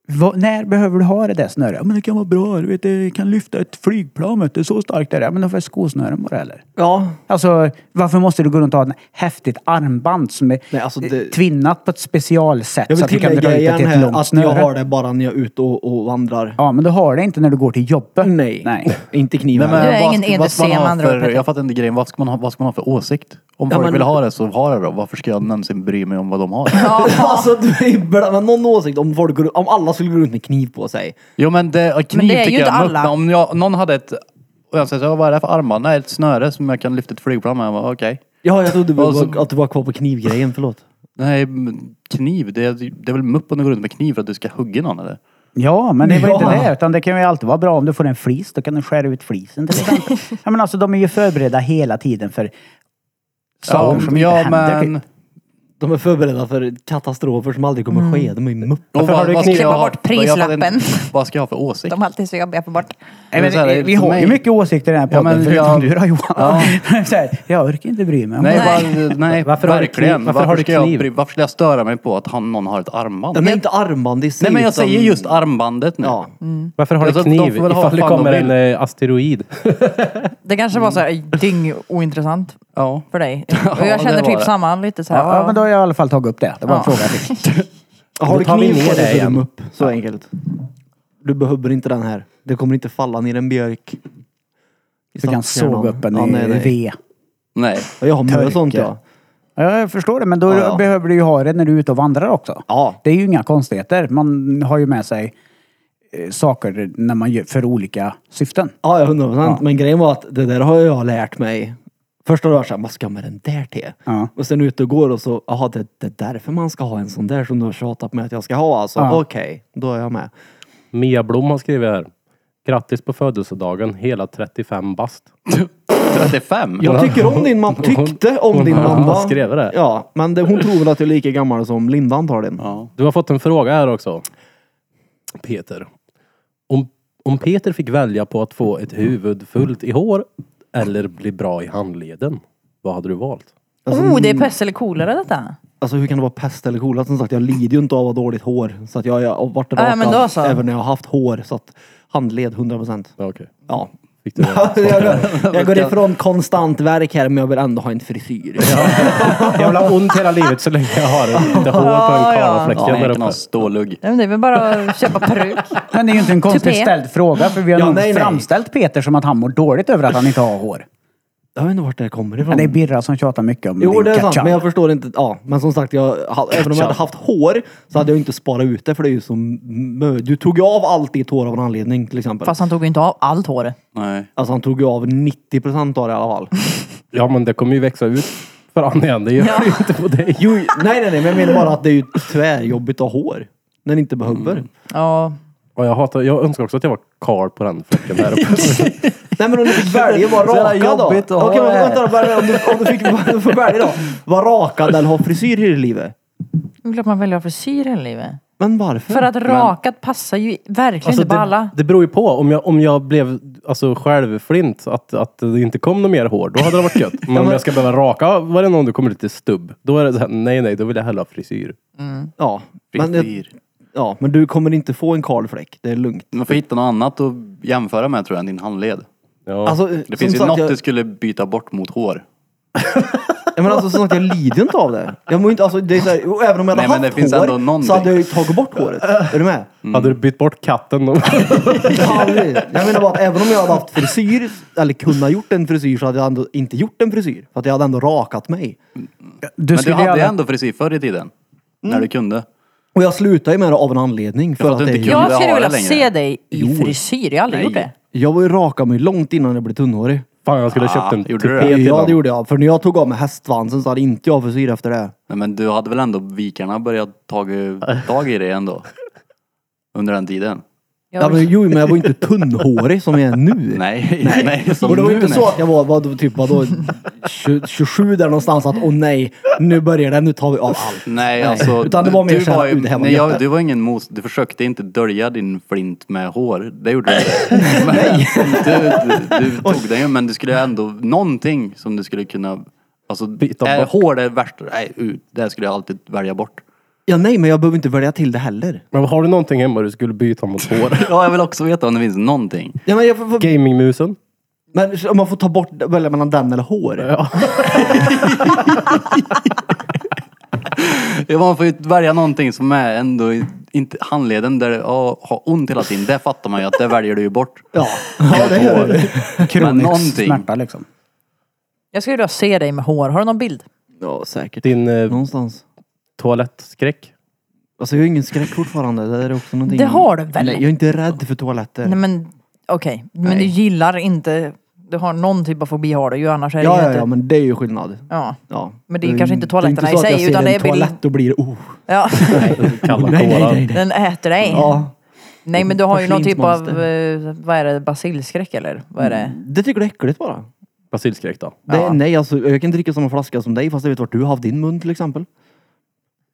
Speaker 3: vad, när behöver du ha det där snöret? Ja, men det kan vara bra. Du vet, det kan lyfta ett flygplan. Vet du, så starkt är det. Men då får jag skosnören bara eller?
Speaker 5: Ja.
Speaker 3: Alltså, varför måste du gå runt och ha ett häftigt armband som är
Speaker 5: Nej, alltså det-
Speaker 3: eh, tvinnat på ett specialsätt
Speaker 5: Jag
Speaker 3: så
Speaker 5: vill
Speaker 3: att du kan dra ut
Speaker 5: tillägga
Speaker 3: det
Speaker 5: igen
Speaker 3: till ett
Speaker 5: här
Speaker 3: långt
Speaker 5: att jag
Speaker 3: snöre?
Speaker 5: har det bara när jag är ute och, och vandrar.
Speaker 3: Ja, men du har det inte när du går till jobbet.
Speaker 5: Nej.
Speaker 3: Nej.
Speaker 5: Inte kniven.
Speaker 2: Nej, men
Speaker 1: Du är
Speaker 2: vad-
Speaker 1: ingen
Speaker 2: vad ska
Speaker 1: EDC
Speaker 2: man ha
Speaker 1: med andra ord,
Speaker 2: för,
Speaker 1: Peter.
Speaker 2: Jag fattar inte grejen. Vad ska man ha, vad ska man ha för åsikt? Om
Speaker 5: Ja,
Speaker 2: folk
Speaker 5: men-
Speaker 2: vill ha det så har det då. Varför ska jag någonsin bry mig om vad de har?
Speaker 5: Alltså du är ju bland- men någon åsikt om, folk, går- om alla skulle gå runt med kniv på sig.
Speaker 2: Jo men det, och kniv
Speaker 1: Men det är ju
Speaker 2: tycker
Speaker 1: inte
Speaker 2: jag är muck.
Speaker 1: alla.
Speaker 2: Men Om jag, någon hade ett... Och jag säger så, vad är det för armband? Nej, ett snöre som jag kan lyfta ett flygplan med. Jag bara, Okej.
Speaker 5: Ja, jag trodde
Speaker 2: Och så-
Speaker 5: att du var kvar på knivgrejen, förlåt.
Speaker 2: Nej, men kniv. Det, är- det är väl mupp om du går runt med kniv för att du ska hugga någon eller?
Speaker 3: Ja, men det var
Speaker 5: Ja.
Speaker 3: inte det. Utan det kan ju alltid vara bra om du får en flis. Då kan du skära ut flisen till exempel. ja, men alltså de är ju förberedda hela tiden för saker som inte
Speaker 2: ja
Speaker 3: händer.
Speaker 2: men...
Speaker 3: typ.
Speaker 5: De är förberedda för katastrofer som aldrig kommer ske. De är ju mupp.
Speaker 2: Och
Speaker 4: har du
Speaker 2: vad ska
Speaker 4: kniv?
Speaker 2: jag ha-
Speaker 1: Klippa bort
Speaker 2: vad jag fattar inte-
Speaker 1: prislappen.
Speaker 2: Vad ska jag ha för åsikt?
Speaker 1: De är alltid så jobbiga på bort.
Speaker 3: Nej,
Speaker 2: Det är så här,
Speaker 3: men, vi
Speaker 2: för
Speaker 3: har ju
Speaker 2: mig-
Speaker 3: mycket åsikter i den här
Speaker 2: Ja,
Speaker 3: podden,
Speaker 2: men
Speaker 3: förutom
Speaker 2: jag-
Speaker 3: du då Johan.
Speaker 2: Ja.
Speaker 3: så här, jag orkar inte bry mig om
Speaker 2: Nej,
Speaker 3: det.
Speaker 2: nej. Var, nej
Speaker 4: Varför har du
Speaker 2: verkligen.
Speaker 4: kniv? Varför
Speaker 2: varför,
Speaker 4: har du
Speaker 2: ska jag,
Speaker 4: kniv?
Speaker 2: bry- varför skulle jag störa mig på att han, någon har ett armband? liksom-
Speaker 5: De är inte armband i sig.
Speaker 2: Nej men jag
Speaker 5: utan-
Speaker 2: säger just armbandet nu.
Speaker 5: Ja.
Speaker 4: Varför har du
Speaker 2: Alltså, de
Speaker 4: kniv?
Speaker 2: får väl ha
Speaker 4: Ifall det
Speaker 2: fan de
Speaker 4: kommer en
Speaker 2: vill.
Speaker 4: eh, asteroid.
Speaker 1: Det kanske var så här dyng ointressant
Speaker 2: ja.
Speaker 1: för dig.
Speaker 2: Ja,
Speaker 1: Och jag
Speaker 2: det
Speaker 1: känner
Speaker 2: var
Speaker 1: typ
Speaker 2: det.
Speaker 1: samma lite så här.
Speaker 3: Ja, men då har jag i alla fall tagit upp det. Det var en
Speaker 1: Ja.
Speaker 3: fråga jag fick.
Speaker 5: Har
Speaker 4: Då
Speaker 5: du
Speaker 4: tar vi
Speaker 5: kniv
Speaker 4: ner
Speaker 5: på
Speaker 4: det
Speaker 5: dig så är
Speaker 4: igen.
Speaker 5: du mupp. Så enkelt. Du behöver inte den här. Det kommer inte falla ner en björk. I
Speaker 3: Du kan
Speaker 5: stadskärnan.
Speaker 3: såga upp en
Speaker 5: Ja, nej,
Speaker 3: i
Speaker 5: nej.
Speaker 3: V.
Speaker 2: Nej.
Speaker 5: Ja, Jag har
Speaker 3: Törke.
Speaker 5: med sånt ja.
Speaker 3: Ja, jag förstår det. Men då
Speaker 5: Ja, ja.
Speaker 3: behöver du ju ha det när du är ute och vandrar också.
Speaker 5: Ja.
Speaker 3: Det är ju inga konstigheter. Man har ju med sig eh, saker när man gör, för olika syften.
Speaker 5: Ja, ja, 100 procent. Men grejen var att det där har jag lärt mig. Första dagen såhär, man ska med den där till.
Speaker 3: Ja.
Speaker 5: Och sen ute och går och så, jaha det, det är därför man ska ha en sån där som du har tjatat med att jag ska ha alltså.
Speaker 3: Ja.
Speaker 5: Okej, då är jag med.
Speaker 4: Mia Blom har skrivit här. Grattis på födelsedagen, hela 35 bast.
Speaker 2: 35?
Speaker 5: Jag tycker om din mamma, tyckte om
Speaker 4: Hon
Speaker 5: din
Speaker 4: har- hon
Speaker 5: mamma.
Speaker 4: har skrivit det.
Speaker 5: Ja, men det, hon tror väl att jag är lika gammal som Linda antagligen.
Speaker 2: Ja.
Speaker 4: Du har fått en fråga här också. Peter. Om, om Peter fick välja på att få ett huvud fullt i hår eller bli bra i handleden, vad hade du valt?
Speaker 5: Alltså,
Speaker 1: Oh, det är pest eller coolare detta.
Speaker 5: Alltså hur kan det vara pest eller kola? Som sagt, jag lider ju inte av att ha dåligt hår. Så att jag jag har varit
Speaker 1: Ja, ja, men då
Speaker 5: rakad
Speaker 1: så.
Speaker 5: även när jag har haft hår. Så att handled 100 procent.
Speaker 4: Ja, Okej.
Speaker 5: Ja.
Speaker 4: Fick du det?
Speaker 5: jag, jag går ifrån konstant verk här men jag vill ändå ha en frisyr.
Speaker 4: Jag vill ha ont hela livet så länge jag har lite hår på den kala
Speaker 2: Ja,
Speaker 4: fläcken
Speaker 2: jag
Speaker 4: där
Speaker 2: kan ha
Speaker 4: uppe.
Speaker 2: stålugg.
Speaker 1: Nej, men Det är väl bara att köpa peruk.
Speaker 3: Men det är ju inte en konstigt
Speaker 1: Tupé.
Speaker 3: ställd fråga för vi har
Speaker 5: Ja,
Speaker 3: nog
Speaker 5: nej, nej.
Speaker 3: framställt Peter som att han mår dåligt över att han inte har hår.
Speaker 5: Jag vet inte vart det kommer ifrån.
Speaker 3: Men det är Birra som tjatar mycket om
Speaker 5: Jo
Speaker 3: din
Speaker 5: det är sant,
Speaker 3: ketchup.
Speaker 5: men jag förstår inte. Ja, men som sagt, jag, ha- även om jag hade haft hår så hade jag inte sparat ut det för det är ju som mö. Du tog ju av allt ditt hår av en anledning till exempel.
Speaker 1: Fast han tog ju inte av allt hår.
Speaker 2: Nej.
Speaker 5: Alltså han tog ju av 90% av det i alla fall.
Speaker 4: Ja men det kommer ju växa ut för Ann igen. Det gör det ju inte på dig.
Speaker 5: Jo, nej, nej, nej, men jag menar bara att det är ju tvärjobbigt att ha hår. När det inte behöver.
Speaker 1: Ja.
Speaker 4: Och jag, hatar, jag önskar också att jag var Karl på den fläcken där uppe.
Speaker 5: Nej men om du fick välja att vara
Speaker 2: Så jävla
Speaker 5: rakad då?
Speaker 2: jobbigt att
Speaker 5: Okej
Speaker 2: ha
Speaker 5: men
Speaker 2: det här.
Speaker 5: vänta då, bara, om, du, om du fick om du får välja då. Vara rakad eller ha frisyr i livet?
Speaker 1: Det är klart man väljer frisyr i livet.
Speaker 5: Men varför?
Speaker 1: För att rakat passar ju verkligen
Speaker 4: Alltså,
Speaker 1: inte på
Speaker 4: det,
Speaker 1: alla.
Speaker 4: det beror ju på. Om jag, om jag blev alltså, självflint, att, att det inte kom något mer hår, då hade det varit gött. Men om jag ska behöva raka varenda gång du kommer lite stubb, då är det så här, nej nej, då vill jag hellre ha frisyr.
Speaker 5: Ja. Men, jag-
Speaker 2: Frisyr.
Speaker 5: ja, men du kommer inte få en kalfläck. Det är lugnt.
Speaker 2: Man får hitta något annat att jämföra med tror jag än din handled.
Speaker 4: Ja.
Speaker 5: Alltså,
Speaker 2: Det
Speaker 5: som
Speaker 2: finns ju
Speaker 5: sagt,
Speaker 2: något
Speaker 5: jag,
Speaker 2: du skulle byta bort mot hår.
Speaker 5: ja, men alltså, som sagt, jag lider ju inte av det. Jag mår ju inte, alltså, det är så här, och även om jag hade
Speaker 2: Nej, men
Speaker 5: haft
Speaker 2: det finns
Speaker 5: hår
Speaker 2: ändå någonting.
Speaker 5: så hade jag ju tagit bort håret. Är du med?
Speaker 4: Hade
Speaker 2: mm.
Speaker 4: du bytt bort katten då?
Speaker 5: Aldrig. Jag menar bara att även om jag hade haft frisyr, eller kunnat gjort en frisyr, så hade jag ändå inte gjort en frisyr. För att jag hade ändå rakat mig.
Speaker 3: Du
Speaker 2: Men du
Speaker 3: skulle
Speaker 2: hade ju
Speaker 3: gärna...
Speaker 2: ändå frisyr förr i tiden.
Speaker 5: Mm.
Speaker 2: När du kunde.
Speaker 5: Och jag slutade ju med det av en anledning. För
Speaker 2: för
Speaker 5: att
Speaker 2: att du
Speaker 5: det
Speaker 2: inte
Speaker 5: är ju-
Speaker 2: kunde
Speaker 1: Jag skulle
Speaker 2: ha
Speaker 1: vilja
Speaker 2: det längre.
Speaker 1: se dig i frisyr. Jag har aldrig gjort det.
Speaker 5: Jag var ju raka mig långt innan jag blev tunnhårig.
Speaker 4: Fan, jag skulle ha köpt en
Speaker 2: Ah, gjorde du
Speaker 4: tupé
Speaker 2: det?
Speaker 4: till
Speaker 5: Ja det
Speaker 4: honom.
Speaker 5: gjorde jag. För när jag tog av mig hästsvansen så hade inte jag frisyr efter det.
Speaker 2: Nej, men du hade väl ändå vikarna börjat ta tag i det ändå? Under den tiden?
Speaker 5: Ja, men, jo men jag var ju inte tunnhårig som jag är nu.
Speaker 2: Nej, nej. som
Speaker 5: Och det var ju
Speaker 2: nu,
Speaker 5: inte
Speaker 2: nej.
Speaker 5: så att jag var, var typ vadå, 20 27 där någonstans att åh nej, nu börjar det, nu tar vi av allt.
Speaker 2: Nej, alltså.
Speaker 5: Utan det var mer såhär,
Speaker 2: ju-
Speaker 5: "Uh, det här var
Speaker 2: nej,
Speaker 5: gött."
Speaker 2: jag, Du var ingen mos... Du försökte inte dölja din flint med hår. Det gjorde du inte. Men du, du, du tog den ju, men du skulle ändå... Någonting som du skulle kunna... Alltså,
Speaker 4: Byta
Speaker 2: är
Speaker 4: bort.
Speaker 2: hår det värsta? Nej, uh, det här skulle jag alltid välja bort.
Speaker 5: Ja nej men jag behöver inte välja till det heller.
Speaker 4: Men har du någonting hemma du skulle byta mot hår?
Speaker 2: Ja, jag vill också veta om det finns någonting.
Speaker 5: Ja, men, jag får, får,
Speaker 4: Gamingmusen?
Speaker 5: men om man får ta bort, välja mellan den eller hår.
Speaker 2: Ja, man får ju välja någonting som är ändå i- inte handleden där det ja, har ont hela tiden. Det fattar man ju att det väljer du ju bort.
Speaker 5: Ja. ja det gör du.
Speaker 2: Men
Speaker 3: Kronisk
Speaker 2: någonting.
Speaker 3: smärta liksom.
Speaker 1: Jag skulle vilja se dig med hår. Har du någon bild?
Speaker 5: Ja säkert.
Speaker 4: Din eh,
Speaker 5: Någonstans.
Speaker 4: toalettskräck?
Speaker 5: Alltså jag har ingen skräck fortfarande. Det där är också någonting.
Speaker 1: Det har du väl?
Speaker 5: Nej, jag är inte rädd för toaletter.
Speaker 1: Nej men okej, men du gillar inte, du har någon typ av fobi har du ju annars är det
Speaker 5: Ja,
Speaker 1: ju
Speaker 5: ja,
Speaker 1: inte.
Speaker 5: ja, men det är ju skillnad.
Speaker 1: ja.
Speaker 5: Ja.
Speaker 1: Men det är ju kanske inte toaletterna
Speaker 5: det är inte så
Speaker 1: i sig,
Speaker 5: att jag
Speaker 1: utan
Speaker 5: ser
Speaker 1: det
Speaker 5: en
Speaker 1: är bild-
Speaker 5: toalett och blir oh.
Speaker 1: ja.
Speaker 4: Kalla
Speaker 5: nej, nej,
Speaker 4: kårar?
Speaker 5: nej, nej.
Speaker 1: Den äter dig.
Speaker 5: Ja.
Speaker 1: Nej men du har ju någon typ av,
Speaker 5: Porslinsmonster.
Speaker 1: eh, vad är det, basilskräck eller? Vad är det?
Speaker 5: Det tycker du är äckligt bara.
Speaker 4: Basilskräck då?
Speaker 5: Det, Nej, alltså jag kan dricka samma flaska som dig fast jag vet vart du har haft din mun till exempel.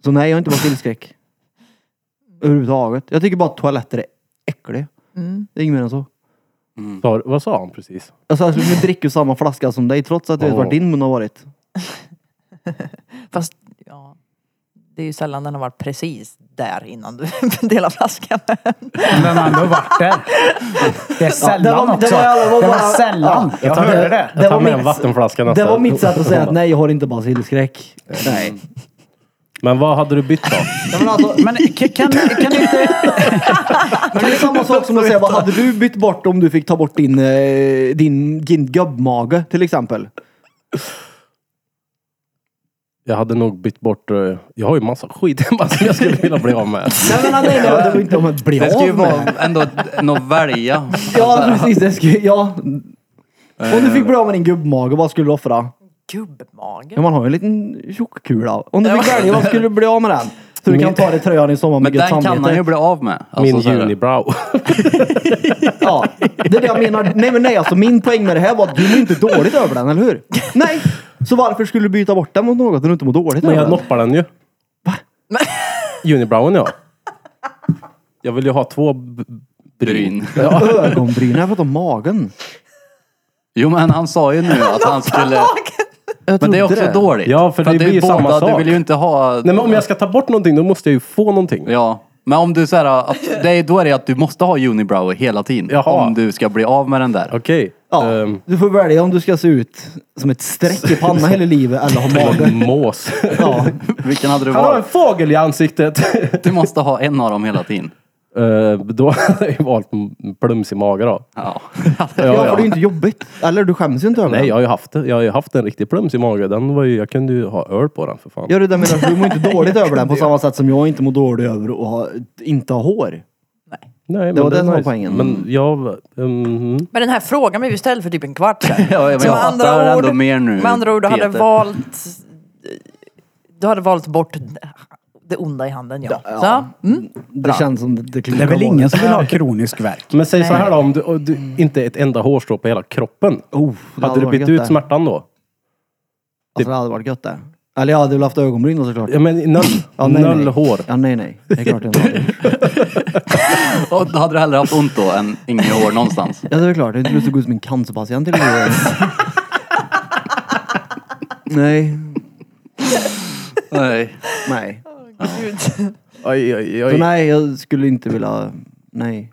Speaker 5: Så nej, jag har inte basilskräck. Överhuvudtaget. Jag tycker bara att toaletter är äckliga. Det är inget mer än så.
Speaker 2: Mm.
Speaker 4: Sa- Vad sa han precis?
Speaker 5: Alltså, jag skulle dricka ur samma flaska som dig trots att jag vet
Speaker 4: Åh.
Speaker 5: vart din mun har varit.
Speaker 1: Fast, ja. Det är ju sällan den har varit precis där innan du delar flaskan.
Speaker 3: Men den har ändå varit där. Det är sällan
Speaker 5: det var- det
Speaker 3: också.
Speaker 5: var- det var-
Speaker 3: det var sällan. jag
Speaker 4: tar-
Speaker 3: hörde det.
Speaker 4: Jag tar med en vattenflaska nästa.
Speaker 5: Det var mitt sätt att säga att nej, jag har inte basilskräck. Nej.
Speaker 4: Men vad hade du bytt då?
Speaker 5: Ja, men alltså,
Speaker 3: Men kan, kan, kan inte...
Speaker 5: Men det är samma sak som att säga, vad hade du bytt bort om du fick ta bort din, eh, din, din gubbmage till exempel?
Speaker 4: Jag hade nog bytt bort... eh, Jag har ju massa skit hemma som jag skulle vilja bli av med.
Speaker 5: Nej men nej, nej, det var inte om att bli
Speaker 2: Det ska ju
Speaker 5: av
Speaker 2: vara
Speaker 5: med.
Speaker 2: ändå något att välja.
Speaker 5: Ja precis, det ska, ja. Om du fick bli av med din gubbmage, vad skulle du offra? Ja
Speaker 1: Gubbmage.
Speaker 5: man har ju en liten tjockkula. Om du fick välja, vad skulle du bli av med den? Så du kan ta dig tröjan i sommar
Speaker 2: Men
Speaker 5: med gött
Speaker 2: den kan man ju
Speaker 5: samvete.
Speaker 2: bli av med. Alltså,
Speaker 4: Min
Speaker 2: så här-
Speaker 4: unibrow.
Speaker 5: Ja, det är det jag menar. Nej men nej, alltså min poäng med det här var att du mår inte dåligt över den, eller hur? Nej! Så varför skulle du byta bort den mot något när du inte mår dåligt
Speaker 4: Men
Speaker 5: över
Speaker 4: jag
Speaker 5: den?
Speaker 4: noppar den ju. Unibrowen ja. Jag vill ju ha två b- bryn.
Speaker 2: Bryn.
Speaker 5: Ögonbrynen, jag pratar om magen.
Speaker 2: Jo men han sa ju nu att han skulle...
Speaker 5: Jag
Speaker 2: Men det är
Speaker 5: trodde
Speaker 2: också dåligt.
Speaker 4: Ja, för det
Speaker 2: är
Speaker 4: blir
Speaker 2: båda,
Speaker 4: samma sak.
Speaker 2: Du vill ju inte ha...
Speaker 4: Nej men om jag ska ta bort någonting då måste jag ju få någonting.
Speaker 2: Ja. Men om du såhär, att det är, då är det att du måste ha unibrow hela tiden.
Speaker 4: Jaha.
Speaker 2: Om du ska bli av med den där.
Speaker 4: Okej.
Speaker 5: Ja,
Speaker 4: Ehm,
Speaker 5: du får välja om du ska se ut som ett streck i pannan hela livet eller ha mage.
Speaker 4: Mås.
Speaker 5: Ja.
Speaker 2: Vilken hade du
Speaker 4: Han har en
Speaker 2: valt?
Speaker 4: fågel i ansiktet.
Speaker 2: Du måste ha en av dem hela tiden.
Speaker 4: Ehm, då hade jag ju valt en plumsig mage då.
Speaker 2: Ja.
Speaker 5: Ja, för det är ju inte jobbigt. Eller du skäms ju inte över
Speaker 4: Nej,
Speaker 5: det.
Speaker 4: jag har ju haft, det. jag har ju haft en riktig plumsig mage. Den var ju, jag kunde ju ha öl på den för fan.
Speaker 5: Ja, det där menar jag, du mår inte dåligt över den på samma sätt som jag inte mår dålig över att ha, inte ha hår.
Speaker 4: Nej, men
Speaker 5: det var det
Speaker 4: är
Speaker 5: som var
Speaker 4: nice.
Speaker 5: poängen.
Speaker 4: Men jag... Mm,
Speaker 1: Men den här frågan blev ju ställd för typ en kvart sedan.
Speaker 2: Ja, men jag fattar ändå mer nu,
Speaker 1: Med andra ord, du hade
Speaker 2: Peter.
Speaker 1: valt Du hade valt bort det onda i handen, ja.
Speaker 5: Ja.
Speaker 1: Så, mm.
Speaker 5: Det känns som det, det
Speaker 3: Det är väl ingen som vill ha kronisk värk?
Speaker 4: Men säg så här då, om du, om du inte ett enda hårstrå på hela kroppen.
Speaker 5: Oh, det
Speaker 4: Hade du
Speaker 5: varit
Speaker 4: bytt
Speaker 5: gött
Speaker 4: ut
Speaker 5: det.
Speaker 4: smärtan då?
Speaker 5: Alltså, det hade varit gött det. Eller jag hade väl haft ögonbryn då såklart.
Speaker 4: Ja men noll,
Speaker 5: Ja, nej,
Speaker 4: noll
Speaker 5: nej.
Speaker 4: hår.
Speaker 5: Ja, nej, nej. Det är klart jag inte hade.
Speaker 2: Och då hade du hellre haft ont då än inga hår någonstans.
Speaker 5: Ja, det är väl klart. Jag hade inte lust att gå ut som en cancerpatient eller något. Nej.
Speaker 2: Nej.
Speaker 5: Nej.
Speaker 4: Oj, oj,
Speaker 5: Så nej, jag skulle inte vilja... Nej.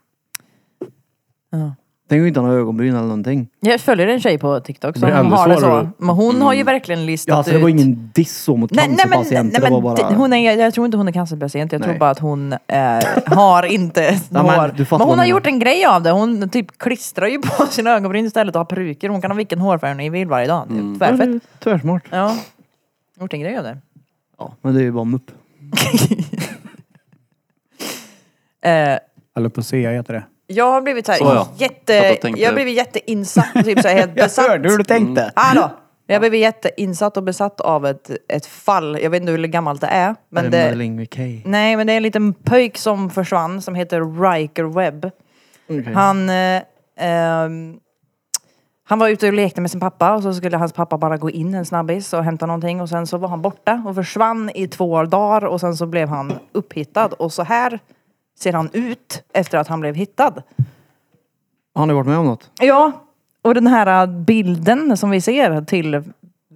Speaker 1: Ja.
Speaker 5: Tänk att inte ha några ögonbryn eller någonting.
Speaker 1: Jag följer en tjej på TikTok som
Speaker 4: Det är ännu
Speaker 1: har det så.
Speaker 4: svårare.
Speaker 1: Men hon har ju verkligen listat
Speaker 5: Ja, alltså det
Speaker 1: ut...
Speaker 5: var ingen diss så mot
Speaker 1: Nej, nej, men, nej,
Speaker 5: cancerpatienter.
Speaker 1: men
Speaker 5: det var bara...
Speaker 1: d- hon är, jag tror inte hon är cancerpatient, jag tror
Speaker 5: Nej.
Speaker 1: bara att hon eh, har inte
Speaker 5: men
Speaker 1: hår.
Speaker 5: du
Speaker 1: Men,
Speaker 5: fattar
Speaker 1: hon
Speaker 5: vad
Speaker 1: har
Speaker 5: jag
Speaker 1: gjort en grej av det, hon typ klistrar ju på sina ögonbryn istället och har peruker. Hon kan ha vilken hårfärg hon vill varje dag. Det är
Speaker 5: Ja, det
Speaker 1: Tvärfett.
Speaker 5: är Tvärsmart.
Speaker 1: Ja. Gjort en grej av det.
Speaker 5: Ja, men det är ju bara mupp.
Speaker 1: Eh,
Speaker 3: Eller på C heter det.
Speaker 1: jag har blivit så här,
Speaker 2: Så, ja.
Speaker 1: jätte,
Speaker 2: Satt och tänkte.
Speaker 1: jag har blivit jätteinsatt, typ så här, helt besatt. Ah,
Speaker 3: tänkte.
Speaker 1: Hallå! Jag blev jätteinsatt och besatt av ett, ett fall. Jag vet inte hur gammalt det är. Men
Speaker 5: det
Speaker 1: det,
Speaker 5: är
Speaker 1: Mm.
Speaker 5: Madeleine McKay.
Speaker 1: nej, men det är en liten pöjk som försvann som heter Riker Webb.
Speaker 5: Okej.
Speaker 1: Han, eh, ehm, han var ute och lekte med sin pappa och så skulle hans pappa bara gå in en snabbis och hämta någonting och sen så var han borta och försvann i två dagar och sen så blev han upphittad och så här ser han ut efter att han blev hittad.
Speaker 5: Har ni varit med om något?
Speaker 1: Ja, och den här äh, bilden som vi ser till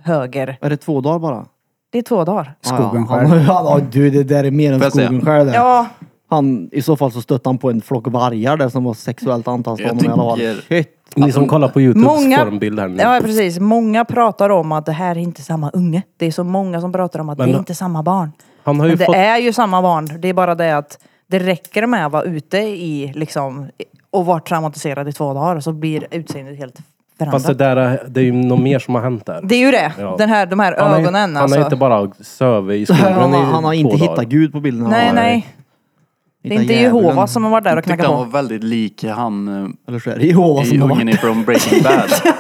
Speaker 1: höger,
Speaker 5: Är det två dagar bara?
Speaker 1: det är två dagar.
Speaker 3: Skogen
Speaker 5: ja,
Speaker 3: själv.
Speaker 5: han, han, ja, du, det där är mer
Speaker 2: Får
Speaker 5: än
Speaker 2: jag säga?
Speaker 5: skogen själv. det.
Speaker 1: Ja,
Speaker 5: Han, I så fall så stötte han på en flock vargar där som var sexuellt
Speaker 2: Jag
Speaker 5: antastamande i alla fall.
Speaker 2: tycker-
Speaker 5: Shit.
Speaker 4: Ni som kollar på Youtube
Speaker 1: Många-
Speaker 4: får en bild här nu.
Speaker 1: ja, precis. Många pratar om att det här är inte samma unge. Det är så många som pratar om att det är
Speaker 4: Men-
Speaker 1: inte samma barn.
Speaker 4: Han har ju
Speaker 1: Men det
Speaker 4: fått...
Speaker 1: är ju samma barn. Det är bara det att det räcker med att vara ute i liksom och vara traumatiserad i två dagar så blir utseendet helt förändrat.
Speaker 4: Fast det
Speaker 1: Det,
Speaker 4: där är, det är ju något mer som har hänt där.
Speaker 1: är ju det.
Speaker 4: Ja.
Speaker 1: Den här, de här
Speaker 4: Han har ju-
Speaker 1: ögonen
Speaker 4: Han
Speaker 1: alltså.
Speaker 4: har inte bara söver i skogen
Speaker 5: Han, har-
Speaker 4: i
Speaker 5: han har inte
Speaker 4: två
Speaker 5: hittat
Speaker 4: dagar.
Speaker 5: Gud på bilden.
Speaker 1: Nej,
Speaker 5: Han har
Speaker 1: nej. Det är
Speaker 5: hittat
Speaker 1: inte
Speaker 5: djävulen.
Speaker 1: Jehova som har varit där och
Speaker 2: Jag tyckte
Speaker 1: knackat
Speaker 2: han var
Speaker 1: på.
Speaker 2: väldigt lik han eh,
Speaker 5: Eller så är det Jehova
Speaker 2: i
Speaker 5: som har varit
Speaker 2: ungen från Breaking Bad.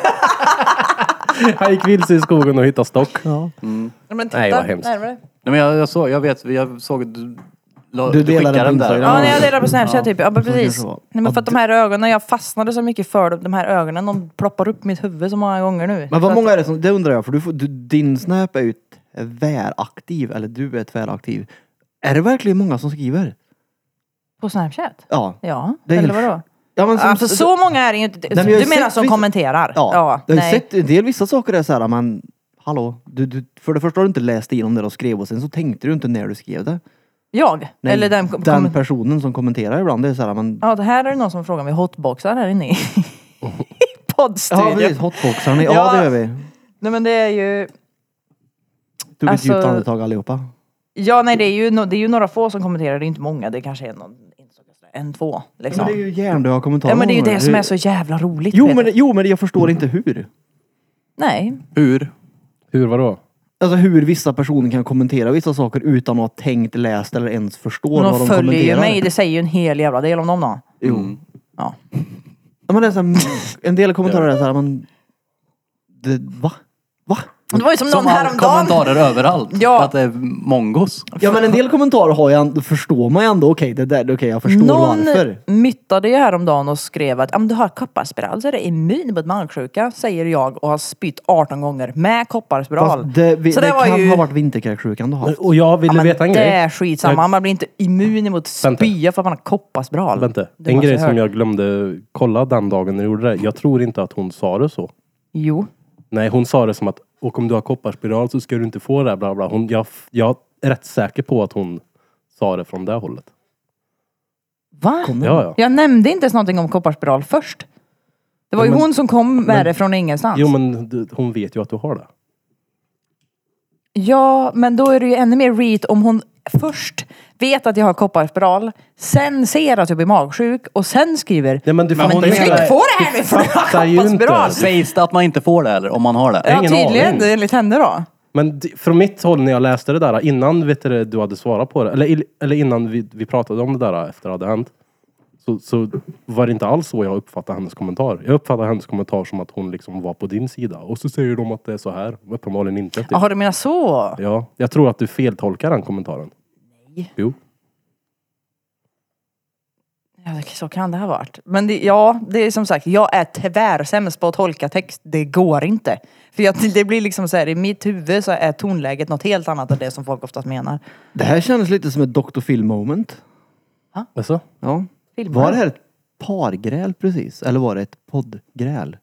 Speaker 4: Han gick vilse i skogen och hittade stock.
Speaker 1: Ja, Men titta
Speaker 4: Nej, vad hemskt.
Speaker 1: närmare.
Speaker 2: Nej, men jag, jag, såg, jag vet, jag såg att du, la,
Speaker 5: Du
Speaker 2: du,
Speaker 5: delade
Speaker 2: skickade den
Speaker 5: på
Speaker 2: där.
Speaker 5: Instagram.
Speaker 1: Ja, när jag delade på Snapchat
Speaker 5: Ja,
Speaker 1: typ. Ja, men
Speaker 5: så kanske
Speaker 1: precis.
Speaker 5: det var.
Speaker 1: Nej, men för att de här ögonen, jag fastnade så mycket för dem. De här ögonen, de ploppar upp mitt huvud så många gånger nu.
Speaker 5: Men
Speaker 1: Så
Speaker 5: vad
Speaker 1: att-
Speaker 5: många är det som, det undrar jag, för du får, du, din Snap är ju tväraktiv, eller du är tväraktiv. Är det verkligen många som skriver?
Speaker 1: På Snapchat?
Speaker 5: Ja.
Speaker 1: Ja,
Speaker 5: Det är
Speaker 1: eller
Speaker 5: helt-
Speaker 1: vadå?
Speaker 5: ja men
Speaker 1: Alltså så många är det ju inte.
Speaker 5: men jag har
Speaker 1: Du
Speaker 5: ju
Speaker 1: menar
Speaker 5: sett
Speaker 1: som
Speaker 5: vissa-
Speaker 1: kommenterar?
Speaker 5: Ja, jag har ju
Speaker 1: nej.
Speaker 5: sett en del vissa saker är så här, men hallå, du, du, för det första har du inte läst igenom det du skrev och sen så tänkte du inte när du skrev det.
Speaker 1: Jag?
Speaker 5: Nej,
Speaker 1: Eller den, kom- kom-
Speaker 5: personen som kommenterar ibland, det är så här, men
Speaker 1: Ja, det här är det någon som frågar om vi hotboxar här inne i i
Speaker 5: Ja
Speaker 1: poddstudion.
Speaker 5: precis, hotboxarna, ja,
Speaker 1: Ja.
Speaker 5: det gör vi.
Speaker 1: nej men det är ju...
Speaker 5: Tog
Speaker 1: Alltså-
Speaker 5: ett djupt andetag allihopa.
Speaker 1: Ja nej det är ju, no... det är ju några få som kommenterar, det är inte många. Det kanske är någon enstaka sådär, en, två liksom.
Speaker 5: Men det är ju hjärndöda kommentarer.
Speaker 1: Ja men det är ju
Speaker 5: många
Speaker 1: det
Speaker 5: gånger.
Speaker 1: som är så jävla roligt.
Speaker 5: Jo
Speaker 1: Peter.
Speaker 5: men, jo men jag förstår inte hur.
Speaker 1: Nej.
Speaker 2: Hur?
Speaker 4: Hur vadå?
Speaker 5: Alltså hur vissa personer kan kommentera vissa saker utan att ha tänkt, läst eller ens förstår vad
Speaker 1: De
Speaker 5: de
Speaker 1: följer ju
Speaker 5: kommenterar.
Speaker 1: mig, det säger ju en hel jävla del om dem då.
Speaker 5: Jo.
Speaker 1: Ja.
Speaker 5: Ja, men det är så här, en del kommentarer är så här, men... Det, va? Va?
Speaker 1: Det var ju som,
Speaker 2: Som
Speaker 1: någon
Speaker 2: all,
Speaker 1: häromdagen.
Speaker 2: kommentarer överallt.
Speaker 1: Ja.
Speaker 2: Att det är mongos.
Speaker 5: Ja men en del kommentarer har jag, då förstår man ju ändå, okej det där, okej jag förstår
Speaker 1: Någon
Speaker 5: varför.
Speaker 1: myttade ju häromdagen och skrev att om du har kopparspiral så är det immun mot magsjuka, säger jag och har spytt 18 gånger med kopparspiral.
Speaker 5: Fast det, vi,
Speaker 1: så
Speaker 5: det,
Speaker 1: det, var
Speaker 5: kan
Speaker 1: ju...
Speaker 5: ha varit vinterkräksjukan du har haft.
Speaker 4: Och jag ville
Speaker 1: Ja, men
Speaker 4: veta en
Speaker 1: det
Speaker 4: grej.
Speaker 1: är skitsamma. Man blir inte immun mot
Speaker 4: Vänta.
Speaker 1: spya för att man har kopparspiral.
Speaker 4: Vänta,
Speaker 1: Det
Speaker 4: en
Speaker 1: var så
Speaker 4: grej som
Speaker 1: hört.
Speaker 4: jag glömde kolla den dagen när jag gjorde det. Jag tror inte att hon sa det så.
Speaker 1: Jo.
Speaker 4: Nej, hon sa det som att och om du har kopparspiral så ska du inte få det här, bla bla. Hon, jag, jag är rätt säker på att hon sa det från det hållet.
Speaker 1: Va?
Speaker 4: Ja, ja.
Speaker 1: Jag nämnde inte ens någonting om kopparspiral först. Det var ju
Speaker 4: Ja, men-
Speaker 1: hon som kom med det från ingenstans.
Speaker 4: Jo, men du, hon vet ju att du har det.
Speaker 1: Ja, men då är det ju ännu mer reet om hon först vet att jag har kopparspiral, sen ser att jag blir magsjuk och sen skriver
Speaker 4: Nej, men du
Speaker 1: Men
Speaker 4: fattar
Speaker 1: du ska
Speaker 4: ju
Speaker 1: inte
Speaker 4: inte.
Speaker 1: få det här nu för du
Speaker 4: fattar ju
Speaker 1: har
Speaker 4: inte.
Speaker 1: kopparspiral.
Speaker 2: Sägs det att man inte får det eller om man har det?
Speaker 1: Ja,
Speaker 4: ingen
Speaker 1: tydligen
Speaker 4: aning.
Speaker 1: enligt henne då.
Speaker 4: Men d- från mitt håll när jag läste det där, innan vet du, det, du hade svarat på det, eller, eller innan vi, vi pratade om det där efter det hade hänt. så, så var det inte alls så jag uppfattade hennes kommentar. Jag uppfattade hennes kommentar som att hon liksom var på din sida. Och så säger de att det är så här. Uppenbarligen inte. Typ.
Speaker 1: Jaha, du menar så?
Speaker 4: Ja, jag tror att du feltolkar den kommentaren. Nej. Jo.
Speaker 1: Ja, det- så kan det ha varit. Men det, ja, det är som sagt, jag är tyvärr sämst på att tolka text. Det går inte. För jag, det blir liksom så här, i mitt huvud så är tonläget något helt annat än det som folk oftast menar.
Speaker 5: Det här kändes lite som ett Dr. Phil moment.
Speaker 4: Alltså?
Speaker 5: Ja.
Speaker 1: Filmar.
Speaker 5: Var det här ett pargräl precis? Eller var det ett poddgräl?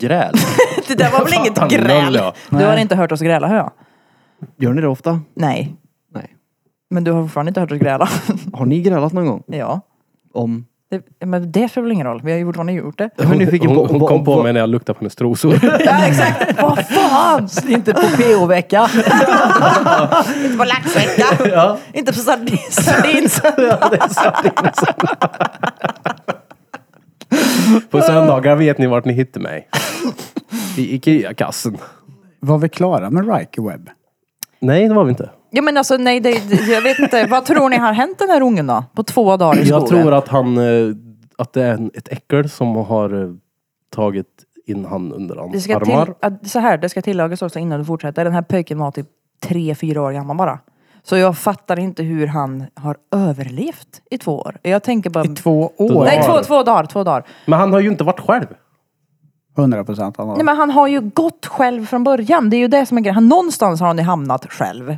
Speaker 2: Gräl.
Speaker 1: Det där var väl inget
Speaker 4: Fan,
Speaker 1: gräl?
Speaker 4: noll, ja.
Speaker 1: Du har inte hört oss gräla har jag?
Speaker 5: Gör ni det ofta?
Speaker 1: Nej.
Speaker 5: Nej.
Speaker 1: Men du har fortfarande inte hört oss gräla?
Speaker 5: Har ni grälat någon gång?
Speaker 1: ja.
Speaker 5: Om?
Speaker 1: Det, men det spelar väl ingen roll? Vi har ju fortfarande gjort det.
Speaker 5: Jag är nyfiken
Speaker 4: Hon,
Speaker 5: på-
Speaker 4: hon
Speaker 5: på-
Speaker 4: kom på
Speaker 5: på-
Speaker 4: mig när jag luktade på hennes trosor.
Speaker 1: Ja, exakt. Vad fan! Inte på PO-vecka.
Speaker 7: Inte på laxvecka.
Speaker 1: inte på sardin- sardinsöndag.
Speaker 4: på söndagar vet ni vart ni hittar mig. I Ikea-kassen.
Speaker 3: Var vi klara med Riker Web?
Speaker 4: Nej, det var vi inte.
Speaker 1: Ja men alltså nej, det, det- jag vet inte. Vad tror ni har hänt den här ungen då? På två dagar i skogen?
Speaker 4: Jag tror att han... eh, Att det är en- ett äckel som har eh, tagit in han under
Speaker 1: Det
Speaker 4: hans
Speaker 1: ska till,
Speaker 4: armar.
Speaker 1: att, så här, det ska tillagas också innan du fortsätter. Den här pojken var typ tre, fyra år gammal bara. Så jag fattar inte hur han har överlevt i två år. Jag tänker bara...
Speaker 3: I två år?
Speaker 1: nej, två, två dagar, två dagar.
Speaker 4: Men han har ju inte varit själv.
Speaker 3: 100 procent. Han har.
Speaker 1: Nej men han har ju gått själv från början. Det är ju det som är grejen. Han, någonstans har han ju hamnat själv.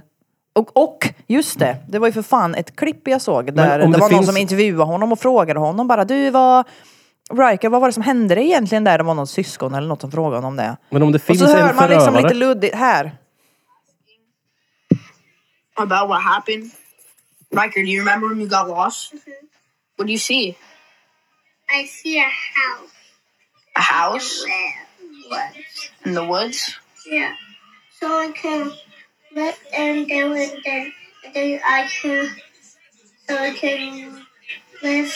Speaker 1: Och, och just det, det var ju för fan ett klipp jag såg där det,
Speaker 4: om det
Speaker 1: var någon
Speaker 4: finns-
Speaker 1: som intervjuade honom och frågade honom bara du var Riker, vad var det som hände dig egentligen där? Det var någon syskon eller något som frågade honom det.
Speaker 4: Men om det
Speaker 1: Och
Speaker 4: finns
Speaker 1: så
Speaker 4: en
Speaker 1: hör man
Speaker 4: förövare...
Speaker 1: liksom lite luddigt här.
Speaker 10: about what happened? Riker, do you remember when you got lost? What do you see?
Speaker 7: I see a house.
Speaker 10: A house in the woods?
Speaker 7: Yeah. So I can look and do and then, and then I can, so I can live.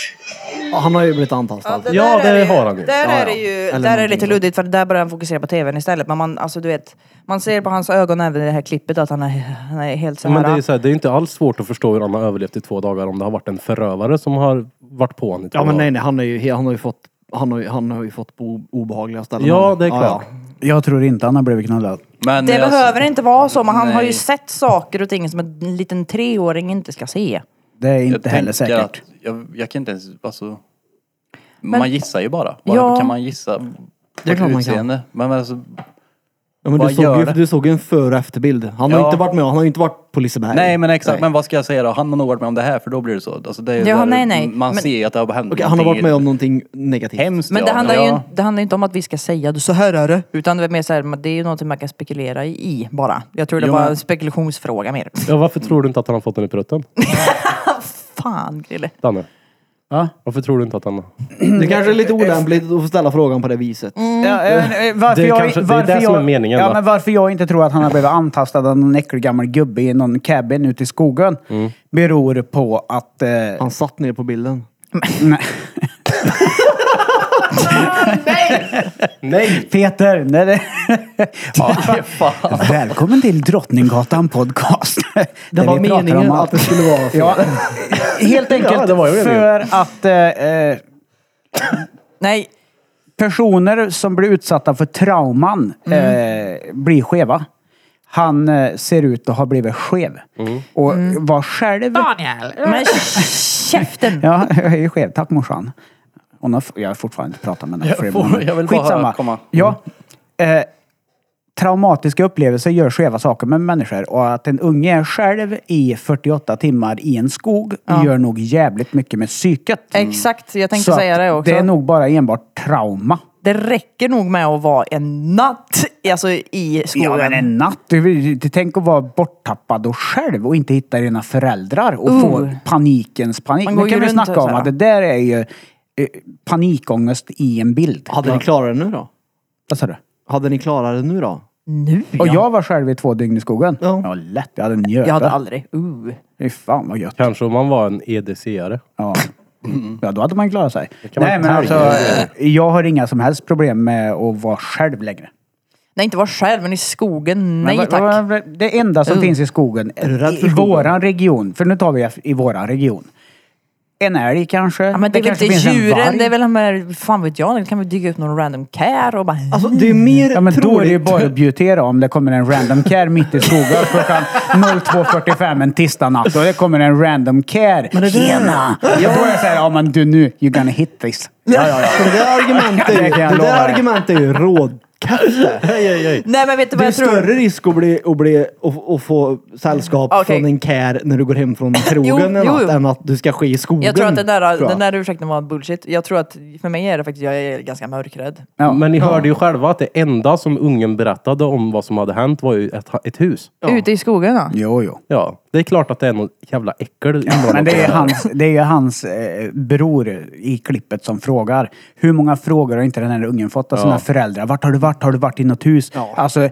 Speaker 5: Ja, Han har ju blivit antastad.
Speaker 1: det
Speaker 4: Ja,
Speaker 1: där är
Speaker 4: det
Speaker 1: ju-
Speaker 4: har han ju.
Speaker 1: Där
Speaker 5: Ja,
Speaker 1: är det
Speaker 5: ja.
Speaker 1: ju
Speaker 5: Eller
Speaker 1: där är det
Speaker 5: någonting
Speaker 1: lite
Speaker 5: sånt.
Speaker 1: luddigt för där börjar han fokusera på tvn istället. Men man, alltså, du vet, man ser på hans ögon även i det här klippet att han är, han är helt så här.
Speaker 4: Men det är, så här, det är inte alls svårt att förstå hur han har överlevt i två dagar om det har varit en förövare som har varit på honom i två
Speaker 5: Ja men
Speaker 4: dagar.
Speaker 5: nej, nej han, är ju, han har ju fått han har, ju- han har ju fått bo obehagliga ställen.
Speaker 4: Ja, det är klart.
Speaker 3: Jag tror inte han har blivit knullad.
Speaker 2: Men
Speaker 1: det
Speaker 2: alltså,
Speaker 1: behöver inte vara så, men han har ju
Speaker 2: nej.
Speaker 1: sett saker och ting som en liten treåring inte ska se.
Speaker 3: Det är
Speaker 2: jag
Speaker 3: inte
Speaker 2: tänker
Speaker 3: heller säkert.
Speaker 2: Att, jag, jag kan inte ens, alltså. man gissar ju bara. bara
Speaker 1: Ja.
Speaker 2: Kan man gissa?
Speaker 5: Det är klart man kan.
Speaker 2: utseende? man kan. Men alltså,
Speaker 5: Ja, men
Speaker 2: Vad
Speaker 5: du, såg
Speaker 2: gör
Speaker 5: ju,
Speaker 2: det?
Speaker 5: du såg ju en före och efterbild. Han har
Speaker 2: Ja.
Speaker 5: inte varit med, han har ju inte varit på Liseberg.
Speaker 2: nej men exakt,
Speaker 5: Nej.
Speaker 2: men vad ska jag säga då? Han har nog varit med om det här för då blir det så. Alltså, det är ju
Speaker 1: Ja,
Speaker 2: där
Speaker 1: nej, nej.
Speaker 2: Man
Speaker 1: Men-
Speaker 2: ser ju att det har hänt
Speaker 5: Okej, han har varit
Speaker 2: någonting
Speaker 5: med om någonting negativt.
Speaker 2: Hemskt
Speaker 1: Men
Speaker 2: ja.
Speaker 1: det, handlar
Speaker 2: ja.
Speaker 1: ju, det handlar ju inte om att vi ska säga du så här är det. Utan det är mer så här, men det är ju någonting man kan spekulera i bara. Jag tror det
Speaker 2: Jo,
Speaker 1: var
Speaker 2: men-
Speaker 1: en spekulationsfråga mer.
Speaker 4: Ja, varför tror du inte att han har fått den i prutten?
Speaker 1: Fan Grille.
Speaker 4: Danne?
Speaker 3: Va?
Speaker 4: Varför tror du inte att han...
Speaker 5: Det kanske är lite olämpligt att få ställa frågan på det viset.
Speaker 3: Ja, eh, eh, varför
Speaker 4: Det är
Speaker 3: jag-
Speaker 4: kanske- det är
Speaker 3: varför
Speaker 4: det som är
Speaker 3: jag-
Speaker 4: meningen,
Speaker 3: Ja,
Speaker 4: va?
Speaker 3: men varför jag inte tror att han har blivit antastad av någon äcklig gammal gubbe i någon cabin ute i skogen
Speaker 4: Mm.
Speaker 3: beror på att... Eh,
Speaker 5: Han satt ner på bilden.
Speaker 3: nej.
Speaker 4: Nej!
Speaker 3: Peter! Nej, det, Välkommen till Drottninggatan podcast. Där
Speaker 5: Det var
Speaker 3: vi pratar om
Speaker 5: meningen
Speaker 3: allt.
Speaker 5: att det skulle vara fel.
Speaker 3: Ja, helt enkelt
Speaker 4: det var ju det.
Speaker 3: för att eh, eh,
Speaker 1: Nej,
Speaker 3: personer som blir utsatta för trauman eh, blir skeva. Han eh, ser ut att ha blivit skev. Och var själv...
Speaker 7: Daniel.
Speaker 1: men käften!
Speaker 3: Ja, jag är ju skev. Tack morsan. Hon har, jag har fortfarande inte pratat med henne. Jag,
Speaker 2: får- jag vill bara komma.
Speaker 3: Ja. Eh, traumatiska upplevelser gör skeva saker med människor och att en unge är själv i 48 timmar i en skog gör nog jävligt mycket med psyket.
Speaker 1: Exakt, jag tänkte
Speaker 3: Så
Speaker 1: säga
Speaker 3: att
Speaker 1: det också.
Speaker 3: Det är nog bara enbart trauma.
Speaker 1: Det räcker nog med att vara en natt alltså, i skogen.
Speaker 3: Ja, men en natt. Du, du, du, tänk att vara borttappad och själv och inte hitta dina föräldrar och få panikens panik.
Speaker 1: Oh. Man
Speaker 3: Nu
Speaker 1: går ju
Speaker 3: kan vi
Speaker 1: runt
Speaker 3: snacka
Speaker 1: och så
Speaker 3: om
Speaker 1: här.
Speaker 3: att det där är ju eh, panikångest i en bild.
Speaker 5: Hade ni klarat det nu då?
Speaker 3: Vad sa du?
Speaker 5: Hade ni klarat det nu då?
Speaker 1: Nu ja.
Speaker 3: Och jag var själv i två dygn i skogen.
Speaker 5: Ja.
Speaker 3: Ja, lätt. Jag hade njöt.
Speaker 1: Jag hade aldrig... Uh.
Speaker 3: Fy fan vad gött.
Speaker 4: Kanske om han var en E EDC-are.
Speaker 3: Ja. ja, då hade man klarat sig.
Speaker 4: man
Speaker 3: Nej, men alltså, eh, jag har inga som helst problem med att vara själv längre.
Speaker 1: Nej, inte vara själv, men i skogen. Nej
Speaker 3: Men vad-
Speaker 1: tack. Mm.
Speaker 3: vad- vad- Det enda som finns i skogen,
Speaker 5: du rädd
Speaker 3: i
Speaker 5: för skogen?
Speaker 3: våran region, för nu tar vi i våran region. en älg kanske.
Speaker 1: Ja, men det, är väl
Speaker 3: kanske
Speaker 1: inte
Speaker 3: finns en
Speaker 1: djuren,
Speaker 3: varg.
Speaker 1: det är väl de här, fan vet jag, det kan väl dyka upp någon random care och bara...
Speaker 5: Alltså det är mer
Speaker 3: Ja men
Speaker 5: troligt.
Speaker 3: då är det ju bara att bjutera om det kommer en random care mitt i skogen klockan 02.45 en tisdagnatt och det kommer en random care. Tjena! Ja. Då är jag såhär, ja men du nu, you're gonna hit this. Ja, ja, ja.
Speaker 5: Det där argumentet är ju,
Speaker 3: Det kan jag
Speaker 5: det
Speaker 3: lova
Speaker 5: där
Speaker 3: dig.
Speaker 5: argumentet är ju rådkaffe.
Speaker 1: Nej men vet du
Speaker 5: Det
Speaker 1: vad
Speaker 5: är
Speaker 1: jag tror?
Speaker 5: större risk att, bli, att, bli, att, att få sällskap
Speaker 1: Okej.
Speaker 5: från en care när du går hem från krogen
Speaker 1: Jo,
Speaker 5: en
Speaker 1: jo,
Speaker 5: natt
Speaker 1: jo.
Speaker 5: än att du ska ske i skogen.
Speaker 1: Jag tror att den där,
Speaker 5: tror
Speaker 1: den
Speaker 5: jag.
Speaker 1: där ursäkten var bullshit. Jag tror att, för mig är det faktiskt, jag är ganska mörkrädd.
Speaker 3: Ja.
Speaker 4: Men ni hörde ju själva att det enda som ungen berättade om vad som hade hänt var ju ett, ett hus.
Speaker 1: Ute i skogen då?
Speaker 3: Jo, jo.
Speaker 4: Ja, det är klart att det är något jävla äckel
Speaker 3: Men
Speaker 4: inblandat i
Speaker 3: det är
Speaker 4: här.
Speaker 3: hans, det är ju hans eh, bror i klippet som frågar. Hur många frågor har inte den här ungen fått av sina föräldrar? Vart har du varit? Har du varit i något hus? Alltså,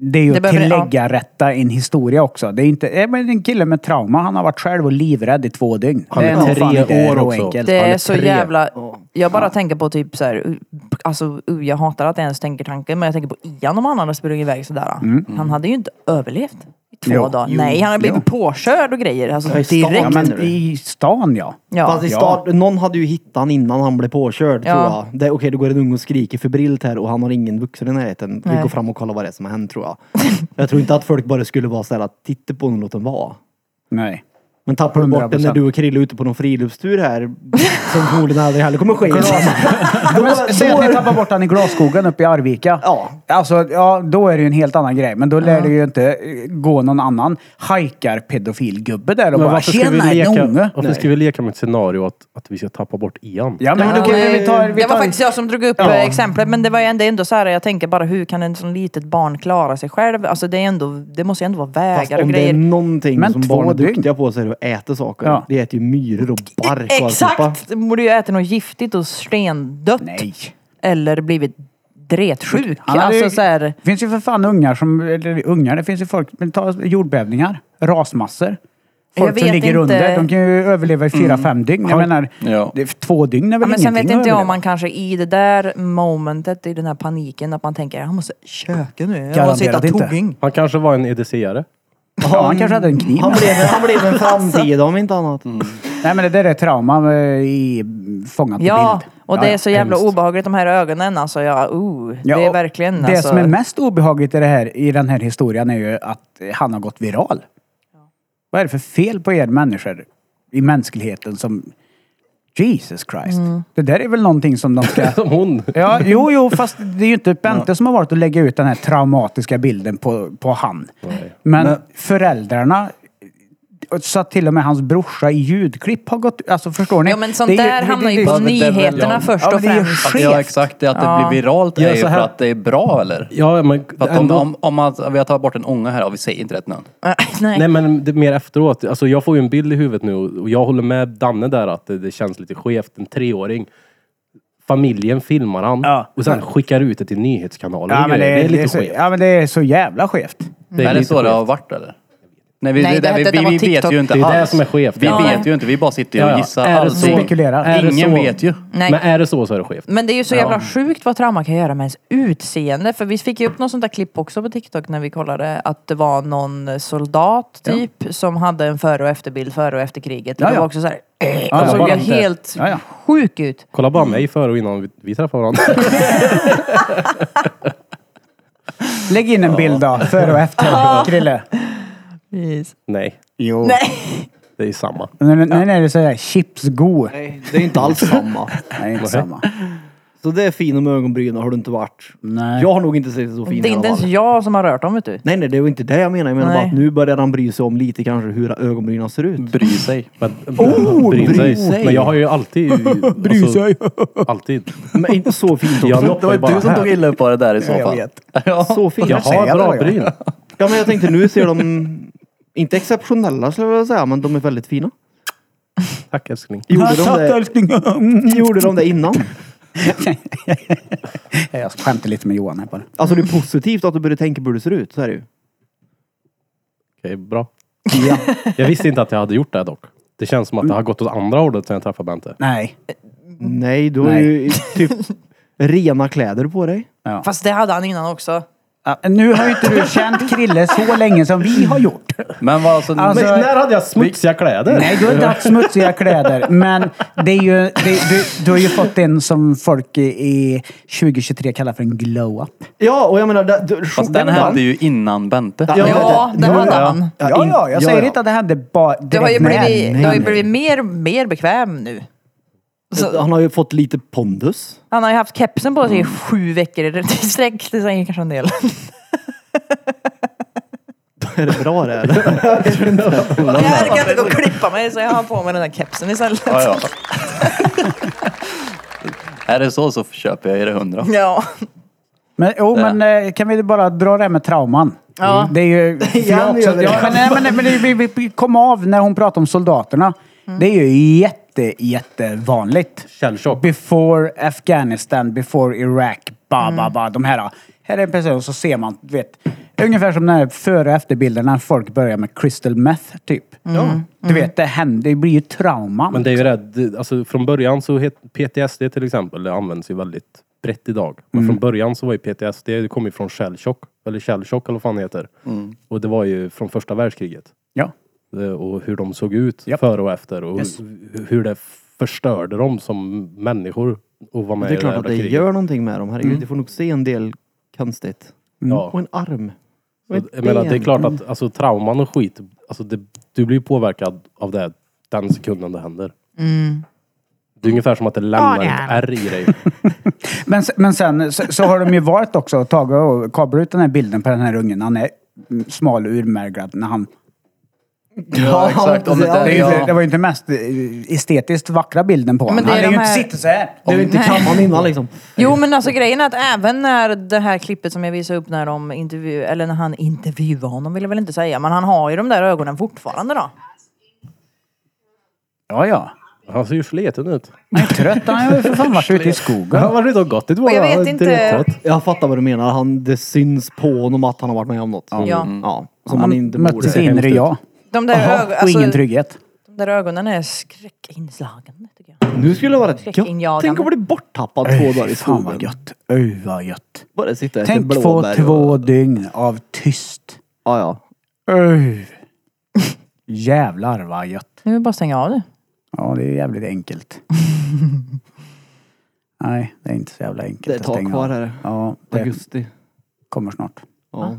Speaker 3: det är ju
Speaker 1: Det
Speaker 3: att
Speaker 1: behöver- ja.
Speaker 3: tillägga rätta en historia också. Det är inte, eh, men en kille med trauma, han har varit själv och livrädd i två dygn.
Speaker 4: Han är
Speaker 3: Det nog
Speaker 4: tre
Speaker 3: fan inte
Speaker 4: år
Speaker 3: rå
Speaker 4: också.
Speaker 3: enkelt.
Speaker 4: Ja,
Speaker 1: Det
Speaker 4: det
Speaker 1: är
Speaker 4: är
Speaker 1: så
Speaker 4: tre.
Speaker 1: jävla... Jag bara tänker på typ så här, uh, alltså uh, jag hatar att jag ens tänker tanken men jag tänker på Ian om han hade sprungit iväg sådär. Han hade ju inte överlevt i två
Speaker 3: Jo.
Speaker 1: dagar.
Speaker 3: Jo.
Speaker 1: Nej, han hade blivit påkörd och grejer. Alltså
Speaker 5: Ja, i stan.
Speaker 1: direkt.
Speaker 3: Ja, men i stan ja.
Speaker 1: Ja.
Speaker 5: Fast i start, någon hade ju hittat han innan han blev påkörd
Speaker 1: Ja.
Speaker 5: tror jag. Det, är- Okej, då går en unge och skriker febrilt här och han har ingen vuxen i närheten. Vi
Speaker 1: Nej.
Speaker 5: går fram och kollar vad det är som har hänt tror jag. jag tror inte att folk bara skulle vara såhär att titta på honom och låt honom vara.
Speaker 3: Nej.
Speaker 5: Men tappar du bort den när
Speaker 3: 100%.
Speaker 5: du och Krille är ute på någon friluftstur här, som förmodligen aldrig heller kommer ske.
Speaker 3: Ja, men s- Säg att ni tappar bort han i glasskogen uppe i Arvika.
Speaker 5: Ja.
Speaker 3: Alltså, ja, då är det ju en helt annan grej. Men då lär det ju inte eh, gå någon annan hajkar-pedofilgubbe där och
Speaker 4: Men
Speaker 3: bara
Speaker 4: varför ska vi
Speaker 3: “Tjena, en
Speaker 4: leka,
Speaker 3: unge!”
Speaker 4: varför ska vi leka med ett scenario att, att vi ska tappa bort Ian?
Speaker 3: Ja, men
Speaker 1: Ja,
Speaker 3: då kan vi,
Speaker 1: nej.
Speaker 3: vi tar... Vi
Speaker 1: det var
Speaker 3: tar
Speaker 1: faktiskt jag som drog upp ja. exemplet men det var ju ändå, ändå så här, jag tänker bara hur kan en sån litet barn klara sig själv? Alltså det är ändå, det måste ju ändå vara
Speaker 5: Fast
Speaker 1: vägar och
Speaker 5: om det är
Speaker 1: grejer.
Speaker 5: någonting
Speaker 3: Men
Speaker 5: som
Speaker 3: två
Speaker 5: barn är
Speaker 3: dygn.
Speaker 5: duktiga på så är det att äta saker.
Speaker 3: Ja.
Speaker 5: De äter ju myror och bark och alltihopa.
Speaker 1: Exakt! Borde ju ätit något giftigt och stendött.
Speaker 3: Nej.
Speaker 1: Eller blivit dretsjuk.
Speaker 3: Han hade
Speaker 1: Alltså
Speaker 3: ju-
Speaker 1: så här,
Speaker 3: Det finns ju för fan ungar som... Eller ungar, det finns ju folk... Men ta jordbävningar, rasmassor.
Speaker 1: Jag
Speaker 3: Folk som
Speaker 1: vet
Speaker 3: ligger
Speaker 1: inte. Mm.
Speaker 3: under, de kan ju överleva i fyra, fem dygn. Jag menar,
Speaker 2: Ja.
Speaker 3: det, två dygn är
Speaker 1: Ja,
Speaker 3: väl
Speaker 1: men sen
Speaker 3: ingenting
Speaker 1: vet
Speaker 3: att
Speaker 1: inte jag
Speaker 3: överleva.
Speaker 1: om man kanske i det där momentet, i den här paniken, att man tänker jag måste köka nu. Jag måste hitta
Speaker 3: Garanterat inte.
Speaker 1: tugging.
Speaker 4: Han kanske var en EDC-are.
Speaker 3: Ja, han kanske hade en kniv.
Speaker 5: Han blev, han blev
Speaker 1: Alltså.
Speaker 5: en framtida om inte annat.
Speaker 3: Nej men det där är trauma eh, i fångat
Speaker 1: Ja,
Speaker 3: bild.
Speaker 1: och det är så jävla
Speaker 3: hemskt.
Speaker 1: obehagligt de här ögonen alltså. Jag, oh,
Speaker 3: Ja,
Speaker 1: det är
Speaker 3: och
Speaker 1: verkligen
Speaker 3: Det
Speaker 1: alltså,
Speaker 3: som är mest obehagligt i, det här, i den här historien är ju att eh, han har gått viral. Vad är det för fel på er människor i mänskligheten som... Jesus Christ.
Speaker 1: Mm.
Speaker 3: Det där är väl någonting som de ska...
Speaker 4: Som hon.
Speaker 3: Ja, jo, jo, fast det är ju inte Bente som har varit att lägga ut den här traumatiska bilden på, på han. Men föräldrarna, så att till och med hans brorsa i ljudklipp har gått... Alltså förstår ni?
Speaker 1: Ja men sånt
Speaker 3: Det är
Speaker 1: där hamnar ju
Speaker 3: det-
Speaker 1: på
Speaker 3: det-
Speaker 2: det är väl-
Speaker 1: nyheterna
Speaker 2: ja.
Speaker 1: först
Speaker 3: Ja,
Speaker 1: och
Speaker 3: men det är ju
Speaker 1: främst.
Speaker 3: skit.
Speaker 2: Ja exakt, det är att det
Speaker 1: Ja.
Speaker 2: blir viralt är
Speaker 4: Ja,
Speaker 2: ju
Speaker 4: så
Speaker 2: för
Speaker 4: här-
Speaker 2: att det är bra eller?
Speaker 4: Ja, men
Speaker 2: För att om,
Speaker 4: ändå-
Speaker 2: om, om att vi har tagit bort en ånga här, ja, vi säger inte rätt namn.
Speaker 1: Nej.
Speaker 4: Nej men det, är mer efteråt. Alltså jag får ju en bild i huvudet nu och och jag håller med Danne där att det, det känns lite skevt. En treåring. Familjen filmar han
Speaker 3: Ja.
Speaker 4: och sen skickar ut det till nyhetskanaler
Speaker 3: Ja
Speaker 4: och
Speaker 3: men
Speaker 4: grejer.
Speaker 3: det,
Speaker 4: är lite
Speaker 3: så,
Speaker 4: skevt.
Speaker 3: ja men det är så jävla skevt.
Speaker 4: Det
Speaker 2: är det
Speaker 4: lite
Speaker 2: så det
Speaker 4: skevt.
Speaker 2: har varit eller? Nej, vi,
Speaker 1: Nej,
Speaker 2: det,
Speaker 1: det
Speaker 2: vi,
Speaker 1: hette- det var
Speaker 2: vi, vi vet
Speaker 1: TikTok.
Speaker 2: ju inte
Speaker 4: Det är det
Speaker 2: alls.
Speaker 4: som är skevt.
Speaker 2: Vi
Speaker 4: Ja.
Speaker 2: vet ju inte, vi bara sitter ju
Speaker 4: Ja,
Speaker 2: och
Speaker 4: ja.
Speaker 2: gissar.
Speaker 4: Är det
Speaker 2: Alltså,
Speaker 4: så-
Speaker 3: Spekulerar.
Speaker 4: är det
Speaker 2: Ingen
Speaker 4: så-
Speaker 2: vet ju.
Speaker 1: Nej.
Speaker 4: Men är det så så är det skevt.
Speaker 1: Men det är ju så jävla sjukt vad trauma kan göra med ens utseende. För vi fick ju upp något sånt där klipp också på TikTok när vi kollade att det var någon soldat typ som hade en före och efterbild före och efter kriget.
Speaker 3: Ja,
Speaker 1: Det
Speaker 3: ja.
Speaker 1: var också så här, eh, alltså,
Speaker 3: Ja,
Speaker 1: såg
Speaker 3: bara
Speaker 1: jag
Speaker 3: inte-
Speaker 1: helt
Speaker 3: Ja, ja.
Speaker 1: sjuk ut.
Speaker 4: Kolla bara mig före och innan vi, vi träffar varandra.
Speaker 3: Lägg in en bild då, före och efter. Krille.
Speaker 4: Nej,
Speaker 3: Jo.
Speaker 1: Nej.
Speaker 4: det är samma.
Speaker 3: Nej, nej, nej, det säger chipsgo. Nej,
Speaker 5: Nej, det är inte alls samma.
Speaker 3: det är inte samma.
Speaker 5: Så det är fin med ögonbrynen har du inte varit.
Speaker 3: Nej.
Speaker 5: Jag har nog inte sett så fin
Speaker 1: Det
Speaker 5: i
Speaker 1: är
Speaker 5: alla
Speaker 1: inte ens
Speaker 5: fall.
Speaker 1: jag som har rört dem vet du.
Speaker 5: Nej, nej, det var inte det jag menar. Jag menar
Speaker 1: Nej.
Speaker 5: bara att nu börjar han bry sig om lite kanske hur ögonbrynen ser ut.
Speaker 2: Bry sig.
Speaker 4: Men,
Speaker 5: Oh, bry sig.
Speaker 4: Men jag har ju alltid... alltså,
Speaker 3: Bry sig.
Speaker 4: alltid.
Speaker 5: Men inte så fint
Speaker 4: Jag
Speaker 5: också.
Speaker 4: loppar ju bara här.
Speaker 2: illa upp av det där i så
Speaker 3: jag vet.
Speaker 5: Så fint.
Speaker 4: Jag
Speaker 3: säga
Speaker 4: har
Speaker 3: det
Speaker 4: bra
Speaker 3: var jag.
Speaker 4: bryn.
Speaker 5: Ja, men jag tänkte nu ser de, inte exceptionella skulle jag vilja säga, men de är väldigt fina.
Speaker 4: Tack älskling.
Speaker 5: Gjorde de
Speaker 3: Tack
Speaker 5: det,
Speaker 3: älskling.
Speaker 5: gjorde de det innan?
Speaker 3: Jag skämtar lite med Johan här bara.
Speaker 5: Alltså det är positivt att du börjar tänka på hur det ser ut, så är det ju.
Speaker 4: Okej, bra. Jag visste inte att jag hade gjort det dock. Det känns som att det har gått åt andra hållet sen jag träffade Bente.
Speaker 3: Nej.
Speaker 5: Nej, du har
Speaker 3: Nej.
Speaker 5: ju typ rena kläder på dig.
Speaker 1: Fast det hade han innan också.
Speaker 3: Ja, nu har ju inte du känt Krille så länge som vi har gjort.
Speaker 2: Men vad alltså...
Speaker 3: Alltså-
Speaker 4: Men när hade jag smutsiga kläder?
Speaker 3: Nej, du har inte haft smutsiga kläder. Men det är ju, det, du, du har ju fått en som folk i, i 2023 kallar för en glow-up.
Speaker 5: Ja, och jag menar... Det, det,
Speaker 2: Fast alltså, den hade ju innan Bente.
Speaker 1: Ja, det hade han.
Speaker 3: Ja, ja, jag
Speaker 5: ja,
Speaker 3: säger
Speaker 5: ja.
Speaker 3: inte att det hände bara
Speaker 1: Du har ju
Speaker 3: direkt när.
Speaker 1: blivit, du har ju
Speaker 3: Nej,
Speaker 1: blivit mer, mer bekväm nu. Så,
Speaker 5: Alltså, Han har ju fått lite pondus.
Speaker 1: han har ju haft kepsen på sig i sju veckor i sträck. Det säger kanske en del.
Speaker 5: Är det bra det eller?
Speaker 1: Jag orkar inte gå och klippa mig så jag har på mig den där kepsen istället.
Speaker 2: Ja, ja. Är det så så köper jag er det hundra.
Speaker 1: Ja.
Speaker 3: Men, jo, men eh, kan vi bara dra det här med trauman? Mm.
Speaker 1: Ja.
Speaker 3: Det är ju... för Jag också, ja, men, nej, men, men det, vi, vi- vi kom av när hon pratade om soldaterna.
Speaker 1: Mm.
Speaker 3: Det är ju jätte, jättevanligt.
Speaker 4: Källchock.
Speaker 3: Before Afghanistan, before Iraq, ba,
Speaker 1: Mm.
Speaker 3: ba, ba. De här. Här är en person så ser man, du vet. Ungefär som den här före och efterbilden när folk börjar med crystal meth, typ.
Speaker 1: Mm.
Speaker 3: Du vet, det händer. Det blir ju trauma.
Speaker 4: Men det är ju det, det- alltså från början så het, PTSD till exempel, det används ju väldigt brett idag. Men från början så var ju PTSD, det kom ju från shellchock, eller shellchock eller vad fan det heter. Och det var ju från första världskriget.
Speaker 3: Ja.
Speaker 4: Eh, Och hur de såg ut
Speaker 3: Japp.
Speaker 4: före och efter och
Speaker 3: Yes.
Speaker 4: hu- hur det förstörde dem som människor. Och var med
Speaker 5: Det är klart
Speaker 4: i
Speaker 5: att
Speaker 4: jävla
Speaker 5: det
Speaker 4: kriget.
Speaker 5: gör någonting med dem. Herregud, du får nog se en del konstigt.
Speaker 4: Mm. Ja.
Speaker 5: Och en arm. Och ett
Speaker 4: Så, jag menar, det är
Speaker 5: ben.
Speaker 4: klart att alltså, trauman och skit, alltså, det, du blir ju påverkad av det den sekunden det händer. Det är ungefär som att det lämnar ett ärr i dig.
Speaker 3: Men, se- men sen så, så har de ju varit också och tagit och kablat ut den här bilden på den här ungen. Han är mm, smal och urmärglad när han...
Speaker 2: Ja, exakt. Om det,
Speaker 3: Det,
Speaker 2: där,
Speaker 3: är ju inte, det
Speaker 2: ja.
Speaker 3: var ju inte mest eh, estetiskt vackra bilden på honom.
Speaker 1: men det
Speaker 3: Han
Speaker 1: är
Speaker 3: är ju
Speaker 1: de
Speaker 3: inte
Speaker 1: här-
Speaker 3: sitter så här.
Speaker 5: Det är ju inte kammaren innan liksom.
Speaker 1: Jo men alltså grejen är att även när det här klippet som jag visade upp när de intervju eller när han intervjuade honom vill jag väl inte säga, men han har ju de där ögonen fortfarande då.
Speaker 3: Ja, ja.
Speaker 4: Han ser ju sliten ut.
Speaker 3: Han är trött. Han har ju för fan varit ute i skogen.
Speaker 4: Han var ute och gått i två
Speaker 1: Och jag vet
Speaker 4: dagar,
Speaker 1: inte-
Speaker 4: direkt.
Speaker 5: Jag fattar vad du menar. Han, det syns på honom att han har varit med om något.
Speaker 1: Ja.
Speaker 4: Mm.
Speaker 5: Ja, som han
Speaker 3: Han
Speaker 5: inte
Speaker 3: mötte
Speaker 5: borde.
Speaker 3: sitt inre jag.
Speaker 1: De där, ög-
Speaker 3: Jaha, och
Speaker 1: alltså,
Speaker 3: ingen trygghet.
Speaker 1: de där ögonen är skräckinslagande tycker jag.
Speaker 5: Nu skulle det vara rätt gött.
Speaker 1: Skräckinjagande.
Speaker 5: Tänk att bli borttappad
Speaker 4: Äh,
Speaker 3: Öj,
Speaker 5: två dagar i
Speaker 3: fan vad
Speaker 5: skogen.
Speaker 3: gött. Öj, vad gött.
Speaker 5: Bara sitta och äta
Speaker 3: Tänk få
Speaker 5: blåbär.
Speaker 3: två
Speaker 5: och-
Speaker 3: dygn av tyst.
Speaker 5: Ja, ja.
Speaker 3: Öj. Jävlar vad gött.
Speaker 1: Nu vill bara stänga av det.
Speaker 3: Ja, det är jävligt enkelt. Nej, det är inte så jävla enkelt
Speaker 5: Det är ett
Speaker 3: att
Speaker 5: tag
Speaker 3: stänga
Speaker 5: kvar
Speaker 3: av.
Speaker 5: här.
Speaker 3: Ja, det
Speaker 5: Augusti.
Speaker 3: kommer snart.
Speaker 5: Ja.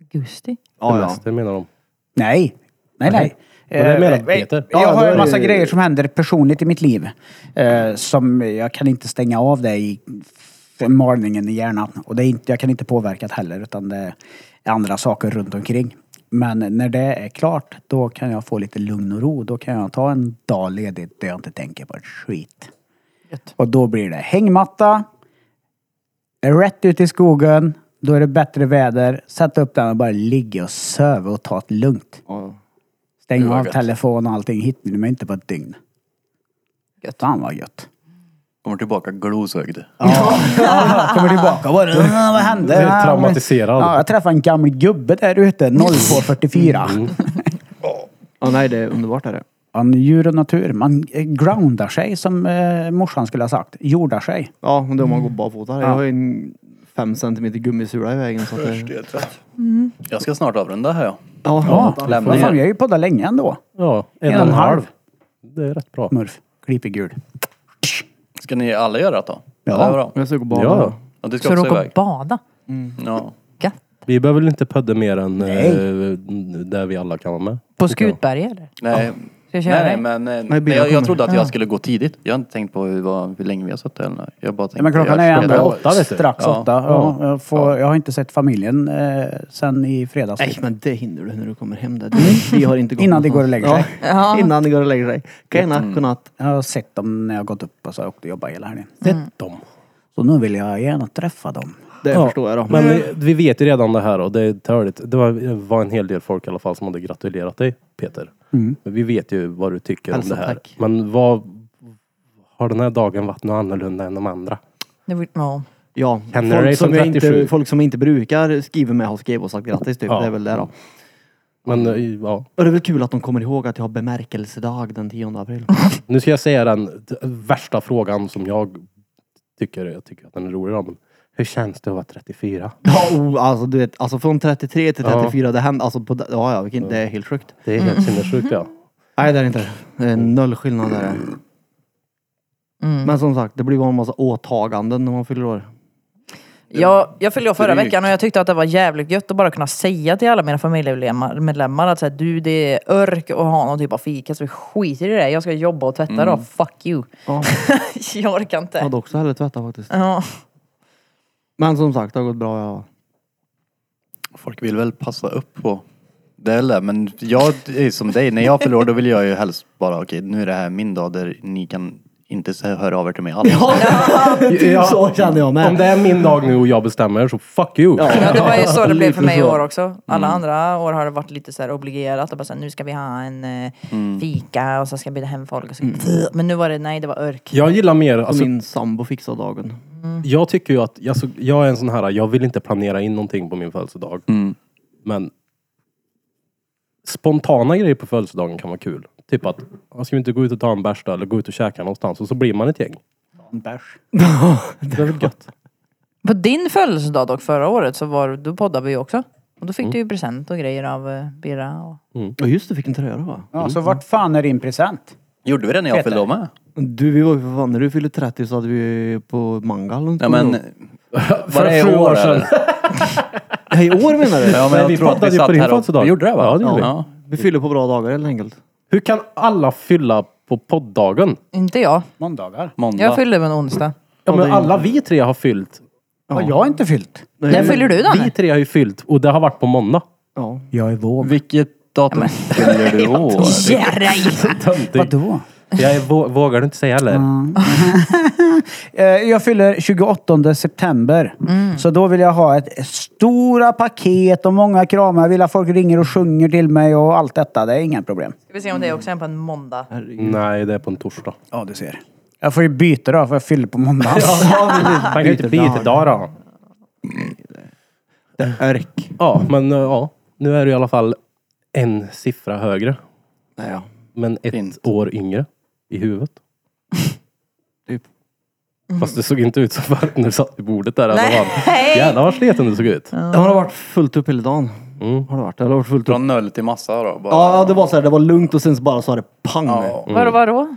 Speaker 1: Augusti.
Speaker 5: Ja, ja.
Speaker 4: Semester menar de.
Speaker 3: Nej! Nej, nej.
Speaker 4: Men det
Speaker 3: Eh,
Speaker 4: menar
Speaker 3: eh,
Speaker 4: Peter.
Speaker 3: Jag
Speaker 5: Ja,
Speaker 3: har
Speaker 5: då
Speaker 3: en
Speaker 5: är
Speaker 3: massa
Speaker 5: det-
Speaker 3: grejer som händer personligt i mitt liv. eh, Som jag kan inte stänga av det i f- malningen i hjärnan. Och det är inte, jag kan inte påverka det heller utan det är andra saker runt omkring. Men när det är klart, då kan jag få lite lugn och ro. Då kan jag ta en dag ledigt där jag inte tänker på ett skit. Och då blir det hängmatta, rätt ut i skogen, då är det bättre väder. Sätt upp den och bara ligga och söva och ta det lugnt.
Speaker 5: Ja.
Speaker 3: Stäng
Speaker 2: var
Speaker 3: av
Speaker 2: gött.
Speaker 3: telefon och allting. Hittar ni mig inte på ett dygn. Gött. Fan vad gött.
Speaker 2: Kommer tillbaka glosögd.
Speaker 3: Kommer tillbaka och bara, "Ah, vad hände?
Speaker 4: Du är traumatiserad.
Speaker 3: Ja, jag träffade en gammal gubbe där ute 0244.
Speaker 5: Ja, nej, det är underbart. Är det.
Speaker 3: Han djur och natur. Man eh, groundar sig som eh, morsan skulle ha sagt. Jordar sig.
Speaker 5: Ja, men då man
Speaker 3: Mm.
Speaker 5: går barfota. Jag har ju en fem centimeter gummisula i vägen. Så att det,
Speaker 2: Jag ska snart avrunda här ja.
Speaker 5: ja.
Speaker 3: Ja,
Speaker 2: lämna
Speaker 3: vad fan,
Speaker 2: er.
Speaker 3: vi har ju poddat länge ändå.
Speaker 4: Ja, en, och en halv. Det är rätt bra.
Speaker 3: Murf. Klipp i gul.
Speaker 2: Ska ni alla göra det då?
Speaker 3: Ja.
Speaker 2: Eller vadå?
Speaker 5: Jag ska gå barfota.
Speaker 4: Ja,
Speaker 2: Ja, du ska
Speaker 1: Ska du
Speaker 2: också
Speaker 1: åka och
Speaker 2: iväg.
Speaker 1: bada?
Speaker 2: Ja.
Speaker 1: Gött.
Speaker 4: vi behöver väl inte pudda mer än
Speaker 3: Nej.
Speaker 4: eh, där vi alla kan vara med.
Speaker 1: På Skutberget eller?
Speaker 2: Nej.
Speaker 1: Ska jag köra
Speaker 2: Nej, nej,
Speaker 1: dig?
Speaker 2: men eh,
Speaker 5: Nej, Bea
Speaker 2: jag, jag
Speaker 5: kommer.
Speaker 2: trodde att jag skulle gå tidigt. Jag har inte tänkt på hur, vad, hur länge vi har suttit eller något. Jag bara tänkte,
Speaker 3: Ja, men klockan är
Speaker 2: jag-
Speaker 3: ändå
Speaker 2: jag-
Speaker 4: åtta, vet du.
Speaker 3: strax
Speaker 2: Ja.
Speaker 3: åtta. Ja, jag, får, jag har inte sett familjen eh, sen i fredags.
Speaker 5: Nej, men det hinner du när du kommer hem. Där. Du- Vi har inte gått
Speaker 3: Mm. Innan det går och lägger sig. Mm.
Speaker 5: Ja. Innan det går och lägger sig. Godnatt, godnatt.
Speaker 3: Jag har sett dem när jag gått upp och så har jag åkt och jobbat hela helgen.
Speaker 4: Dem.
Speaker 3: Så nu vill jag gärna träffa dem.
Speaker 5: Det
Speaker 4: Ja,
Speaker 5: förstår jag då.
Speaker 4: Men vi, vi vet ju redan det här och det är törligt. Det var, det var en hel del folk i alla fall som hade gratulerat dig Peter. Men vi vet ju vad du tycker
Speaker 5: Hälsa,
Speaker 4: om det här.
Speaker 5: tack.
Speaker 4: Men vad har den här dagen varit något annorlunda än de andra?
Speaker 1: Det var- Ja.
Speaker 5: Ja,
Speaker 4: Henry
Speaker 5: folk som,
Speaker 4: från
Speaker 5: jag inte,
Speaker 4: 37.
Speaker 5: folk som jag inte brukar skriva med har skrivit och sagt grattis typ.
Speaker 4: Ja.
Speaker 5: Det är väl det då.
Speaker 4: Men eh, ja,
Speaker 5: Och det är väl kul att de kommer ihåg att jag har bemärkelsedag den 10 april.
Speaker 4: nu ska jag säga den t- värsta frågan som jag tycker, jag tycker att den är rolig då, men Hur känns det att vara 34?
Speaker 5: Ja, oh, alltså du vet, alltså från 33 till 34, det hände alltså på... Ja, ja, vilken, det är helt sjukt.
Speaker 4: Det är helt Mm. sinnessjukt, ja.
Speaker 5: Nej, det är det inte. Det är noll skillnad där.
Speaker 1: Mm.
Speaker 5: Men som sagt, det blir bara en massa åtaganden när man fyller år.
Speaker 1: Jag, jag fyllde år förra
Speaker 5: drygt.
Speaker 1: veckan och jag tyckte att det var jävligt gött att bara kunna säga till alla mina familjemedlemmar medlemmar att så här, du det är örk att ha någon typ av fika så vi skiter i det. Jag ska jobba och tvätta
Speaker 5: Mm.
Speaker 1: då. Fuck you.
Speaker 5: Ja.
Speaker 1: jag orkar
Speaker 5: Jag
Speaker 1: inte.
Speaker 5: hade också hellre tvättat faktiskt.
Speaker 1: Ja.
Speaker 5: Men som sagt, det har gått bra. Ja.
Speaker 2: Folk vill väl passa upp på det eller, men jag är som dig, när jag förlorar då vill jag ju helst bara okej nu är det här min dag där ni kan inte så här höra av er till mig alls.
Speaker 4: Ja.
Speaker 5: Typ så känner jag med.
Speaker 4: Om det är min dag nu och jag bestämmer så fuck you.
Speaker 1: Ja, det var ju så det blev för mig i
Speaker 4: Lite så. Mm.
Speaker 1: år också. Alla andra år har det varit lite så här obligerat. Och bara så här, nu ska vi ha en eh,
Speaker 4: Mm.
Speaker 1: fika och så ska jag bjuda hem folk. Och så. Men nu var det, nej det var örk.
Speaker 4: Jag gillar mer... Alltså,
Speaker 5: min sambo fixar dagen.
Speaker 4: Jag tycker ju att, alltså, jag är en sån här, jag vill inte planera in någonting på min födelsedag. Men spontana grejer på födelsedagen kan vara kul. Typ att, "Ah, ska vi inte gå ut och ta en bärs då, eller gå ut och käka någonstans? Och så blir man ett gäng.
Speaker 3: En bärs.
Speaker 4: Det är väl gött.
Speaker 1: På din födelsedag dock förra året så var, då poddade vi ju också. Och då
Speaker 4: Mm.
Speaker 1: fick du ju present och grejer av eh, Birra. Och...
Speaker 5: Ja just det, fick en tröja då va?
Speaker 3: Ja, så vart fan är din present?
Speaker 2: Gjorde vi det när jag
Speaker 3: Peter.
Speaker 2: fyllde år med?
Speaker 5: Du, vi var ju för fan, när du fyllde 30 så hade vi ju på mangal.
Speaker 2: Ja, men-
Speaker 5: Var det i
Speaker 2: sju
Speaker 5: år, eller? Nej, i år menar du?
Speaker 2: Ja, men jag tror att vi satt här och... Vi gjorde det va?
Speaker 4: Ja, det gjorde
Speaker 2: Ja.
Speaker 5: vi. Vi fyller på bra dagar helt enkelt.
Speaker 4: Hur kan alla fylla på poddagen?
Speaker 1: Inte jag.
Speaker 3: Måndagar.
Speaker 4: Måndag.
Speaker 1: Jag fyllde på en onsdag.
Speaker 4: Ja, men alla vi tre har fyllt.
Speaker 3: Ja, jag har inte fyllt.
Speaker 1: När
Speaker 4: men
Speaker 1: fyller du, Danne?
Speaker 4: Vi tre har ju fyllt och det har varit på måndag.
Speaker 5: Ja.
Speaker 3: Jag är våg.
Speaker 2: Vilket datum fyller du år?
Speaker 3: Vadå?
Speaker 4: Jag är, vå- vågar du inte säga heller?
Speaker 3: Mm. Eh, Jag fyller 28 september. Så då vill jag ha ett stora paket och många kramar. Jag vill att folk ringer och sjunger till mig och allt detta. Det är inga problem.
Speaker 1: Ska vi se om det också är på en måndag.
Speaker 4: Nej, det är på en torsdag.
Speaker 3: Ja, du ser. Jag får ju byta då, för jag fyller på måndag.
Speaker 4: Man kan ju inte byta dag då.
Speaker 5: Det är räck.
Speaker 4: Ja, men eh, ja. Nu är du i alla fall en siffra högre.
Speaker 5: Nej, ja.
Speaker 4: Men ett år yngre. I huvudet.
Speaker 5: Typ.
Speaker 4: Fast det såg inte ut så förut när du satt vid bordet där.
Speaker 5: Nej.
Speaker 4: Nej. Jävlar vad sleten du såg ut.
Speaker 5: Det har varit fullt upp hela dagen.
Speaker 4: Mm.
Speaker 5: Har det varit. Det har varit fullt upp.
Speaker 2: Från noll till massa då? Bara.
Speaker 5: Ja, det var så här, det var lugnt och sen så bara sa det pang.
Speaker 1: Vadå, vadå? Vad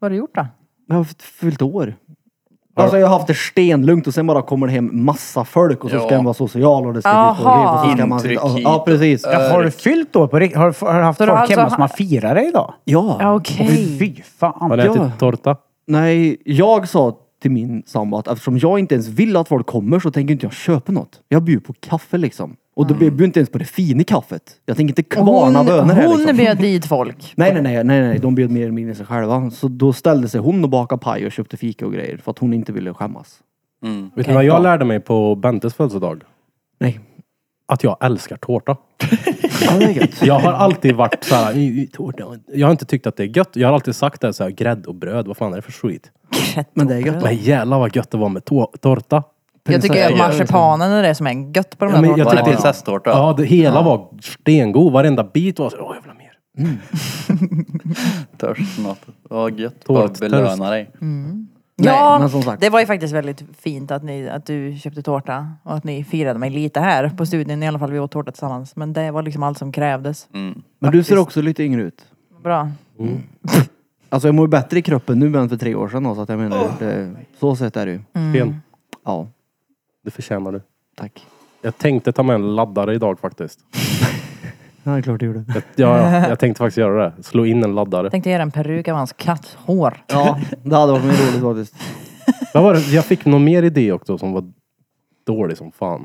Speaker 1: har du gjort då?
Speaker 5: Jag har haft fyllt år. Alltså jag har haft det stenlugnt och sen bara kommer det hem massa folk och så
Speaker 2: Ja.
Speaker 5: ska den vara social och det ska bli
Speaker 1: Aha.
Speaker 5: folk och så ska man sitta-
Speaker 2: Intryck hit.
Speaker 5: Ja precis.
Speaker 3: Ja, har du fyllt då? På, rikt- har, du- har du haft
Speaker 1: Så du
Speaker 3: folk
Speaker 1: har alltså
Speaker 3: hemma som
Speaker 1: ha-
Speaker 3: har firat dig idag?
Speaker 5: Ja.
Speaker 1: Ja, Okej.
Speaker 3: Fy fan.
Speaker 4: Har ni
Speaker 5: Ja.
Speaker 4: ätit tårta?
Speaker 5: Nej, jag sa till min sambo att eftersom jag inte ens vill att folk kommer så tänker inte jag köpa något. Jag bjuder på kaffe liksom. Och då bjuder jag inte ens på det fina kaffet. Jag tänker inte
Speaker 1: Och
Speaker 5: kvarna
Speaker 1: Hon,
Speaker 5: bönor här liksom.
Speaker 1: hon Mm. bjöd dit folk.
Speaker 5: Nej, nej, nej, nej, nej, de bjöd mer eller mindre sig själva. Så då ställde sig hon och bakade paj och köpte fika och grejer för att hon inte ville skämmas.
Speaker 4: Vet ni vad jag lärde mig på Bentes födelsedag?
Speaker 5: Nej.
Speaker 4: Att jag älskar tårta.
Speaker 5: Ja, det är gött.
Speaker 4: Jag har alltid varit så här, "I- i tårta. Jag har inte tyckt att det är gött. Jag har alltid sagt det här, så här grädde och bröd, vad fan är det för skit?
Speaker 5: Men det är gött.
Speaker 4: Men jävlar vad gött det var med tå- tårta.
Speaker 1: Jag tycker att
Speaker 5: Prinsessa-
Speaker 1: marsipanen är det som är gött på de
Speaker 4: Ja,
Speaker 1: där
Speaker 4: men jag
Speaker 1: tårtorna.
Speaker 2: Var det
Speaker 4: tyckte-
Speaker 2: prinsesstårta?
Speaker 4: Ja, det hela var stengod. Varenda bit var så, åh jag vill ha mer.
Speaker 2: Törst något. Vad gött.
Speaker 4: Tårt,
Speaker 2: Vad belöna
Speaker 4: törst.
Speaker 2: dig.
Speaker 1: Ja,
Speaker 5: Nej, men som sagt.
Speaker 1: det var ju faktiskt väldigt fint att, ni, att du köpte tårta och att ni firade mig lite här på studien i alla fall. Vi åt tårta tillsammans. Men det var liksom allt som krävdes.
Speaker 5: Men du ser också lite yngre ut.
Speaker 1: Bra.
Speaker 5: Alltså jag mår bättre i kroppen nu än för tre år sedan då, så att jag menar, det, så sett är det ju.
Speaker 4: Sten,
Speaker 5: Ja,
Speaker 4: det förtjänar du.
Speaker 5: tack.
Speaker 4: Jag tänkte ta med en laddare idag faktiskt.
Speaker 5: Ja, det är klart du gjorde.
Speaker 4: Jag, ja, ja, jag tänkte faktiskt göra det. Slå in en laddare.
Speaker 1: Tänkte göra en peruk av hans katthår.
Speaker 5: Ja, det hade varit mer roligt faktiskt.
Speaker 4: Vad var det? Jag fick någon mer idé också som var dålig som fan.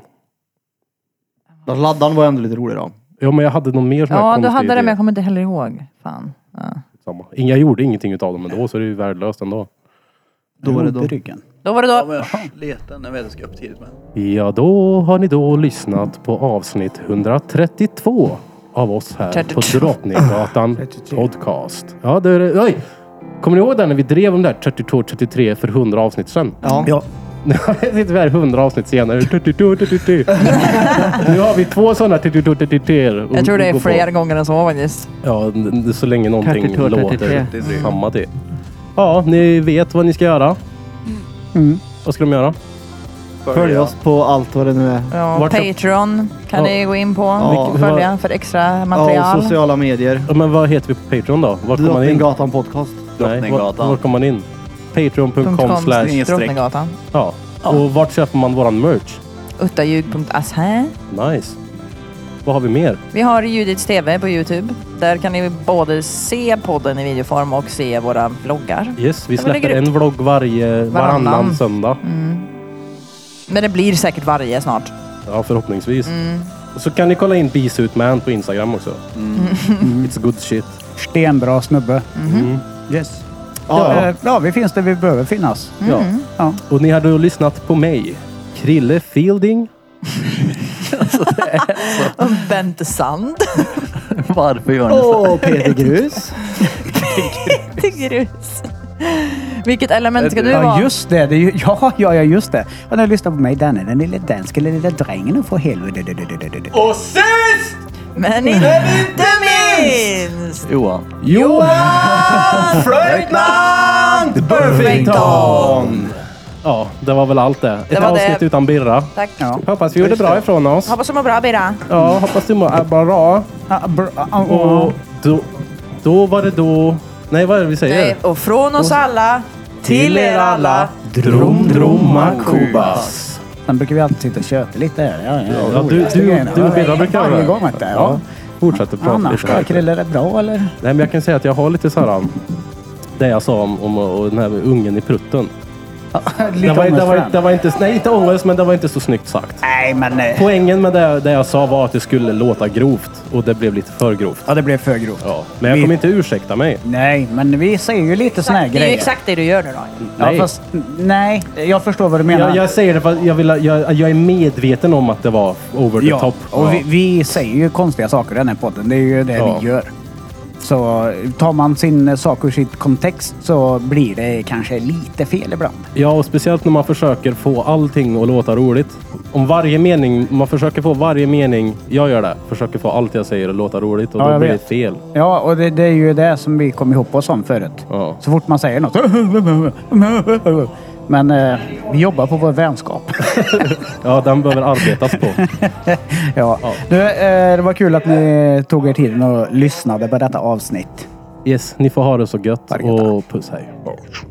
Speaker 5: Fast Laddaren var ändå lite rolig då.
Speaker 4: Ja, men jag hade någon mer som
Speaker 1: Ja, du hade
Speaker 4: konstig
Speaker 1: det men
Speaker 4: idé.
Speaker 1: jag kommer inte heller ihåg. Fan. Ja.
Speaker 4: Samma. Jag gjorde ingenting utav dem ändå, så det är ju värdelöst ändå.
Speaker 5: Då var det då.
Speaker 3: Ryggen.
Speaker 1: Då var det
Speaker 2: Ja,
Speaker 1: då.
Speaker 2: men jag är sliten. Jag vet att jag ska upp tidigt men.
Speaker 4: Ja, då har ni då lyssnat på avsnitt 132 av oss här på
Speaker 1: 32.
Speaker 4: Drottninggatan Podcast. Ja, det är det. Oj! Kommer ni ihåg där när vi drev om det där 32, 33 för 100 avsnitt sedan?
Speaker 5: Ja.
Speaker 3: Ja.
Speaker 4: Nu sitter vi här 100 avsnitt senare. 32, 33. Nu har vi två sådana 32, 33.
Speaker 1: Jag tror det är fler gånger än så faktiskt.
Speaker 4: Ja, n- n- så länge någonting
Speaker 5: 32,
Speaker 4: låter
Speaker 2: 33.
Speaker 4: samma till. Ja, ni vet vad ni ska göra. Vad ska de göra?
Speaker 5: Följ oss på allt vad det nu är.
Speaker 1: Ja,
Speaker 4: Vart-
Speaker 1: Patreon kan
Speaker 4: Ja.
Speaker 1: ni gå in på
Speaker 5: Ja.
Speaker 1: och följa för extra
Speaker 5: Ja,
Speaker 1: material.
Speaker 5: och sociala medier.
Speaker 4: Ja, Men vad heter vi på Patreon då? Var kommer man in?
Speaker 5: Drottninggatan podcast.
Speaker 4: Nej, var,
Speaker 2: Drottninggatan.
Speaker 4: var kommer man in? Patreon.com
Speaker 1: .com
Speaker 4: slash...
Speaker 1: Drottninggatan.
Speaker 4: Ja. Och vart köper man våran merch?
Speaker 1: Uttaljug.se.
Speaker 4: Nice. Vad har vi mer?
Speaker 1: Vi har Judits TV på Youtube. Där kan ni både se podden i videoform och se våra vloggar.
Speaker 4: Yes, vi
Speaker 1: Ja, men det är
Speaker 4: släpper en vlogg varje, varannan,
Speaker 1: Varannan.
Speaker 4: söndag.
Speaker 1: Men det blir säkert varje snart.
Speaker 4: Ja, förhoppningsvis.
Speaker 1: Mm.
Speaker 4: Och så kan ni kolla in Bisutman på Instagram också.
Speaker 5: Mm.
Speaker 4: It's good shit.
Speaker 3: Stenbra snubbe.
Speaker 1: Mhm.
Speaker 4: Mm.
Speaker 5: Yes.
Speaker 3: Eh, Ja, vi finns där vi behöver finnas.
Speaker 1: Mm.
Speaker 4: Ja.
Speaker 3: Ja.
Speaker 4: Och ni har då lyssnat på mig, Krille Fielding.
Speaker 1: Och Bente Sand.
Speaker 2: Varför gör ni så?
Speaker 5: Och Peter Grus.
Speaker 1: Till grus. Vilket element ska du
Speaker 3: Ja,
Speaker 1: vara?
Speaker 3: just det. det är ju, ja, ja, ja, just det. Och när du lyssnar på mig, Danne, den lille danske lilla drängen, och får helvete.
Speaker 1: Men inte minst!
Speaker 2: Johan.
Speaker 1: Flöjtnant Burfington!
Speaker 4: Ja, det var väl allt det. Ett
Speaker 1: var det.
Speaker 4: avsnitt utan Birra.
Speaker 1: Tack.
Speaker 3: Ja.
Speaker 4: Hoppas vi gjorde bra ifrån oss.
Speaker 1: Hoppas du mår bra Birra.
Speaker 4: Ja, hoppas du mår bra.
Speaker 3: Ah, br- ah, ah,
Speaker 4: Och då, då var det då... Nej, vad är det vi säger?
Speaker 1: Nej, Och från oss alla till er alla.
Speaker 4: Drom, dromma, kubas.
Speaker 3: Sen brukar vi alltid sitta och köta lite. här. Ja, ja,
Speaker 4: Ja, du,
Speaker 3: roligaste
Speaker 4: du, du,
Speaker 3: grejerna.
Speaker 4: och Birra brukar
Speaker 3: Varje
Speaker 4: göra det.
Speaker 3: gång, vet du, ja.
Speaker 4: Fortsätt att prata
Speaker 3: Annars
Speaker 4: lite.
Speaker 3: då?
Speaker 4: här.
Speaker 3: Krille, är det bra eller?
Speaker 4: Nej, men jag kan säga att jag har lite så här... um, Det jag sa om, om och den här ungen i prutten. Det
Speaker 3: lite
Speaker 4: var, det,
Speaker 3: ångest för
Speaker 4: var,
Speaker 3: den.
Speaker 4: det var inte... Nej, inte ångest, men det var inte så snyggt sagt.
Speaker 3: Nej, men... eh,
Speaker 4: Poängen med det, det jag sa var att det skulle låta grovt och det blev lite för grovt.
Speaker 3: Ja, det blev för grovt.
Speaker 4: Ja. Men jag
Speaker 3: Vi-
Speaker 4: kommer inte ursäkta mig.
Speaker 3: Nej, men vi säger ju lite såna här
Speaker 1: Exakt, det är ju
Speaker 3: grejer.
Speaker 1: exakt det du gör nu då.
Speaker 3: Ja,
Speaker 4: Nej.
Speaker 3: fast, nej, jag förstår vad du menar.
Speaker 4: Jag, jag säger det för att jag, vill, jag, jag är medveten om att det var over the
Speaker 3: ja,
Speaker 4: top.
Speaker 3: och vi, vi säger ju konstiga saker i den här podden. Det är ju det
Speaker 4: Ja.
Speaker 3: vi gör. Så tar man sin eh, sak ur sitt kontext så blir det kanske lite fel ibland.
Speaker 4: Ja, och speciellt när man försöker få allting att låta roligt. Om varje mening, man försöker få varje mening, jag gör det, försöker få allt jag säger att låta roligt och
Speaker 3: Ja,
Speaker 4: då
Speaker 3: jag
Speaker 4: blir
Speaker 3: vet.
Speaker 4: det fel.
Speaker 3: Ja, och det, det är ju det som vi kom ihop oss om förut.
Speaker 4: Ja.
Speaker 3: Så fort man säger något. Men eh, vi jobbar på vår vänskap.
Speaker 4: Ja, den behöver arbetas på.
Speaker 3: ja. Du, eh, det var kul att ni tog er tiden och lyssnade på detta avsnitt.
Speaker 4: Yes, ni får ha det så gött
Speaker 3: Tack,
Speaker 4: och puss hej.